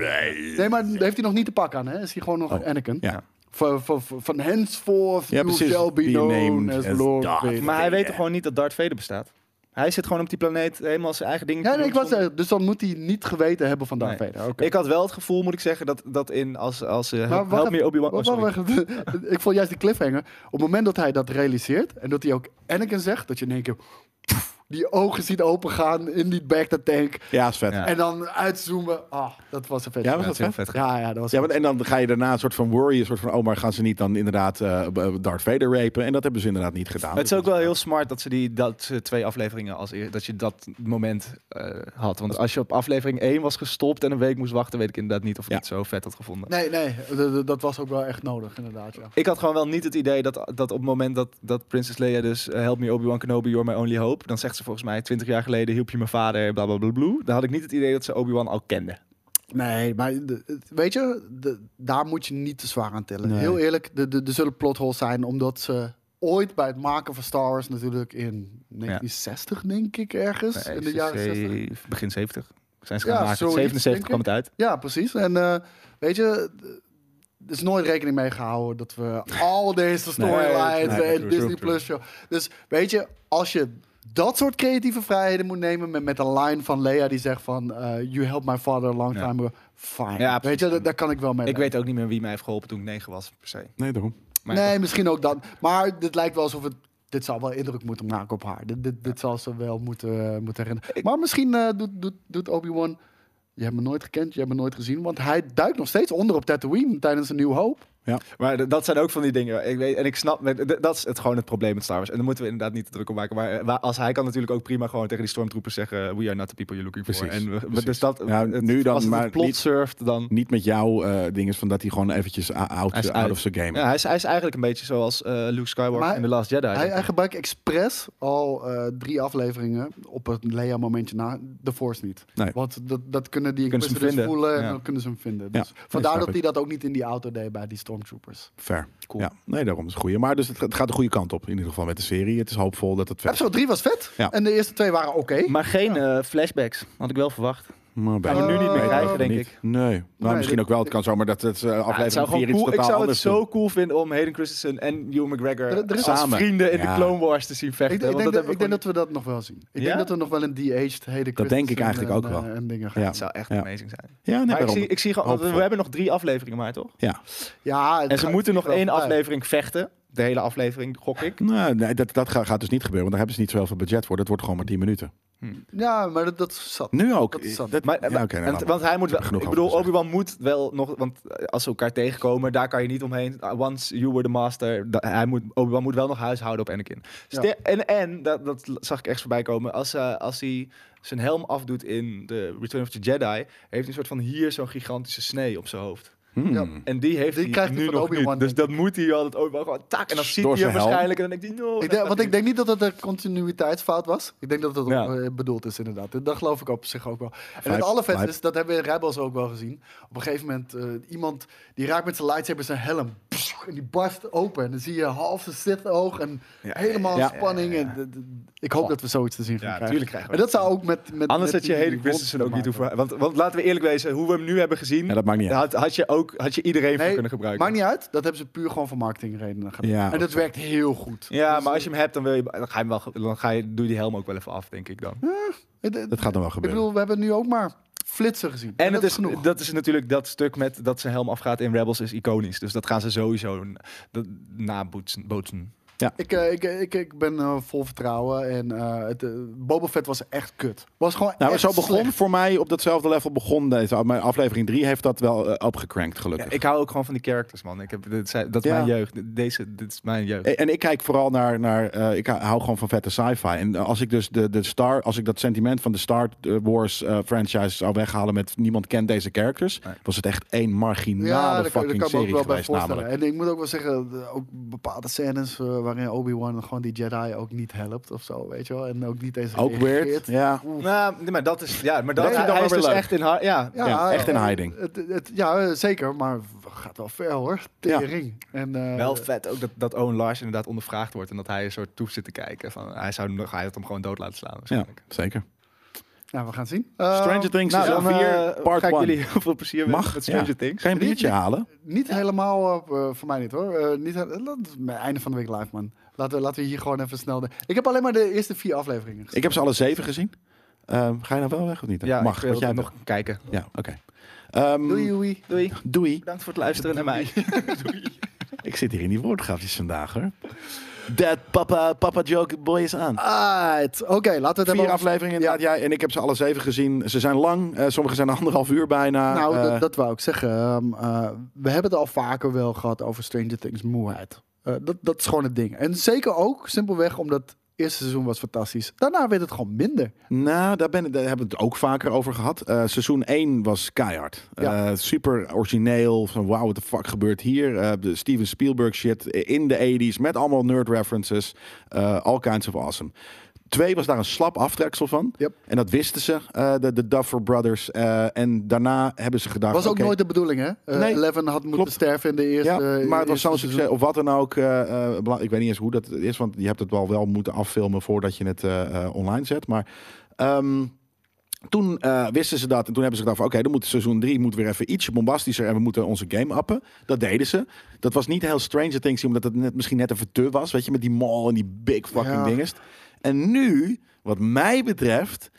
[SPEAKER 4] nee, maar heeft hij nog niet te pak aan. Hè? Is hij gewoon nog
[SPEAKER 2] Eh, Oh,
[SPEAKER 4] Anakin?
[SPEAKER 2] ja.
[SPEAKER 4] Van, van, van- van henceforth,
[SPEAKER 2] Ja,
[SPEAKER 4] you
[SPEAKER 2] precies.
[SPEAKER 4] shall be
[SPEAKER 2] Be
[SPEAKER 4] known
[SPEAKER 2] named
[SPEAKER 4] as
[SPEAKER 2] as
[SPEAKER 4] Lord
[SPEAKER 2] Darth
[SPEAKER 4] Vader.
[SPEAKER 3] Maar hij weet toch gewoon niet dat Darth Vader bestaat. Hij zit gewoon op die planeet helemaal zijn eigen dingen. te
[SPEAKER 4] Ja, nee,
[SPEAKER 3] doen
[SPEAKER 4] ik was,
[SPEAKER 3] zonder-
[SPEAKER 4] eh, dus dan moet hij niet geweten hebben van Darth
[SPEAKER 3] Nee.
[SPEAKER 4] Vader. Oké.
[SPEAKER 3] Ik had wel het gevoel, moet ik zeggen, dat, dat in als, als eh, help,
[SPEAKER 4] wacht
[SPEAKER 3] Help
[SPEAKER 4] even,
[SPEAKER 3] me Obi-Wan. oh,
[SPEAKER 4] Wacht,
[SPEAKER 3] sorry.
[SPEAKER 4] wacht, wacht. ik vond juist die cliffhanger. Op het moment dat hij dat realiseert en dat hij ook Anakin zegt, dat je in één keer pff, die ogen ziet opengaan in die Bacta tank
[SPEAKER 2] Ja, is vet.
[SPEAKER 3] Ja.
[SPEAKER 2] Ja.
[SPEAKER 4] en dan uitzoomen. Ah, dat was een vet.
[SPEAKER 2] Ja,
[SPEAKER 3] Ja,
[SPEAKER 2] was
[SPEAKER 3] dat is
[SPEAKER 2] dat
[SPEAKER 3] heel
[SPEAKER 2] vet?
[SPEAKER 3] vet.
[SPEAKER 4] ja, ja, dat was.
[SPEAKER 2] want- en dan ga je daarna een soort van worry, een soort van... oh, maar gaan ze niet dan inderdaad eh, b- Darth Vader rapen? En dat hebben ze inderdaad niet gedaan.
[SPEAKER 3] Maar het is
[SPEAKER 2] Dus
[SPEAKER 3] ook wel heel smart dat ze die dat ze twee afleveringen als eer, dat je dat moment eh, had. Want als je op aflevering 1 was gestopt en een week moest wachten, weet ik inderdaad niet of ik
[SPEAKER 2] Ja.
[SPEAKER 3] het zo vet had gevonden.
[SPEAKER 4] Nee, nee, d- d- dat was ook wel echt nodig inderdaad. Ja.
[SPEAKER 3] Ik had gewoon wel niet het idee dat, dat op het moment dat, dat Prinses Leia dus eh, Help me Obi-Wan Kenobi, you're my only hope. Dan zegt ze volgens mij 20 jaar geleden hielp je mijn vader, bla bla bla bla. Dan had ik niet het idee dat ze Obi-Wan al kende.
[SPEAKER 4] Nee, maar de- het- weet je, de- daar moet je niet te zwaar aan tillen.
[SPEAKER 2] Nee.
[SPEAKER 4] Heel eerlijk, de- de- er zullen plotholes zijn omdat ze ooit bij het maken van Star Wars natuurlijk in 1960 denk ik ergens
[SPEAKER 3] Nee,
[SPEAKER 4] in de jaren
[SPEAKER 3] ze-
[SPEAKER 4] 60.
[SPEAKER 3] Begin 70. Zijn ze
[SPEAKER 4] Ja,
[SPEAKER 3] gaan maken.
[SPEAKER 4] zoiets,
[SPEAKER 3] 77 kwam
[SPEAKER 4] denk
[SPEAKER 3] het uit.
[SPEAKER 4] Ja, precies. En eh, weet je, er is nooit rekening mee gehouden dat we al deze
[SPEAKER 2] nee,
[SPEAKER 4] storylines
[SPEAKER 2] true,
[SPEAKER 4] en
[SPEAKER 2] true,
[SPEAKER 4] Disney
[SPEAKER 2] true.
[SPEAKER 4] Plus show. Dus weet je, als je dat soort creatieve vrijheden moet nemen met, met een line van Lea die zegt van eh, you helped my father a long
[SPEAKER 3] Ja.
[SPEAKER 4] time ago. Fine.
[SPEAKER 3] Ja,
[SPEAKER 4] weet
[SPEAKER 3] precies.
[SPEAKER 4] je, da- daar kan ik wel mee.
[SPEAKER 3] Ik
[SPEAKER 4] leven.
[SPEAKER 3] weet ook niet meer wie mij heeft geholpen toen ik negen was, per se.
[SPEAKER 2] Nee, daarom.
[SPEAKER 3] Maar
[SPEAKER 4] nee, misschien ook dan. Maar dit lijkt wel alsof het. Dit zal wel indruk moeten maken op haar. Dit, dit, dit zal ze wel moeten, eh, moeten herinneren. maar misschien eh, doet, doet, doet Obi-Wan. Je hebt me nooit gekend, je hebt me nooit gezien. Want hij duikt nog steeds onder op Tatooine tijdens een nieuw hoop.
[SPEAKER 3] Maar d- dat zijn ook van die dingen. Ik weet, en ik snap, maar d- dat is het, gewoon het probleem met Star Wars. En daar moeten we inderdaad niet te druk op maken. Maar eh, waar- als hij kan natuurlijk ook prima gewoon tegen die stormtroopers zeggen... We are not the people you're looking for.
[SPEAKER 2] Precies,
[SPEAKER 3] En we-
[SPEAKER 2] precies.
[SPEAKER 3] Dus dat,
[SPEAKER 2] Ja,
[SPEAKER 3] het-
[SPEAKER 2] nu dan,
[SPEAKER 3] als het
[SPEAKER 2] maar
[SPEAKER 3] het plot
[SPEAKER 2] niet-
[SPEAKER 3] surft, dan...
[SPEAKER 2] Niet met jouw eh ding is van dat hij gewoon eventjes a- out,
[SPEAKER 3] Hij is
[SPEAKER 2] out,
[SPEAKER 3] uit.
[SPEAKER 2] of zijn game
[SPEAKER 3] Ja, hij, is, hij is eigenlijk een beetje zoals eh, Luke Skywalker
[SPEAKER 4] Maar
[SPEAKER 3] in The Last Jedi.
[SPEAKER 4] Hij, hij gebruikt expres al eh, drie afleveringen op het Leia-momentje na. De Force niet.
[SPEAKER 2] Nee.
[SPEAKER 4] Want dat, dat kunnen die
[SPEAKER 3] Kunnen ze hem
[SPEAKER 4] Inquisitors
[SPEAKER 3] vinden,
[SPEAKER 4] voelen en
[SPEAKER 3] ja.
[SPEAKER 4] dan kunnen ze hem vinden.
[SPEAKER 2] Ja,
[SPEAKER 4] Dus
[SPEAKER 2] nee,
[SPEAKER 4] vandaar
[SPEAKER 2] snap
[SPEAKER 4] dat
[SPEAKER 2] ik.
[SPEAKER 4] hij dat ook niet in die auto deed bij die Stormtroopers.
[SPEAKER 2] Fair.
[SPEAKER 3] Cool.
[SPEAKER 2] Ja, nee, daarom is het goede. Maar dus het, het gaat de goede kant op, in ieder geval met de serie. Het is hoopvol dat het verder...
[SPEAKER 4] Episode 3 was vet.
[SPEAKER 2] Ja.
[SPEAKER 4] En de eerste twee waren oké.
[SPEAKER 3] Maar geen eh, flashbacks, had ik wel verwacht.
[SPEAKER 2] Maar
[SPEAKER 3] Gaan we nu niet meer
[SPEAKER 4] Eh,
[SPEAKER 3] krijgen, denk
[SPEAKER 2] niet.
[SPEAKER 3] ik.
[SPEAKER 2] Nee. Nou,
[SPEAKER 4] Nee,
[SPEAKER 2] misschien
[SPEAKER 4] dit-
[SPEAKER 2] ook wel. Het kan zomaar dat het eh,
[SPEAKER 3] Ja, het
[SPEAKER 2] aflevering
[SPEAKER 3] zou
[SPEAKER 2] 4
[SPEAKER 3] gewoon
[SPEAKER 2] iets
[SPEAKER 3] cool. Ik
[SPEAKER 2] totaal
[SPEAKER 3] zou het
[SPEAKER 2] anders doen.
[SPEAKER 3] zo cool vinden om Hayden Christensen en Hugh McGregor
[SPEAKER 4] Er- er is-
[SPEAKER 3] als
[SPEAKER 2] Samen.
[SPEAKER 3] vrienden in
[SPEAKER 2] Ja.
[SPEAKER 3] de Clone Wars te zien vechten.
[SPEAKER 4] Ik, denk- ik
[SPEAKER 3] want dat
[SPEAKER 4] denk, dat,
[SPEAKER 3] hebben
[SPEAKER 4] ik
[SPEAKER 3] we
[SPEAKER 4] denk
[SPEAKER 3] gewoon
[SPEAKER 4] dat we dat nog wel zien. Ik
[SPEAKER 3] Ja?
[SPEAKER 4] denk dat we nog wel een de-aged heden
[SPEAKER 2] Dat denk ik eigenlijk ook wel.
[SPEAKER 4] En dingen gaan.
[SPEAKER 2] Ja,
[SPEAKER 3] niet- Het zou echt
[SPEAKER 2] Ja.
[SPEAKER 3] amazing zijn.
[SPEAKER 2] Ja, nee,
[SPEAKER 3] Maar ik
[SPEAKER 2] daarom.
[SPEAKER 3] zie, ik zie gewoon, want we
[SPEAKER 2] Hoopvol.
[SPEAKER 3] hebben nog drie afleveringen maar, toch?
[SPEAKER 2] Ja,
[SPEAKER 4] Ja, het
[SPEAKER 3] En ze
[SPEAKER 4] gaat-
[SPEAKER 3] moeten nog
[SPEAKER 4] wel
[SPEAKER 3] één
[SPEAKER 4] voorbij.
[SPEAKER 3] aflevering vechten. De hele aflevering, gok ik.
[SPEAKER 2] Nou, nee, dat, dat ga- gaat dus niet gebeuren, want daar hebben ze niet zoveel budget voor. Dat wordt gewoon maar 10 minuten.
[SPEAKER 4] Ja, maar dat, dat is zat.
[SPEAKER 2] Nu ook.
[SPEAKER 4] Dat is zat.
[SPEAKER 2] Dat-
[SPEAKER 3] Maar,
[SPEAKER 2] ja,
[SPEAKER 3] maar-
[SPEAKER 2] oké, nou,
[SPEAKER 3] en-
[SPEAKER 2] laat maar.
[SPEAKER 3] want hij moet wel.
[SPEAKER 2] Genoeg
[SPEAKER 3] ik
[SPEAKER 2] over
[SPEAKER 3] bedoel,
[SPEAKER 2] gezegd.
[SPEAKER 3] Obi-Wan moet wel nog. Want eh, als ze elkaar tegenkomen, daar kan je niet omheen. Uh, Once you were the master. da- hij moet, Obi-Wan moet wel nog huishouden op Anakin.
[SPEAKER 4] Ja.
[SPEAKER 3] Ste- En, en dat, dat zag ik echt voorbij komen. Als, eh, als hij zijn helm afdoet in de Return of the Jedi. Heeft hij een soort van hier zo'n gigantische snee op zijn hoofd.
[SPEAKER 2] Hmm.
[SPEAKER 4] Ja.
[SPEAKER 3] En die heeft
[SPEAKER 4] Die
[SPEAKER 3] hij
[SPEAKER 4] krijgt hij
[SPEAKER 3] nu
[SPEAKER 4] van
[SPEAKER 3] nog
[SPEAKER 4] Obi-Wan,
[SPEAKER 3] niet. Dus
[SPEAKER 4] denk
[SPEAKER 3] dat moet hij altijd Obi-Wan gewoon tak. En dan ziet
[SPEAKER 2] Door
[SPEAKER 3] hij
[SPEAKER 2] zijn
[SPEAKER 3] hem
[SPEAKER 2] helm.
[SPEAKER 3] waarschijnlijk. En dan denkt hij, no.
[SPEAKER 4] Ik
[SPEAKER 3] dat
[SPEAKER 4] denk,
[SPEAKER 3] gaat
[SPEAKER 4] want
[SPEAKER 3] niet.
[SPEAKER 4] ik denk niet dat het een continuïteitsfout was. Ik denk dat dat
[SPEAKER 3] Ja.
[SPEAKER 4] ook, eh, bedoeld is, inderdaad. Dat geloof ik op zich ook wel. En het
[SPEAKER 2] Vibe-
[SPEAKER 4] allervetste
[SPEAKER 2] vibe.
[SPEAKER 4] is, dat hebben we in Rebels ook wel gezien. Op een gegeven moment, eh, iemand die raakt met zijn lightsaber zijn helm. Pssst, En die barst open. En dan zie je half zijn zit oog en helemaal
[SPEAKER 3] ja, ja,
[SPEAKER 4] spanning.
[SPEAKER 3] ja,
[SPEAKER 4] En, d- d- ik hoop dat we zoiets te zien gaan
[SPEAKER 3] Ja,
[SPEAKER 4] krijgen.
[SPEAKER 3] tuurlijk krijgen we
[SPEAKER 4] En dat zou ook met... met
[SPEAKER 3] Anders
[SPEAKER 4] met
[SPEAKER 3] had je
[SPEAKER 4] die-
[SPEAKER 3] hele
[SPEAKER 4] die
[SPEAKER 3] Christensen ook
[SPEAKER 4] wond
[SPEAKER 3] niet
[SPEAKER 4] te maken.
[SPEAKER 3] hoeven... Want, want laten we eerlijk wezen, hoe we hem nu hebben gezien...
[SPEAKER 2] Ja, dat maakt niet uit.
[SPEAKER 3] had, had je ook had je iedereen voor
[SPEAKER 4] Nee,
[SPEAKER 3] kunnen gebruiken.
[SPEAKER 4] maakt niet uit. Dat hebben ze puur gewoon voor marketingredenen gedaan.
[SPEAKER 2] Ja,
[SPEAKER 4] en dat
[SPEAKER 2] oké.
[SPEAKER 4] werkt heel goed. Dus,
[SPEAKER 3] Ja, maar als je hem hebt, dan, wil je, dan, ga je hem wel, ge- dan ga je, doe je die helm ook wel even af, denk ik dan.
[SPEAKER 4] eh, Het- het-
[SPEAKER 2] Dat gaat dan wel
[SPEAKER 4] ik
[SPEAKER 2] gebeuren.
[SPEAKER 4] bedoel, we hebben nu ook maar flitsen gezien.
[SPEAKER 3] En het
[SPEAKER 4] dat
[SPEAKER 3] is, dat is natuurlijk dat stuk met dat zijn helm afgaat in Rebels is iconisch. Dus dat gaan ze sowieso n- dat- nabootsen. bootsen.
[SPEAKER 4] Ik, eh, ik, ik, ik ben eh, vol vertrouwen. En eh, het, eh, Boba Fett was echt kut. Was gewoon
[SPEAKER 2] Nou,
[SPEAKER 4] echt
[SPEAKER 2] zo begon
[SPEAKER 4] slecht.
[SPEAKER 2] voor mij op datzelfde level begon deze. Mijn aflevering 3 heeft dat wel eh, opgekrankt,
[SPEAKER 3] Ja,
[SPEAKER 2] gelukkig.
[SPEAKER 3] ik hou ook gewoon van die characters, man. Ik heb, dit, zijn- dat is
[SPEAKER 2] Ja.
[SPEAKER 3] mijn jeugd. Deze, dit is mijn jeugd.
[SPEAKER 2] E- En ik kijk vooral naar, naar eh, ik hou gewoon van vette sci-fi. En eh, als ik dus de, de Star, als ik dat sentiment van de Star Wars eh, franchise zou weghalen met niemand kent deze characters,
[SPEAKER 3] Nee.
[SPEAKER 2] was het echt één marginale
[SPEAKER 4] Ja, daar kan, daar
[SPEAKER 2] fucking
[SPEAKER 4] kan ik me ook
[SPEAKER 2] serie
[SPEAKER 4] wel bij
[SPEAKER 2] geweest
[SPEAKER 4] voorstellen.
[SPEAKER 2] namelijk.
[SPEAKER 4] En ik moet ook wel zeggen, de- ook bepaalde scènes eh, waarin Obi-Wan gewoon die Jedi ook niet helpt of zo, weet je wel. En ook niet eens
[SPEAKER 2] Ook weird.
[SPEAKER 4] reageert.
[SPEAKER 2] Ja.
[SPEAKER 3] Nou, nee, maar dat is... Ja, maar dat,
[SPEAKER 2] vind ik dan
[SPEAKER 3] hij
[SPEAKER 2] wel
[SPEAKER 3] is
[SPEAKER 2] weer
[SPEAKER 3] dus
[SPEAKER 2] leuk.
[SPEAKER 3] echt in... haar- Ja,
[SPEAKER 2] Ja, echt in hiding.
[SPEAKER 4] Het, het, het- ja, eh, zeker, maar gaat wel ver hoor. Tering. En, eh,
[SPEAKER 3] Wel vet ook dat, dat Owen Lars inderdaad ondervraagd wordt en dat hij een soort toe zit te kijken. Van, hij, zou, hem- hij had hem gewoon dood laten slaan
[SPEAKER 2] ja,
[SPEAKER 3] waarschijnlijk.
[SPEAKER 2] zeker.
[SPEAKER 4] Nou, we gaan zien.
[SPEAKER 2] Stranger
[SPEAKER 4] Ehm,
[SPEAKER 2] Things
[SPEAKER 3] Nou,
[SPEAKER 2] seizoen
[SPEAKER 3] dan eh,
[SPEAKER 2] 4, part
[SPEAKER 3] ga ik
[SPEAKER 2] 1.
[SPEAKER 3] jullie heel veel plezier wensen
[SPEAKER 2] Mag,
[SPEAKER 3] met Stranger
[SPEAKER 2] ja.
[SPEAKER 3] Things.
[SPEAKER 2] Ga je een biertje halen?
[SPEAKER 4] Niet helemaal, eh, eh, voor mij niet hoor. Eh, niet, he- laat- maar einde van de week live, man. Laten we, laten we hier gewoon even snel... De... Ik heb alleen maar de eerste vier afleveringen gezien.
[SPEAKER 2] Ik heb ze alle zeven gezien. Ehm, ga je nou wel weg of niet?
[SPEAKER 3] Ja,
[SPEAKER 2] Mag, want jij nog.
[SPEAKER 3] nog kijken.
[SPEAKER 2] Ja, oké. Ehm,
[SPEAKER 4] Doei, Joey.
[SPEAKER 3] Doei.
[SPEAKER 2] doei.
[SPEAKER 3] Bedankt voor het luisteren naar mij.
[SPEAKER 2] Ik zit hier in die woordgrafjes vandaag hoor. Dad, papa, papa joke, boy is aan.
[SPEAKER 4] Alright. Oké, laten we het
[SPEAKER 2] Vier
[SPEAKER 4] hebben over-
[SPEAKER 2] afleveringen inderdaad. Jij en ik heb ze alle zeven gezien. Ze zijn lang. eh, sommige zijn anderhalf uur bijna.
[SPEAKER 4] Nou,
[SPEAKER 2] Eh,
[SPEAKER 4] dat, dat wou ik zeggen. Ehm, eh, we hebben het al vaker wel gehad over Stranger Things moeheid. Eh, dat, dat is gewoon het ding. En zeker ook simpelweg omdat het eerste seizoen was fantastisch. Daarna werd het gewoon minder.
[SPEAKER 2] nou, daar, ben, ik- daar hebben we het ook vaker over gehad. Eh, seizoen 1 was keihard.
[SPEAKER 4] Ja.
[SPEAKER 2] Eh, super origineel. Van wauw, what the fuck gebeurt hier? Eh, de Steven Spielberg shit in de 80s. Met allemaal nerd references. Eh, all kinds of awesome. Twee was daar een slap aftreksel van.
[SPEAKER 4] Yep.
[SPEAKER 2] En dat wisten ze, eh, de, de Duffer Brothers. Eh, en daarna hebben ze gedacht...
[SPEAKER 4] Was ook
[SPEAKER 2] oké,
[SPEAKER 4] nooit de bedoeling, hè? Eh,
[SPEAKER 2] Nee.
[SPEAKER 4] Eleven had moeten
[SPEAKER 2] Klopt.
[SPEAKER 4] sterven in de eerste.
[SPEAKER 2] Ja,
[SPEAKER 4] in
[SPEAKER 2] maar het was
[SPEAKER 4] eerste
[SPEAKER 2] zo'n
[SPEAKER 4] seizoen.
[SPEAKER 2] succes. Of wat dan ook. eh, eh, bela- ik weet niet eens hoe dat is, want je hebt het wel wel moeten affilmen voordat je het eh, eh, online zet. Maar ehm, toen eh, wisten ze dat en toen hebben ze gedacht: van, oké, dan moet seizoen 3 moet weer even ietsje bombastischer en we moeten onze game appen. Dat deden ze. Dat was niet heel Stranger Things, omdat het net, misschien net even te was. Weet je, met die mall en die big fucking
[SPEAKER 4] Ja.
[SPEAKER 2] dingest. En nu, wat mij betreft,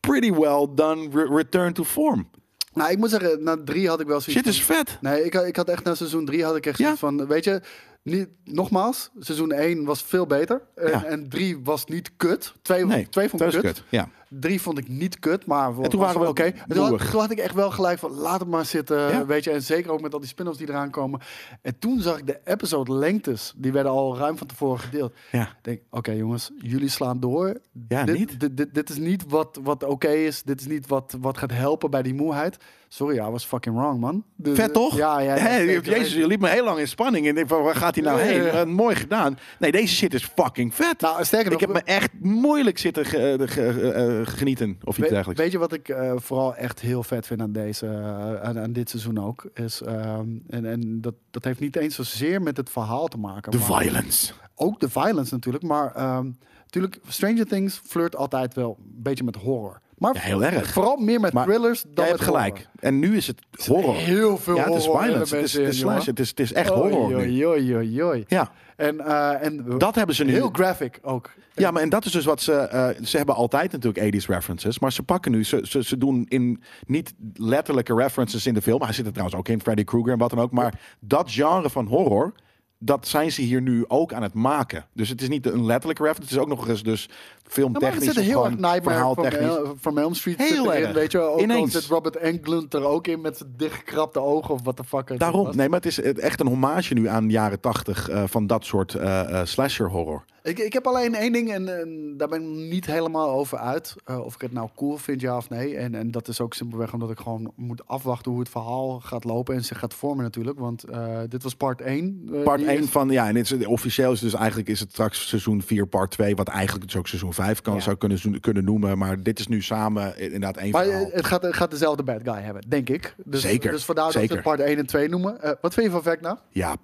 [SPEAKER 2] pretty well done re- return to form.
[SPEAKER 4] Nou, ik moet zeggen, na drie had ik wel zoiets.
[SPEAKER 2] Shit is vet.
[SPEAKER 4] Nee, ik, ik had echt na seizoen 3 had ik echt
[SPEAKER 2] Ja.
[SPEAKER 4] zoiets van, weet je, niet, nogmaals, seizoen 1 was veel beter. En,
[SPEAKER 2] Ja.
[SPEAKER 4] en 3 was niet kut. 2
[SPEAKER 2] Nee,
[SPEAKER 4] twee vond ik
[SPEAKER 2] dat is
[SPEAKER 4] kut.
[SPEAKER 2] kut. Ja.
[SPEAKER 4] 3 vond ik niet kut, maar
[SPEAKER 2] En toen waren we
[SPEAKER 4] oké. En Toen,
[SPEAKER 2] moeig.
[SPEAKER 4] had- toen had ik echt wel gelijk van laat het maar zitten,
[SPEAKER 2] Ja.
[SPEAKER 4] weet je, en zeker ook met al die spin-offs die eraan komen. En toen zag ik de episode lengtes, die werden al ruim van tevoren gedeeld.
[SPEAKER 2] Ja.
[SPEAKER 4] Ik denk, oké jongens, jullie slaan door.
[SPEAKER 2] Ja,
[SPEAKER 4] dit,
[SPEAKER 2] niet?
[SPEAKER 4] Dit, dit, dit is niet wat, wat oké is. Dit is niet wat, wat gaat helpen bij die moeheid. Sorry, I was fucking wrong, man. De-
[SPEAKER 2] Vet toch?
[SPEAKER 4] Ja, ja. ja,
[SPEAKER 2] Hè,
[SPEAKER 4] zeker
[SPEAKER 2] Jezus,
[SPEAKER 4] weten.
[SPEAKER 2] je liep me heel lang in spanning. En ik denk van, waar gaat hij nou
[SPEAKER 4] Ja, ja,
[SPEAKER 2] heen?
[SPEAKER 4] ja.
[SPEAKER 2] Eh, mooi gedaan. Nee, deze shit is fucking vet.
[SPEAKER 4] Nou, sterker
[SPEAKER 2] ik
[SPEAKER 4] nog,
[SPEAKER 2] heb me echt moeilijk zitten ge- eh, ge- eh, eh, genieten. Of iets
[SPEAKER 4] we-
[SPEAKER 2] dergelijks.
[SPEAKER 4] weet je wat ik eh, vooral echt heel vet vind aan, deze, eh, aan, aan dit seizoen ook? Is, ehm, en en dat, dat heeft niet eens zozeer met het verhaal te maken.
[SPEAKER 2] The
[SPEAKER 4] maar-
[SPEAKER 2] violence.
[SPEAKER 4] ook de violence natuurlijk, maar ehm, natuurlijk, Stranger Things flirt altijd wel een beetje met horror. Maar
[SPEAKER 2] Ja, heel erg.
[SPEAKER 4] Vooral meer met
[SPEAKER 2] Maar
[SPEAKER 4] thrillers dan
[SPEAKER 2] Jij
[SPEAKER 4] met
[SPEAKER 2] hebt gelijk.
[SPEAKER 4] horror.
[SPEAKER 2] En nu is het horror.
[SPEAKER 4] Heel veel
[SPEAKER 2] ja, het
[SPEAKER 4] horror.
[SPEAKER 2] is violence. Het is,
[SPEAKER 4] elementen
[SPEAKER 2] het is
[SPEAKER 4] in,
[SPEAKER 2] slash.
[SPEAKER 4] jongen.
[SPEAKER 2] Het is, het is echt
[SPEAKER 4] Oei,
[SPEAKER 2] horror nu.
[SPEAKER 4] oei, oei, oei, oei.
[SPEAKER 2] Ja,
[SPEAKER 4] En, eh, en
[SPEAKER 2] dat hebben ze nu.
[SPEAKER 4] heel graphic ook.
[SPEAKER 2] Ja, maar en dat is dus wat ze. eh, ze hebben altijd natuurlijk 80s references. Maar ze pakken nu. Ze, ze, ze doen in niet letterlijke references in de film. Hij zit er trouwens ook in, Freddy Krueger en wat dan ook. Maar dat genre van horror. dat zijn ze hier nu ook aan het maken. Dus het is niet een letterlijke reference. Het is ook nog eens dus
[SPEAKER 4] Ja, maar het
[SPEAKER 2] filmtechnisch,
[SPEAKER 4] zit een heel erg
[SPEAKER 2] gewoon
[SPEAKER 4] Nightmare eh, from,
[SPEAKER 2] verhaaltechnisch.
[SPEAKER 4] El- from Elm Street
[SPEAKER 2] Heel
[SPEAKER 4] zit erin,
[SPEAKER 2] erg.
[SPEAKER 4] Weet je, wel. ook
[SPEAKER 2] Ineens.
[SPEAKER 4] al zit Robert Englund er ook in met zijn dichtgekrapte ogen of wat de fuck. het
[SPEAKER 2] Daarom,
[SPEAKER 4] was.
[SPEAKER 2] nee, maar het is eh, echt een hommage nu aan de jaren tachtig van dat soort eh, eh, slasher horror.
[SPEAKER 4] Ik, ik heb alleen één ding en, en daar ben ik nog niet helemaal over uit. eh, of ik het nou cool vind, ja of nee. En, en dat is ook simpelweg omdat ik gewoon moet afwachten hoe het verhaal gaat lopen en zich gaat vormen natuurlijk. Want eh, dit was part eh, 1.
[SPEAKER 2] Part 1 van, ja, en het is, officieel is dus eigenlijk is het straks seizoen 4, part 2, wat eigenlijk dus ook seizoen 5 kan,
[SPEAKER 4] Ja.
[SPEAKER 2] zou kunnen, zo- kunnen noemen. Maar dit is nu samen i- inderdaad één
[SPEAKER 4] Maar
[SPEAKER 2] verhaal.
[SPEAKER 4] eh, het gaat, het gaat dezelfde bad guy hebben, denk ik. Dus,
[SPEAKER 2] Zeker,
[SPEAKER 4] Dus vandaar dat we
[SPEAKER 2] zeker.
[SPEAKER 4] het part 1 en 2 noemen. Eh, wat vind je van Vecna?
[SPEAKER 2] ja,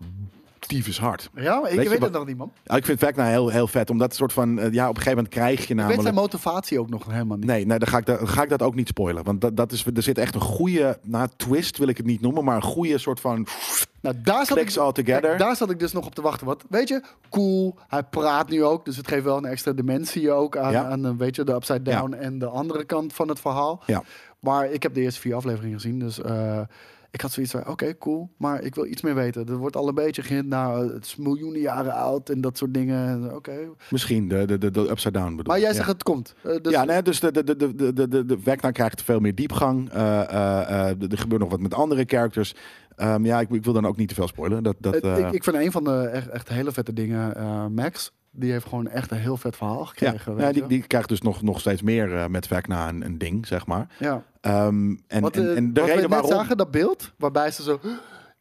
[SPEAKER 2] dief is hard.
[SPEAKER 4] Ja, maar ik
[SPEAKER 2] Weet
[SPEAKER 4] weet,
[SPEAKER 2] je wat-
[SPEAKER 4] het nog niet, man.
[SPEAKER 2] Ah, Ik vind Vecna heel, heel vet, omdat het soort van, eh, ja, op een gegeven moment krijg je
[SPEAKER 4] Ik weet zijn
[SPEAKER 2] namelijk...
[SPEAKER 4] motivatie ook nog helemaal niet.
[SPEAKER 2] Nee, nee dan, ga ik, da- dan ga ik dat ook niet spoilen. Want dat, dat is, er zit echt een goede, na twist wil ik het niet noemen, maar een goede soort van...
[SPEAKER 4] Nou, daar zat,
[SPEAKER 2] Clicks
[SPEAKER 4] ik,
[SPEAKER 2] all together.
[SPEAKER 4] Kijk, daar zat ik dus nog op te wachten. Want weet je, cool, hij praat nu ook. Dus het geeft wel een extra dimensie ook aan,
[SPEAKER 2] Ja.
[SPEAKER 4] aan eh, weet je, de upside
[SPEAKER 2] Ja.
[SPEAKER 4] down en de andere kant van het verhaal.
[SPEAKER 2] Ja.
[SPEAKER 4] Maar ik heb de eerste vier afleveringen gezien. Dus eh, ik had zoiets van, oké, cool. Maar ik wil iets meer weten. Er wordt al een beetje gehind naar eh, het is miljoenen jaren oud en dat soort dingen. Oké.
[SPEAKER 2] Misschien de, de, de, de upside down bedoel
[SPEAKER 4] Maar jij
[SPEAKER 2] ik, ja.
[SPEAKER 4] zegt het komt. Eh, dus
[SPEAKER 2] ja, nee, dus de, de, de, de, de, de, de Vecna krijgt veel meer diepgang. Eh, eh, eh, er gebeurt nog wat met andere characters. Ehm, ja, ik, ik wil dan ook niet te veel spoilen. Dat, dat,
[SPEAKER 4] Het-
[SPEAKER 2] eh,
[SPEAKER 4] ik, ik vind een van de echt, echt hele vette dingen, eh, Max. Die heeft gewoon echt een heel vet verhaal
[SPEAKER 2] ja,
[SPEAKER 4] gekregen. weet
[SPEAKER 2] ja,
[SPEAKER 4] je.
[SPEAKER 2] die, die krijgt dus nog, nog steeds meer eh, met Vecna een, een ding, zeg maar.
[SPEAKER 4] ja.
[SPEAKER 2] Ehm, en,
[SPEAKER 4] Wat,
[SPEAKER 2] en,
[SPEAKER 4] eh,
[SPEAKER 2] en de
[SPEAKER 4] wat
[SPEAKER 2] reden
[SPEAKER 4] we net
[SPEAKER 2] waarom...
[SPEAKER 4] zagen, dat beeld, waarbij ze zo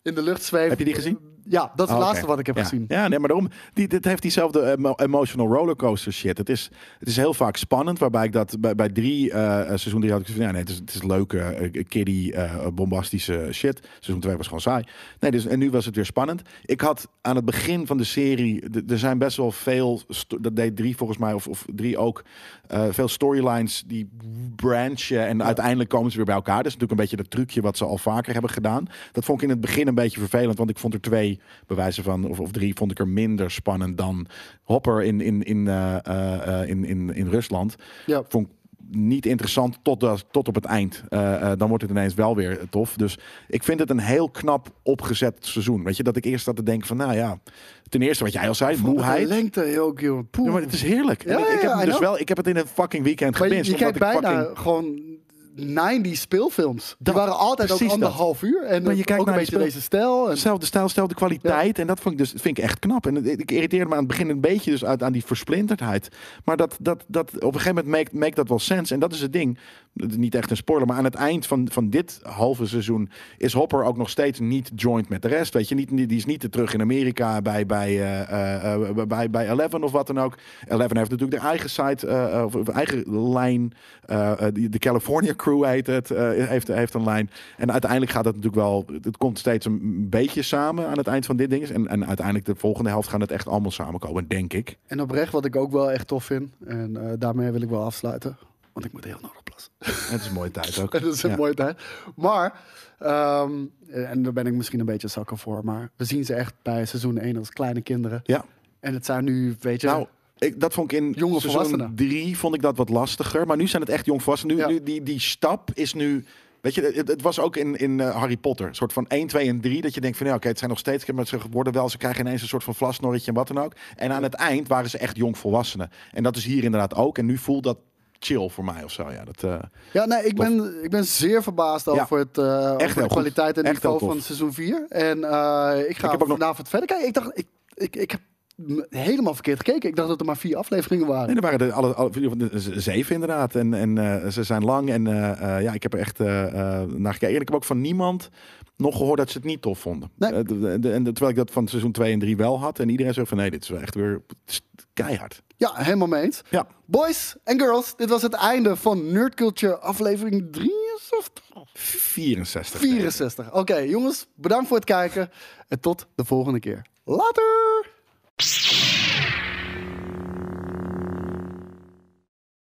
[SPEAKER 4] in de lucht zweven.
[SPEAKER 2] Heb je die gezien?
[SPEAKER 4] Ja, dat
[SPEAKER 2] Oh,
[SPEAKER 4] is het
[SPEAKER 2] oké.
[SPEAKER 4] laatste wat ik heb
[SPEAKER 2] Ja.
[SPEAKER 4] gezien.
[SPEAKER 2] Ja, nee, maar daarom. Die, dit heeft diezelfde eh, emo- emotional rollercoaster shit. Het is, het is heel vaak spannend. Waarbij ik dat bij, bij drie eh seizoen drie had ik gezien. Ja, nee, het is, het is leuke, eh, kiddie, eh, bombastische shit. Seizoen 2 was gewoon saai. Nee, dus, en nu was het weer spannend. Ik had aan het begin van de serie. d- Er zijn best wel veel. sto- Dat deed drie volgens mij, of, of drie ook. eh, veel storylines die branchen. En uiteindelijk komen ze weer bij elkaar. Dat is natuurlijk een beetje dat trucje wat ze al vaker hebben gedaan. Dat vond ik in het begin een beetje vervelend. Want ik vond er twee bewijzen van, of, of drie, vond ik er minder spannend dan Hopper in, in, in, eh, eh, eh, in, in, in Rusland.
[SPEAKER 4] Ja.
[SPEAKER 2] Vond ik niet interessant tot, dat- tot op het eind. Eh, eh, dan wordt het ineens wel weer eh, tof. Dus ik vind het een heel knap opgezet seizoen. Weet je, dat ik eerst zat te denken van, nou ja, ten eerste wat jij al zei,
[SPEAKER 4] Wat een
[SPEAKER 2] moeheid.
[SPEAKER 4] lengte ook, joh. Poeh.
[SPEAKER 2] Ja, maar het is heerlijk. En
[SPEAKER 4] Ja,
[SPEAKER 2] ik, ik
[SPEAKER 4] ja,
[SPEAKER 2] heb hem
[SPEAKER 4] I
[SPEAKER 2] dus
[SPEAKER 4] know.
[SPEAKER 2] wel, ik heb het in een fucking weekend
[SPEAKER 4] Maar je-
[SPEAKER 2] gebinst.
[SPEAKER 4] je
[SPEAKER 2] omdat
[SPEAKER 4] kijkt
[SPEAKER 2] ik
[SPEAKER 4] bijna
[SPEAKER 2] fucking-
[SPEAKER 4] gewoon 90 speelfilms.
[SPEAKER 2] Dat-
[SPEAKER 4] die waren altijd ook
[SPEAKER 2] precies dat.
[SPEAKER 4] anderhalf uur. En
[SPEAKER 2] Maar je
[SPEAKER 4] ook
[SPEAKER 2] kijkt
[SPEAKER 4] een
[SPEAKER 2] naar
[SPEAKER 4] beetje
[SPEAKER 2] die speel-
[SPEAKER 4] deze stijl. En,
[SPEAKER 2] Zelfde stijl, zelfde kwaliteit. En dat vond ik dus vind ik echt knap. En het- ik irriteerde me aan het begin een beetje dus uit aan die versplinterdheid. Maar dat, dat, dat op een gegeven moment maakt maakt dat wel sens. En dat is het ding. Dat is Niet echt een spoiler, maar aan het eind van, van dit halve seizoen is Hopper ook nog steeds niet joined met de rest. Weet je, niet, die is niet te terug in Amerika bij, bij, eh, eh, eh, bij, bij Eleven of wat dan ook. Eleven heeft natuurlijk de eigen site, eh, eh, of, of eigen lijn. Eh, eh, die- de California Crew heet het, eh, heeft, heeft een lijn. En uiteindelijk gaat het natuurlijk wel, het komt steeds een beetje samen aan het eind van dit ding. En, en uiteindelijk de volgende helft gaan het echt allemaal samenkomen, denk ik.
[SPEAKER 4] en oprecht, wat ik ook wel echt tof vind. En eh, daarmee wil ik wel afsluiten. Want ik moet heel nodig plassen.
[SPEAKER 2] Het is een mooie tijd ook.
[SPEAKER 4] dat is een
[SPEAKER 2] Ja.
[SPEAKER 4] mooie tijd. Maar, ehm, en daar ben ik misschien een beetje zakker voor. Maar we zien ze echt bij seizoen 1 als kleine kinderen.
[SPEAKER 2] Ja,
[SPEAKER 4] En het zijn nu, weet je...
[SPEAKER 2] nou, ik, dat vond ik in
[SPEAKER 4] Jonge
[SPEAKER 2] seizoen
[SPEAKER 4] volwassenen.
[SPEAKER 2] drie vond ik dat wat lastiger. Maar nu zijn het echt jong volwassenen. Nu,
[SPEAKER 4] Ja.
[SPEAKER 2] nu, die, die stap is nu... Weet je, het, het was ook in, in eh, Harry Potter. Een soort van 1, 2 en 3. Dat je denkt van, ja, oké, het zijn nog steeds... Maar ze worden wel, ze krijgen ineens een soort van vlasnorretje en wat dan ook. En aan het eind waren ze echt jong volwassenen. En dat is hier inderdaad ook. En nu voelt dat chill voor mij of zo. Ja, dat, eh,
[SPEAKER 4] Ja, nee, ik
[SPEAKER 2] Tof.
[SPEAKER 4] ben, ik ben zeer verbaasd over, het, eh, over
[SPEAKER 2] heel
[SPEAKER 4] de
[SPEAKER 2] goed.
[SPEAKER 4] kwaliteit en
[SPEAKER 2] Echt
[SPEAKER 4] niveau
[SPEAKER 2] heel tof.
[SPEAKER 4] van seizoen 4. En eh, ik ga
[SPEAKER 2] heb ook nog-
[SPEAKER 4] vanavond verder kijken. Ik dacht, ik, ik, ik heb m- helemaal verkeerd gekeken. Ik dacht dat er maar vier afleveringen
[SPEAKER 2] Nee,
[SPEAKER 4] waren.
[SPEAKER 2] er waren er alle, alle, in ieder geval z- zeven inderdaad. En, en eh, ze zijn lang. En eh, eh, ja, ik heb er echt eh, eh, naar gekeken. En ik heb ook van niemand nog gehoord dat ze het niet tof vonden.
[SPEAKER 4] Nee.
[SPEAKER 2] Eh, de- de- de- en terwijl ik dat van seizoen 2 en 3 wel had. En iedereen zei van nee, dit is wel echt weer keihard.
[SPEAKER 4] Ja, helemaal mee eens.
[SPEAKER 2] Ja.
[SPEAKER 4] Boys en girls, dit was het einde van Nerd Culture aflevering 63.
[SPEAKER 2] 64.
[SPEAKER 4] 64. Oké, jongens, bedankt voor het kijken. En tot de volgende keer. Later!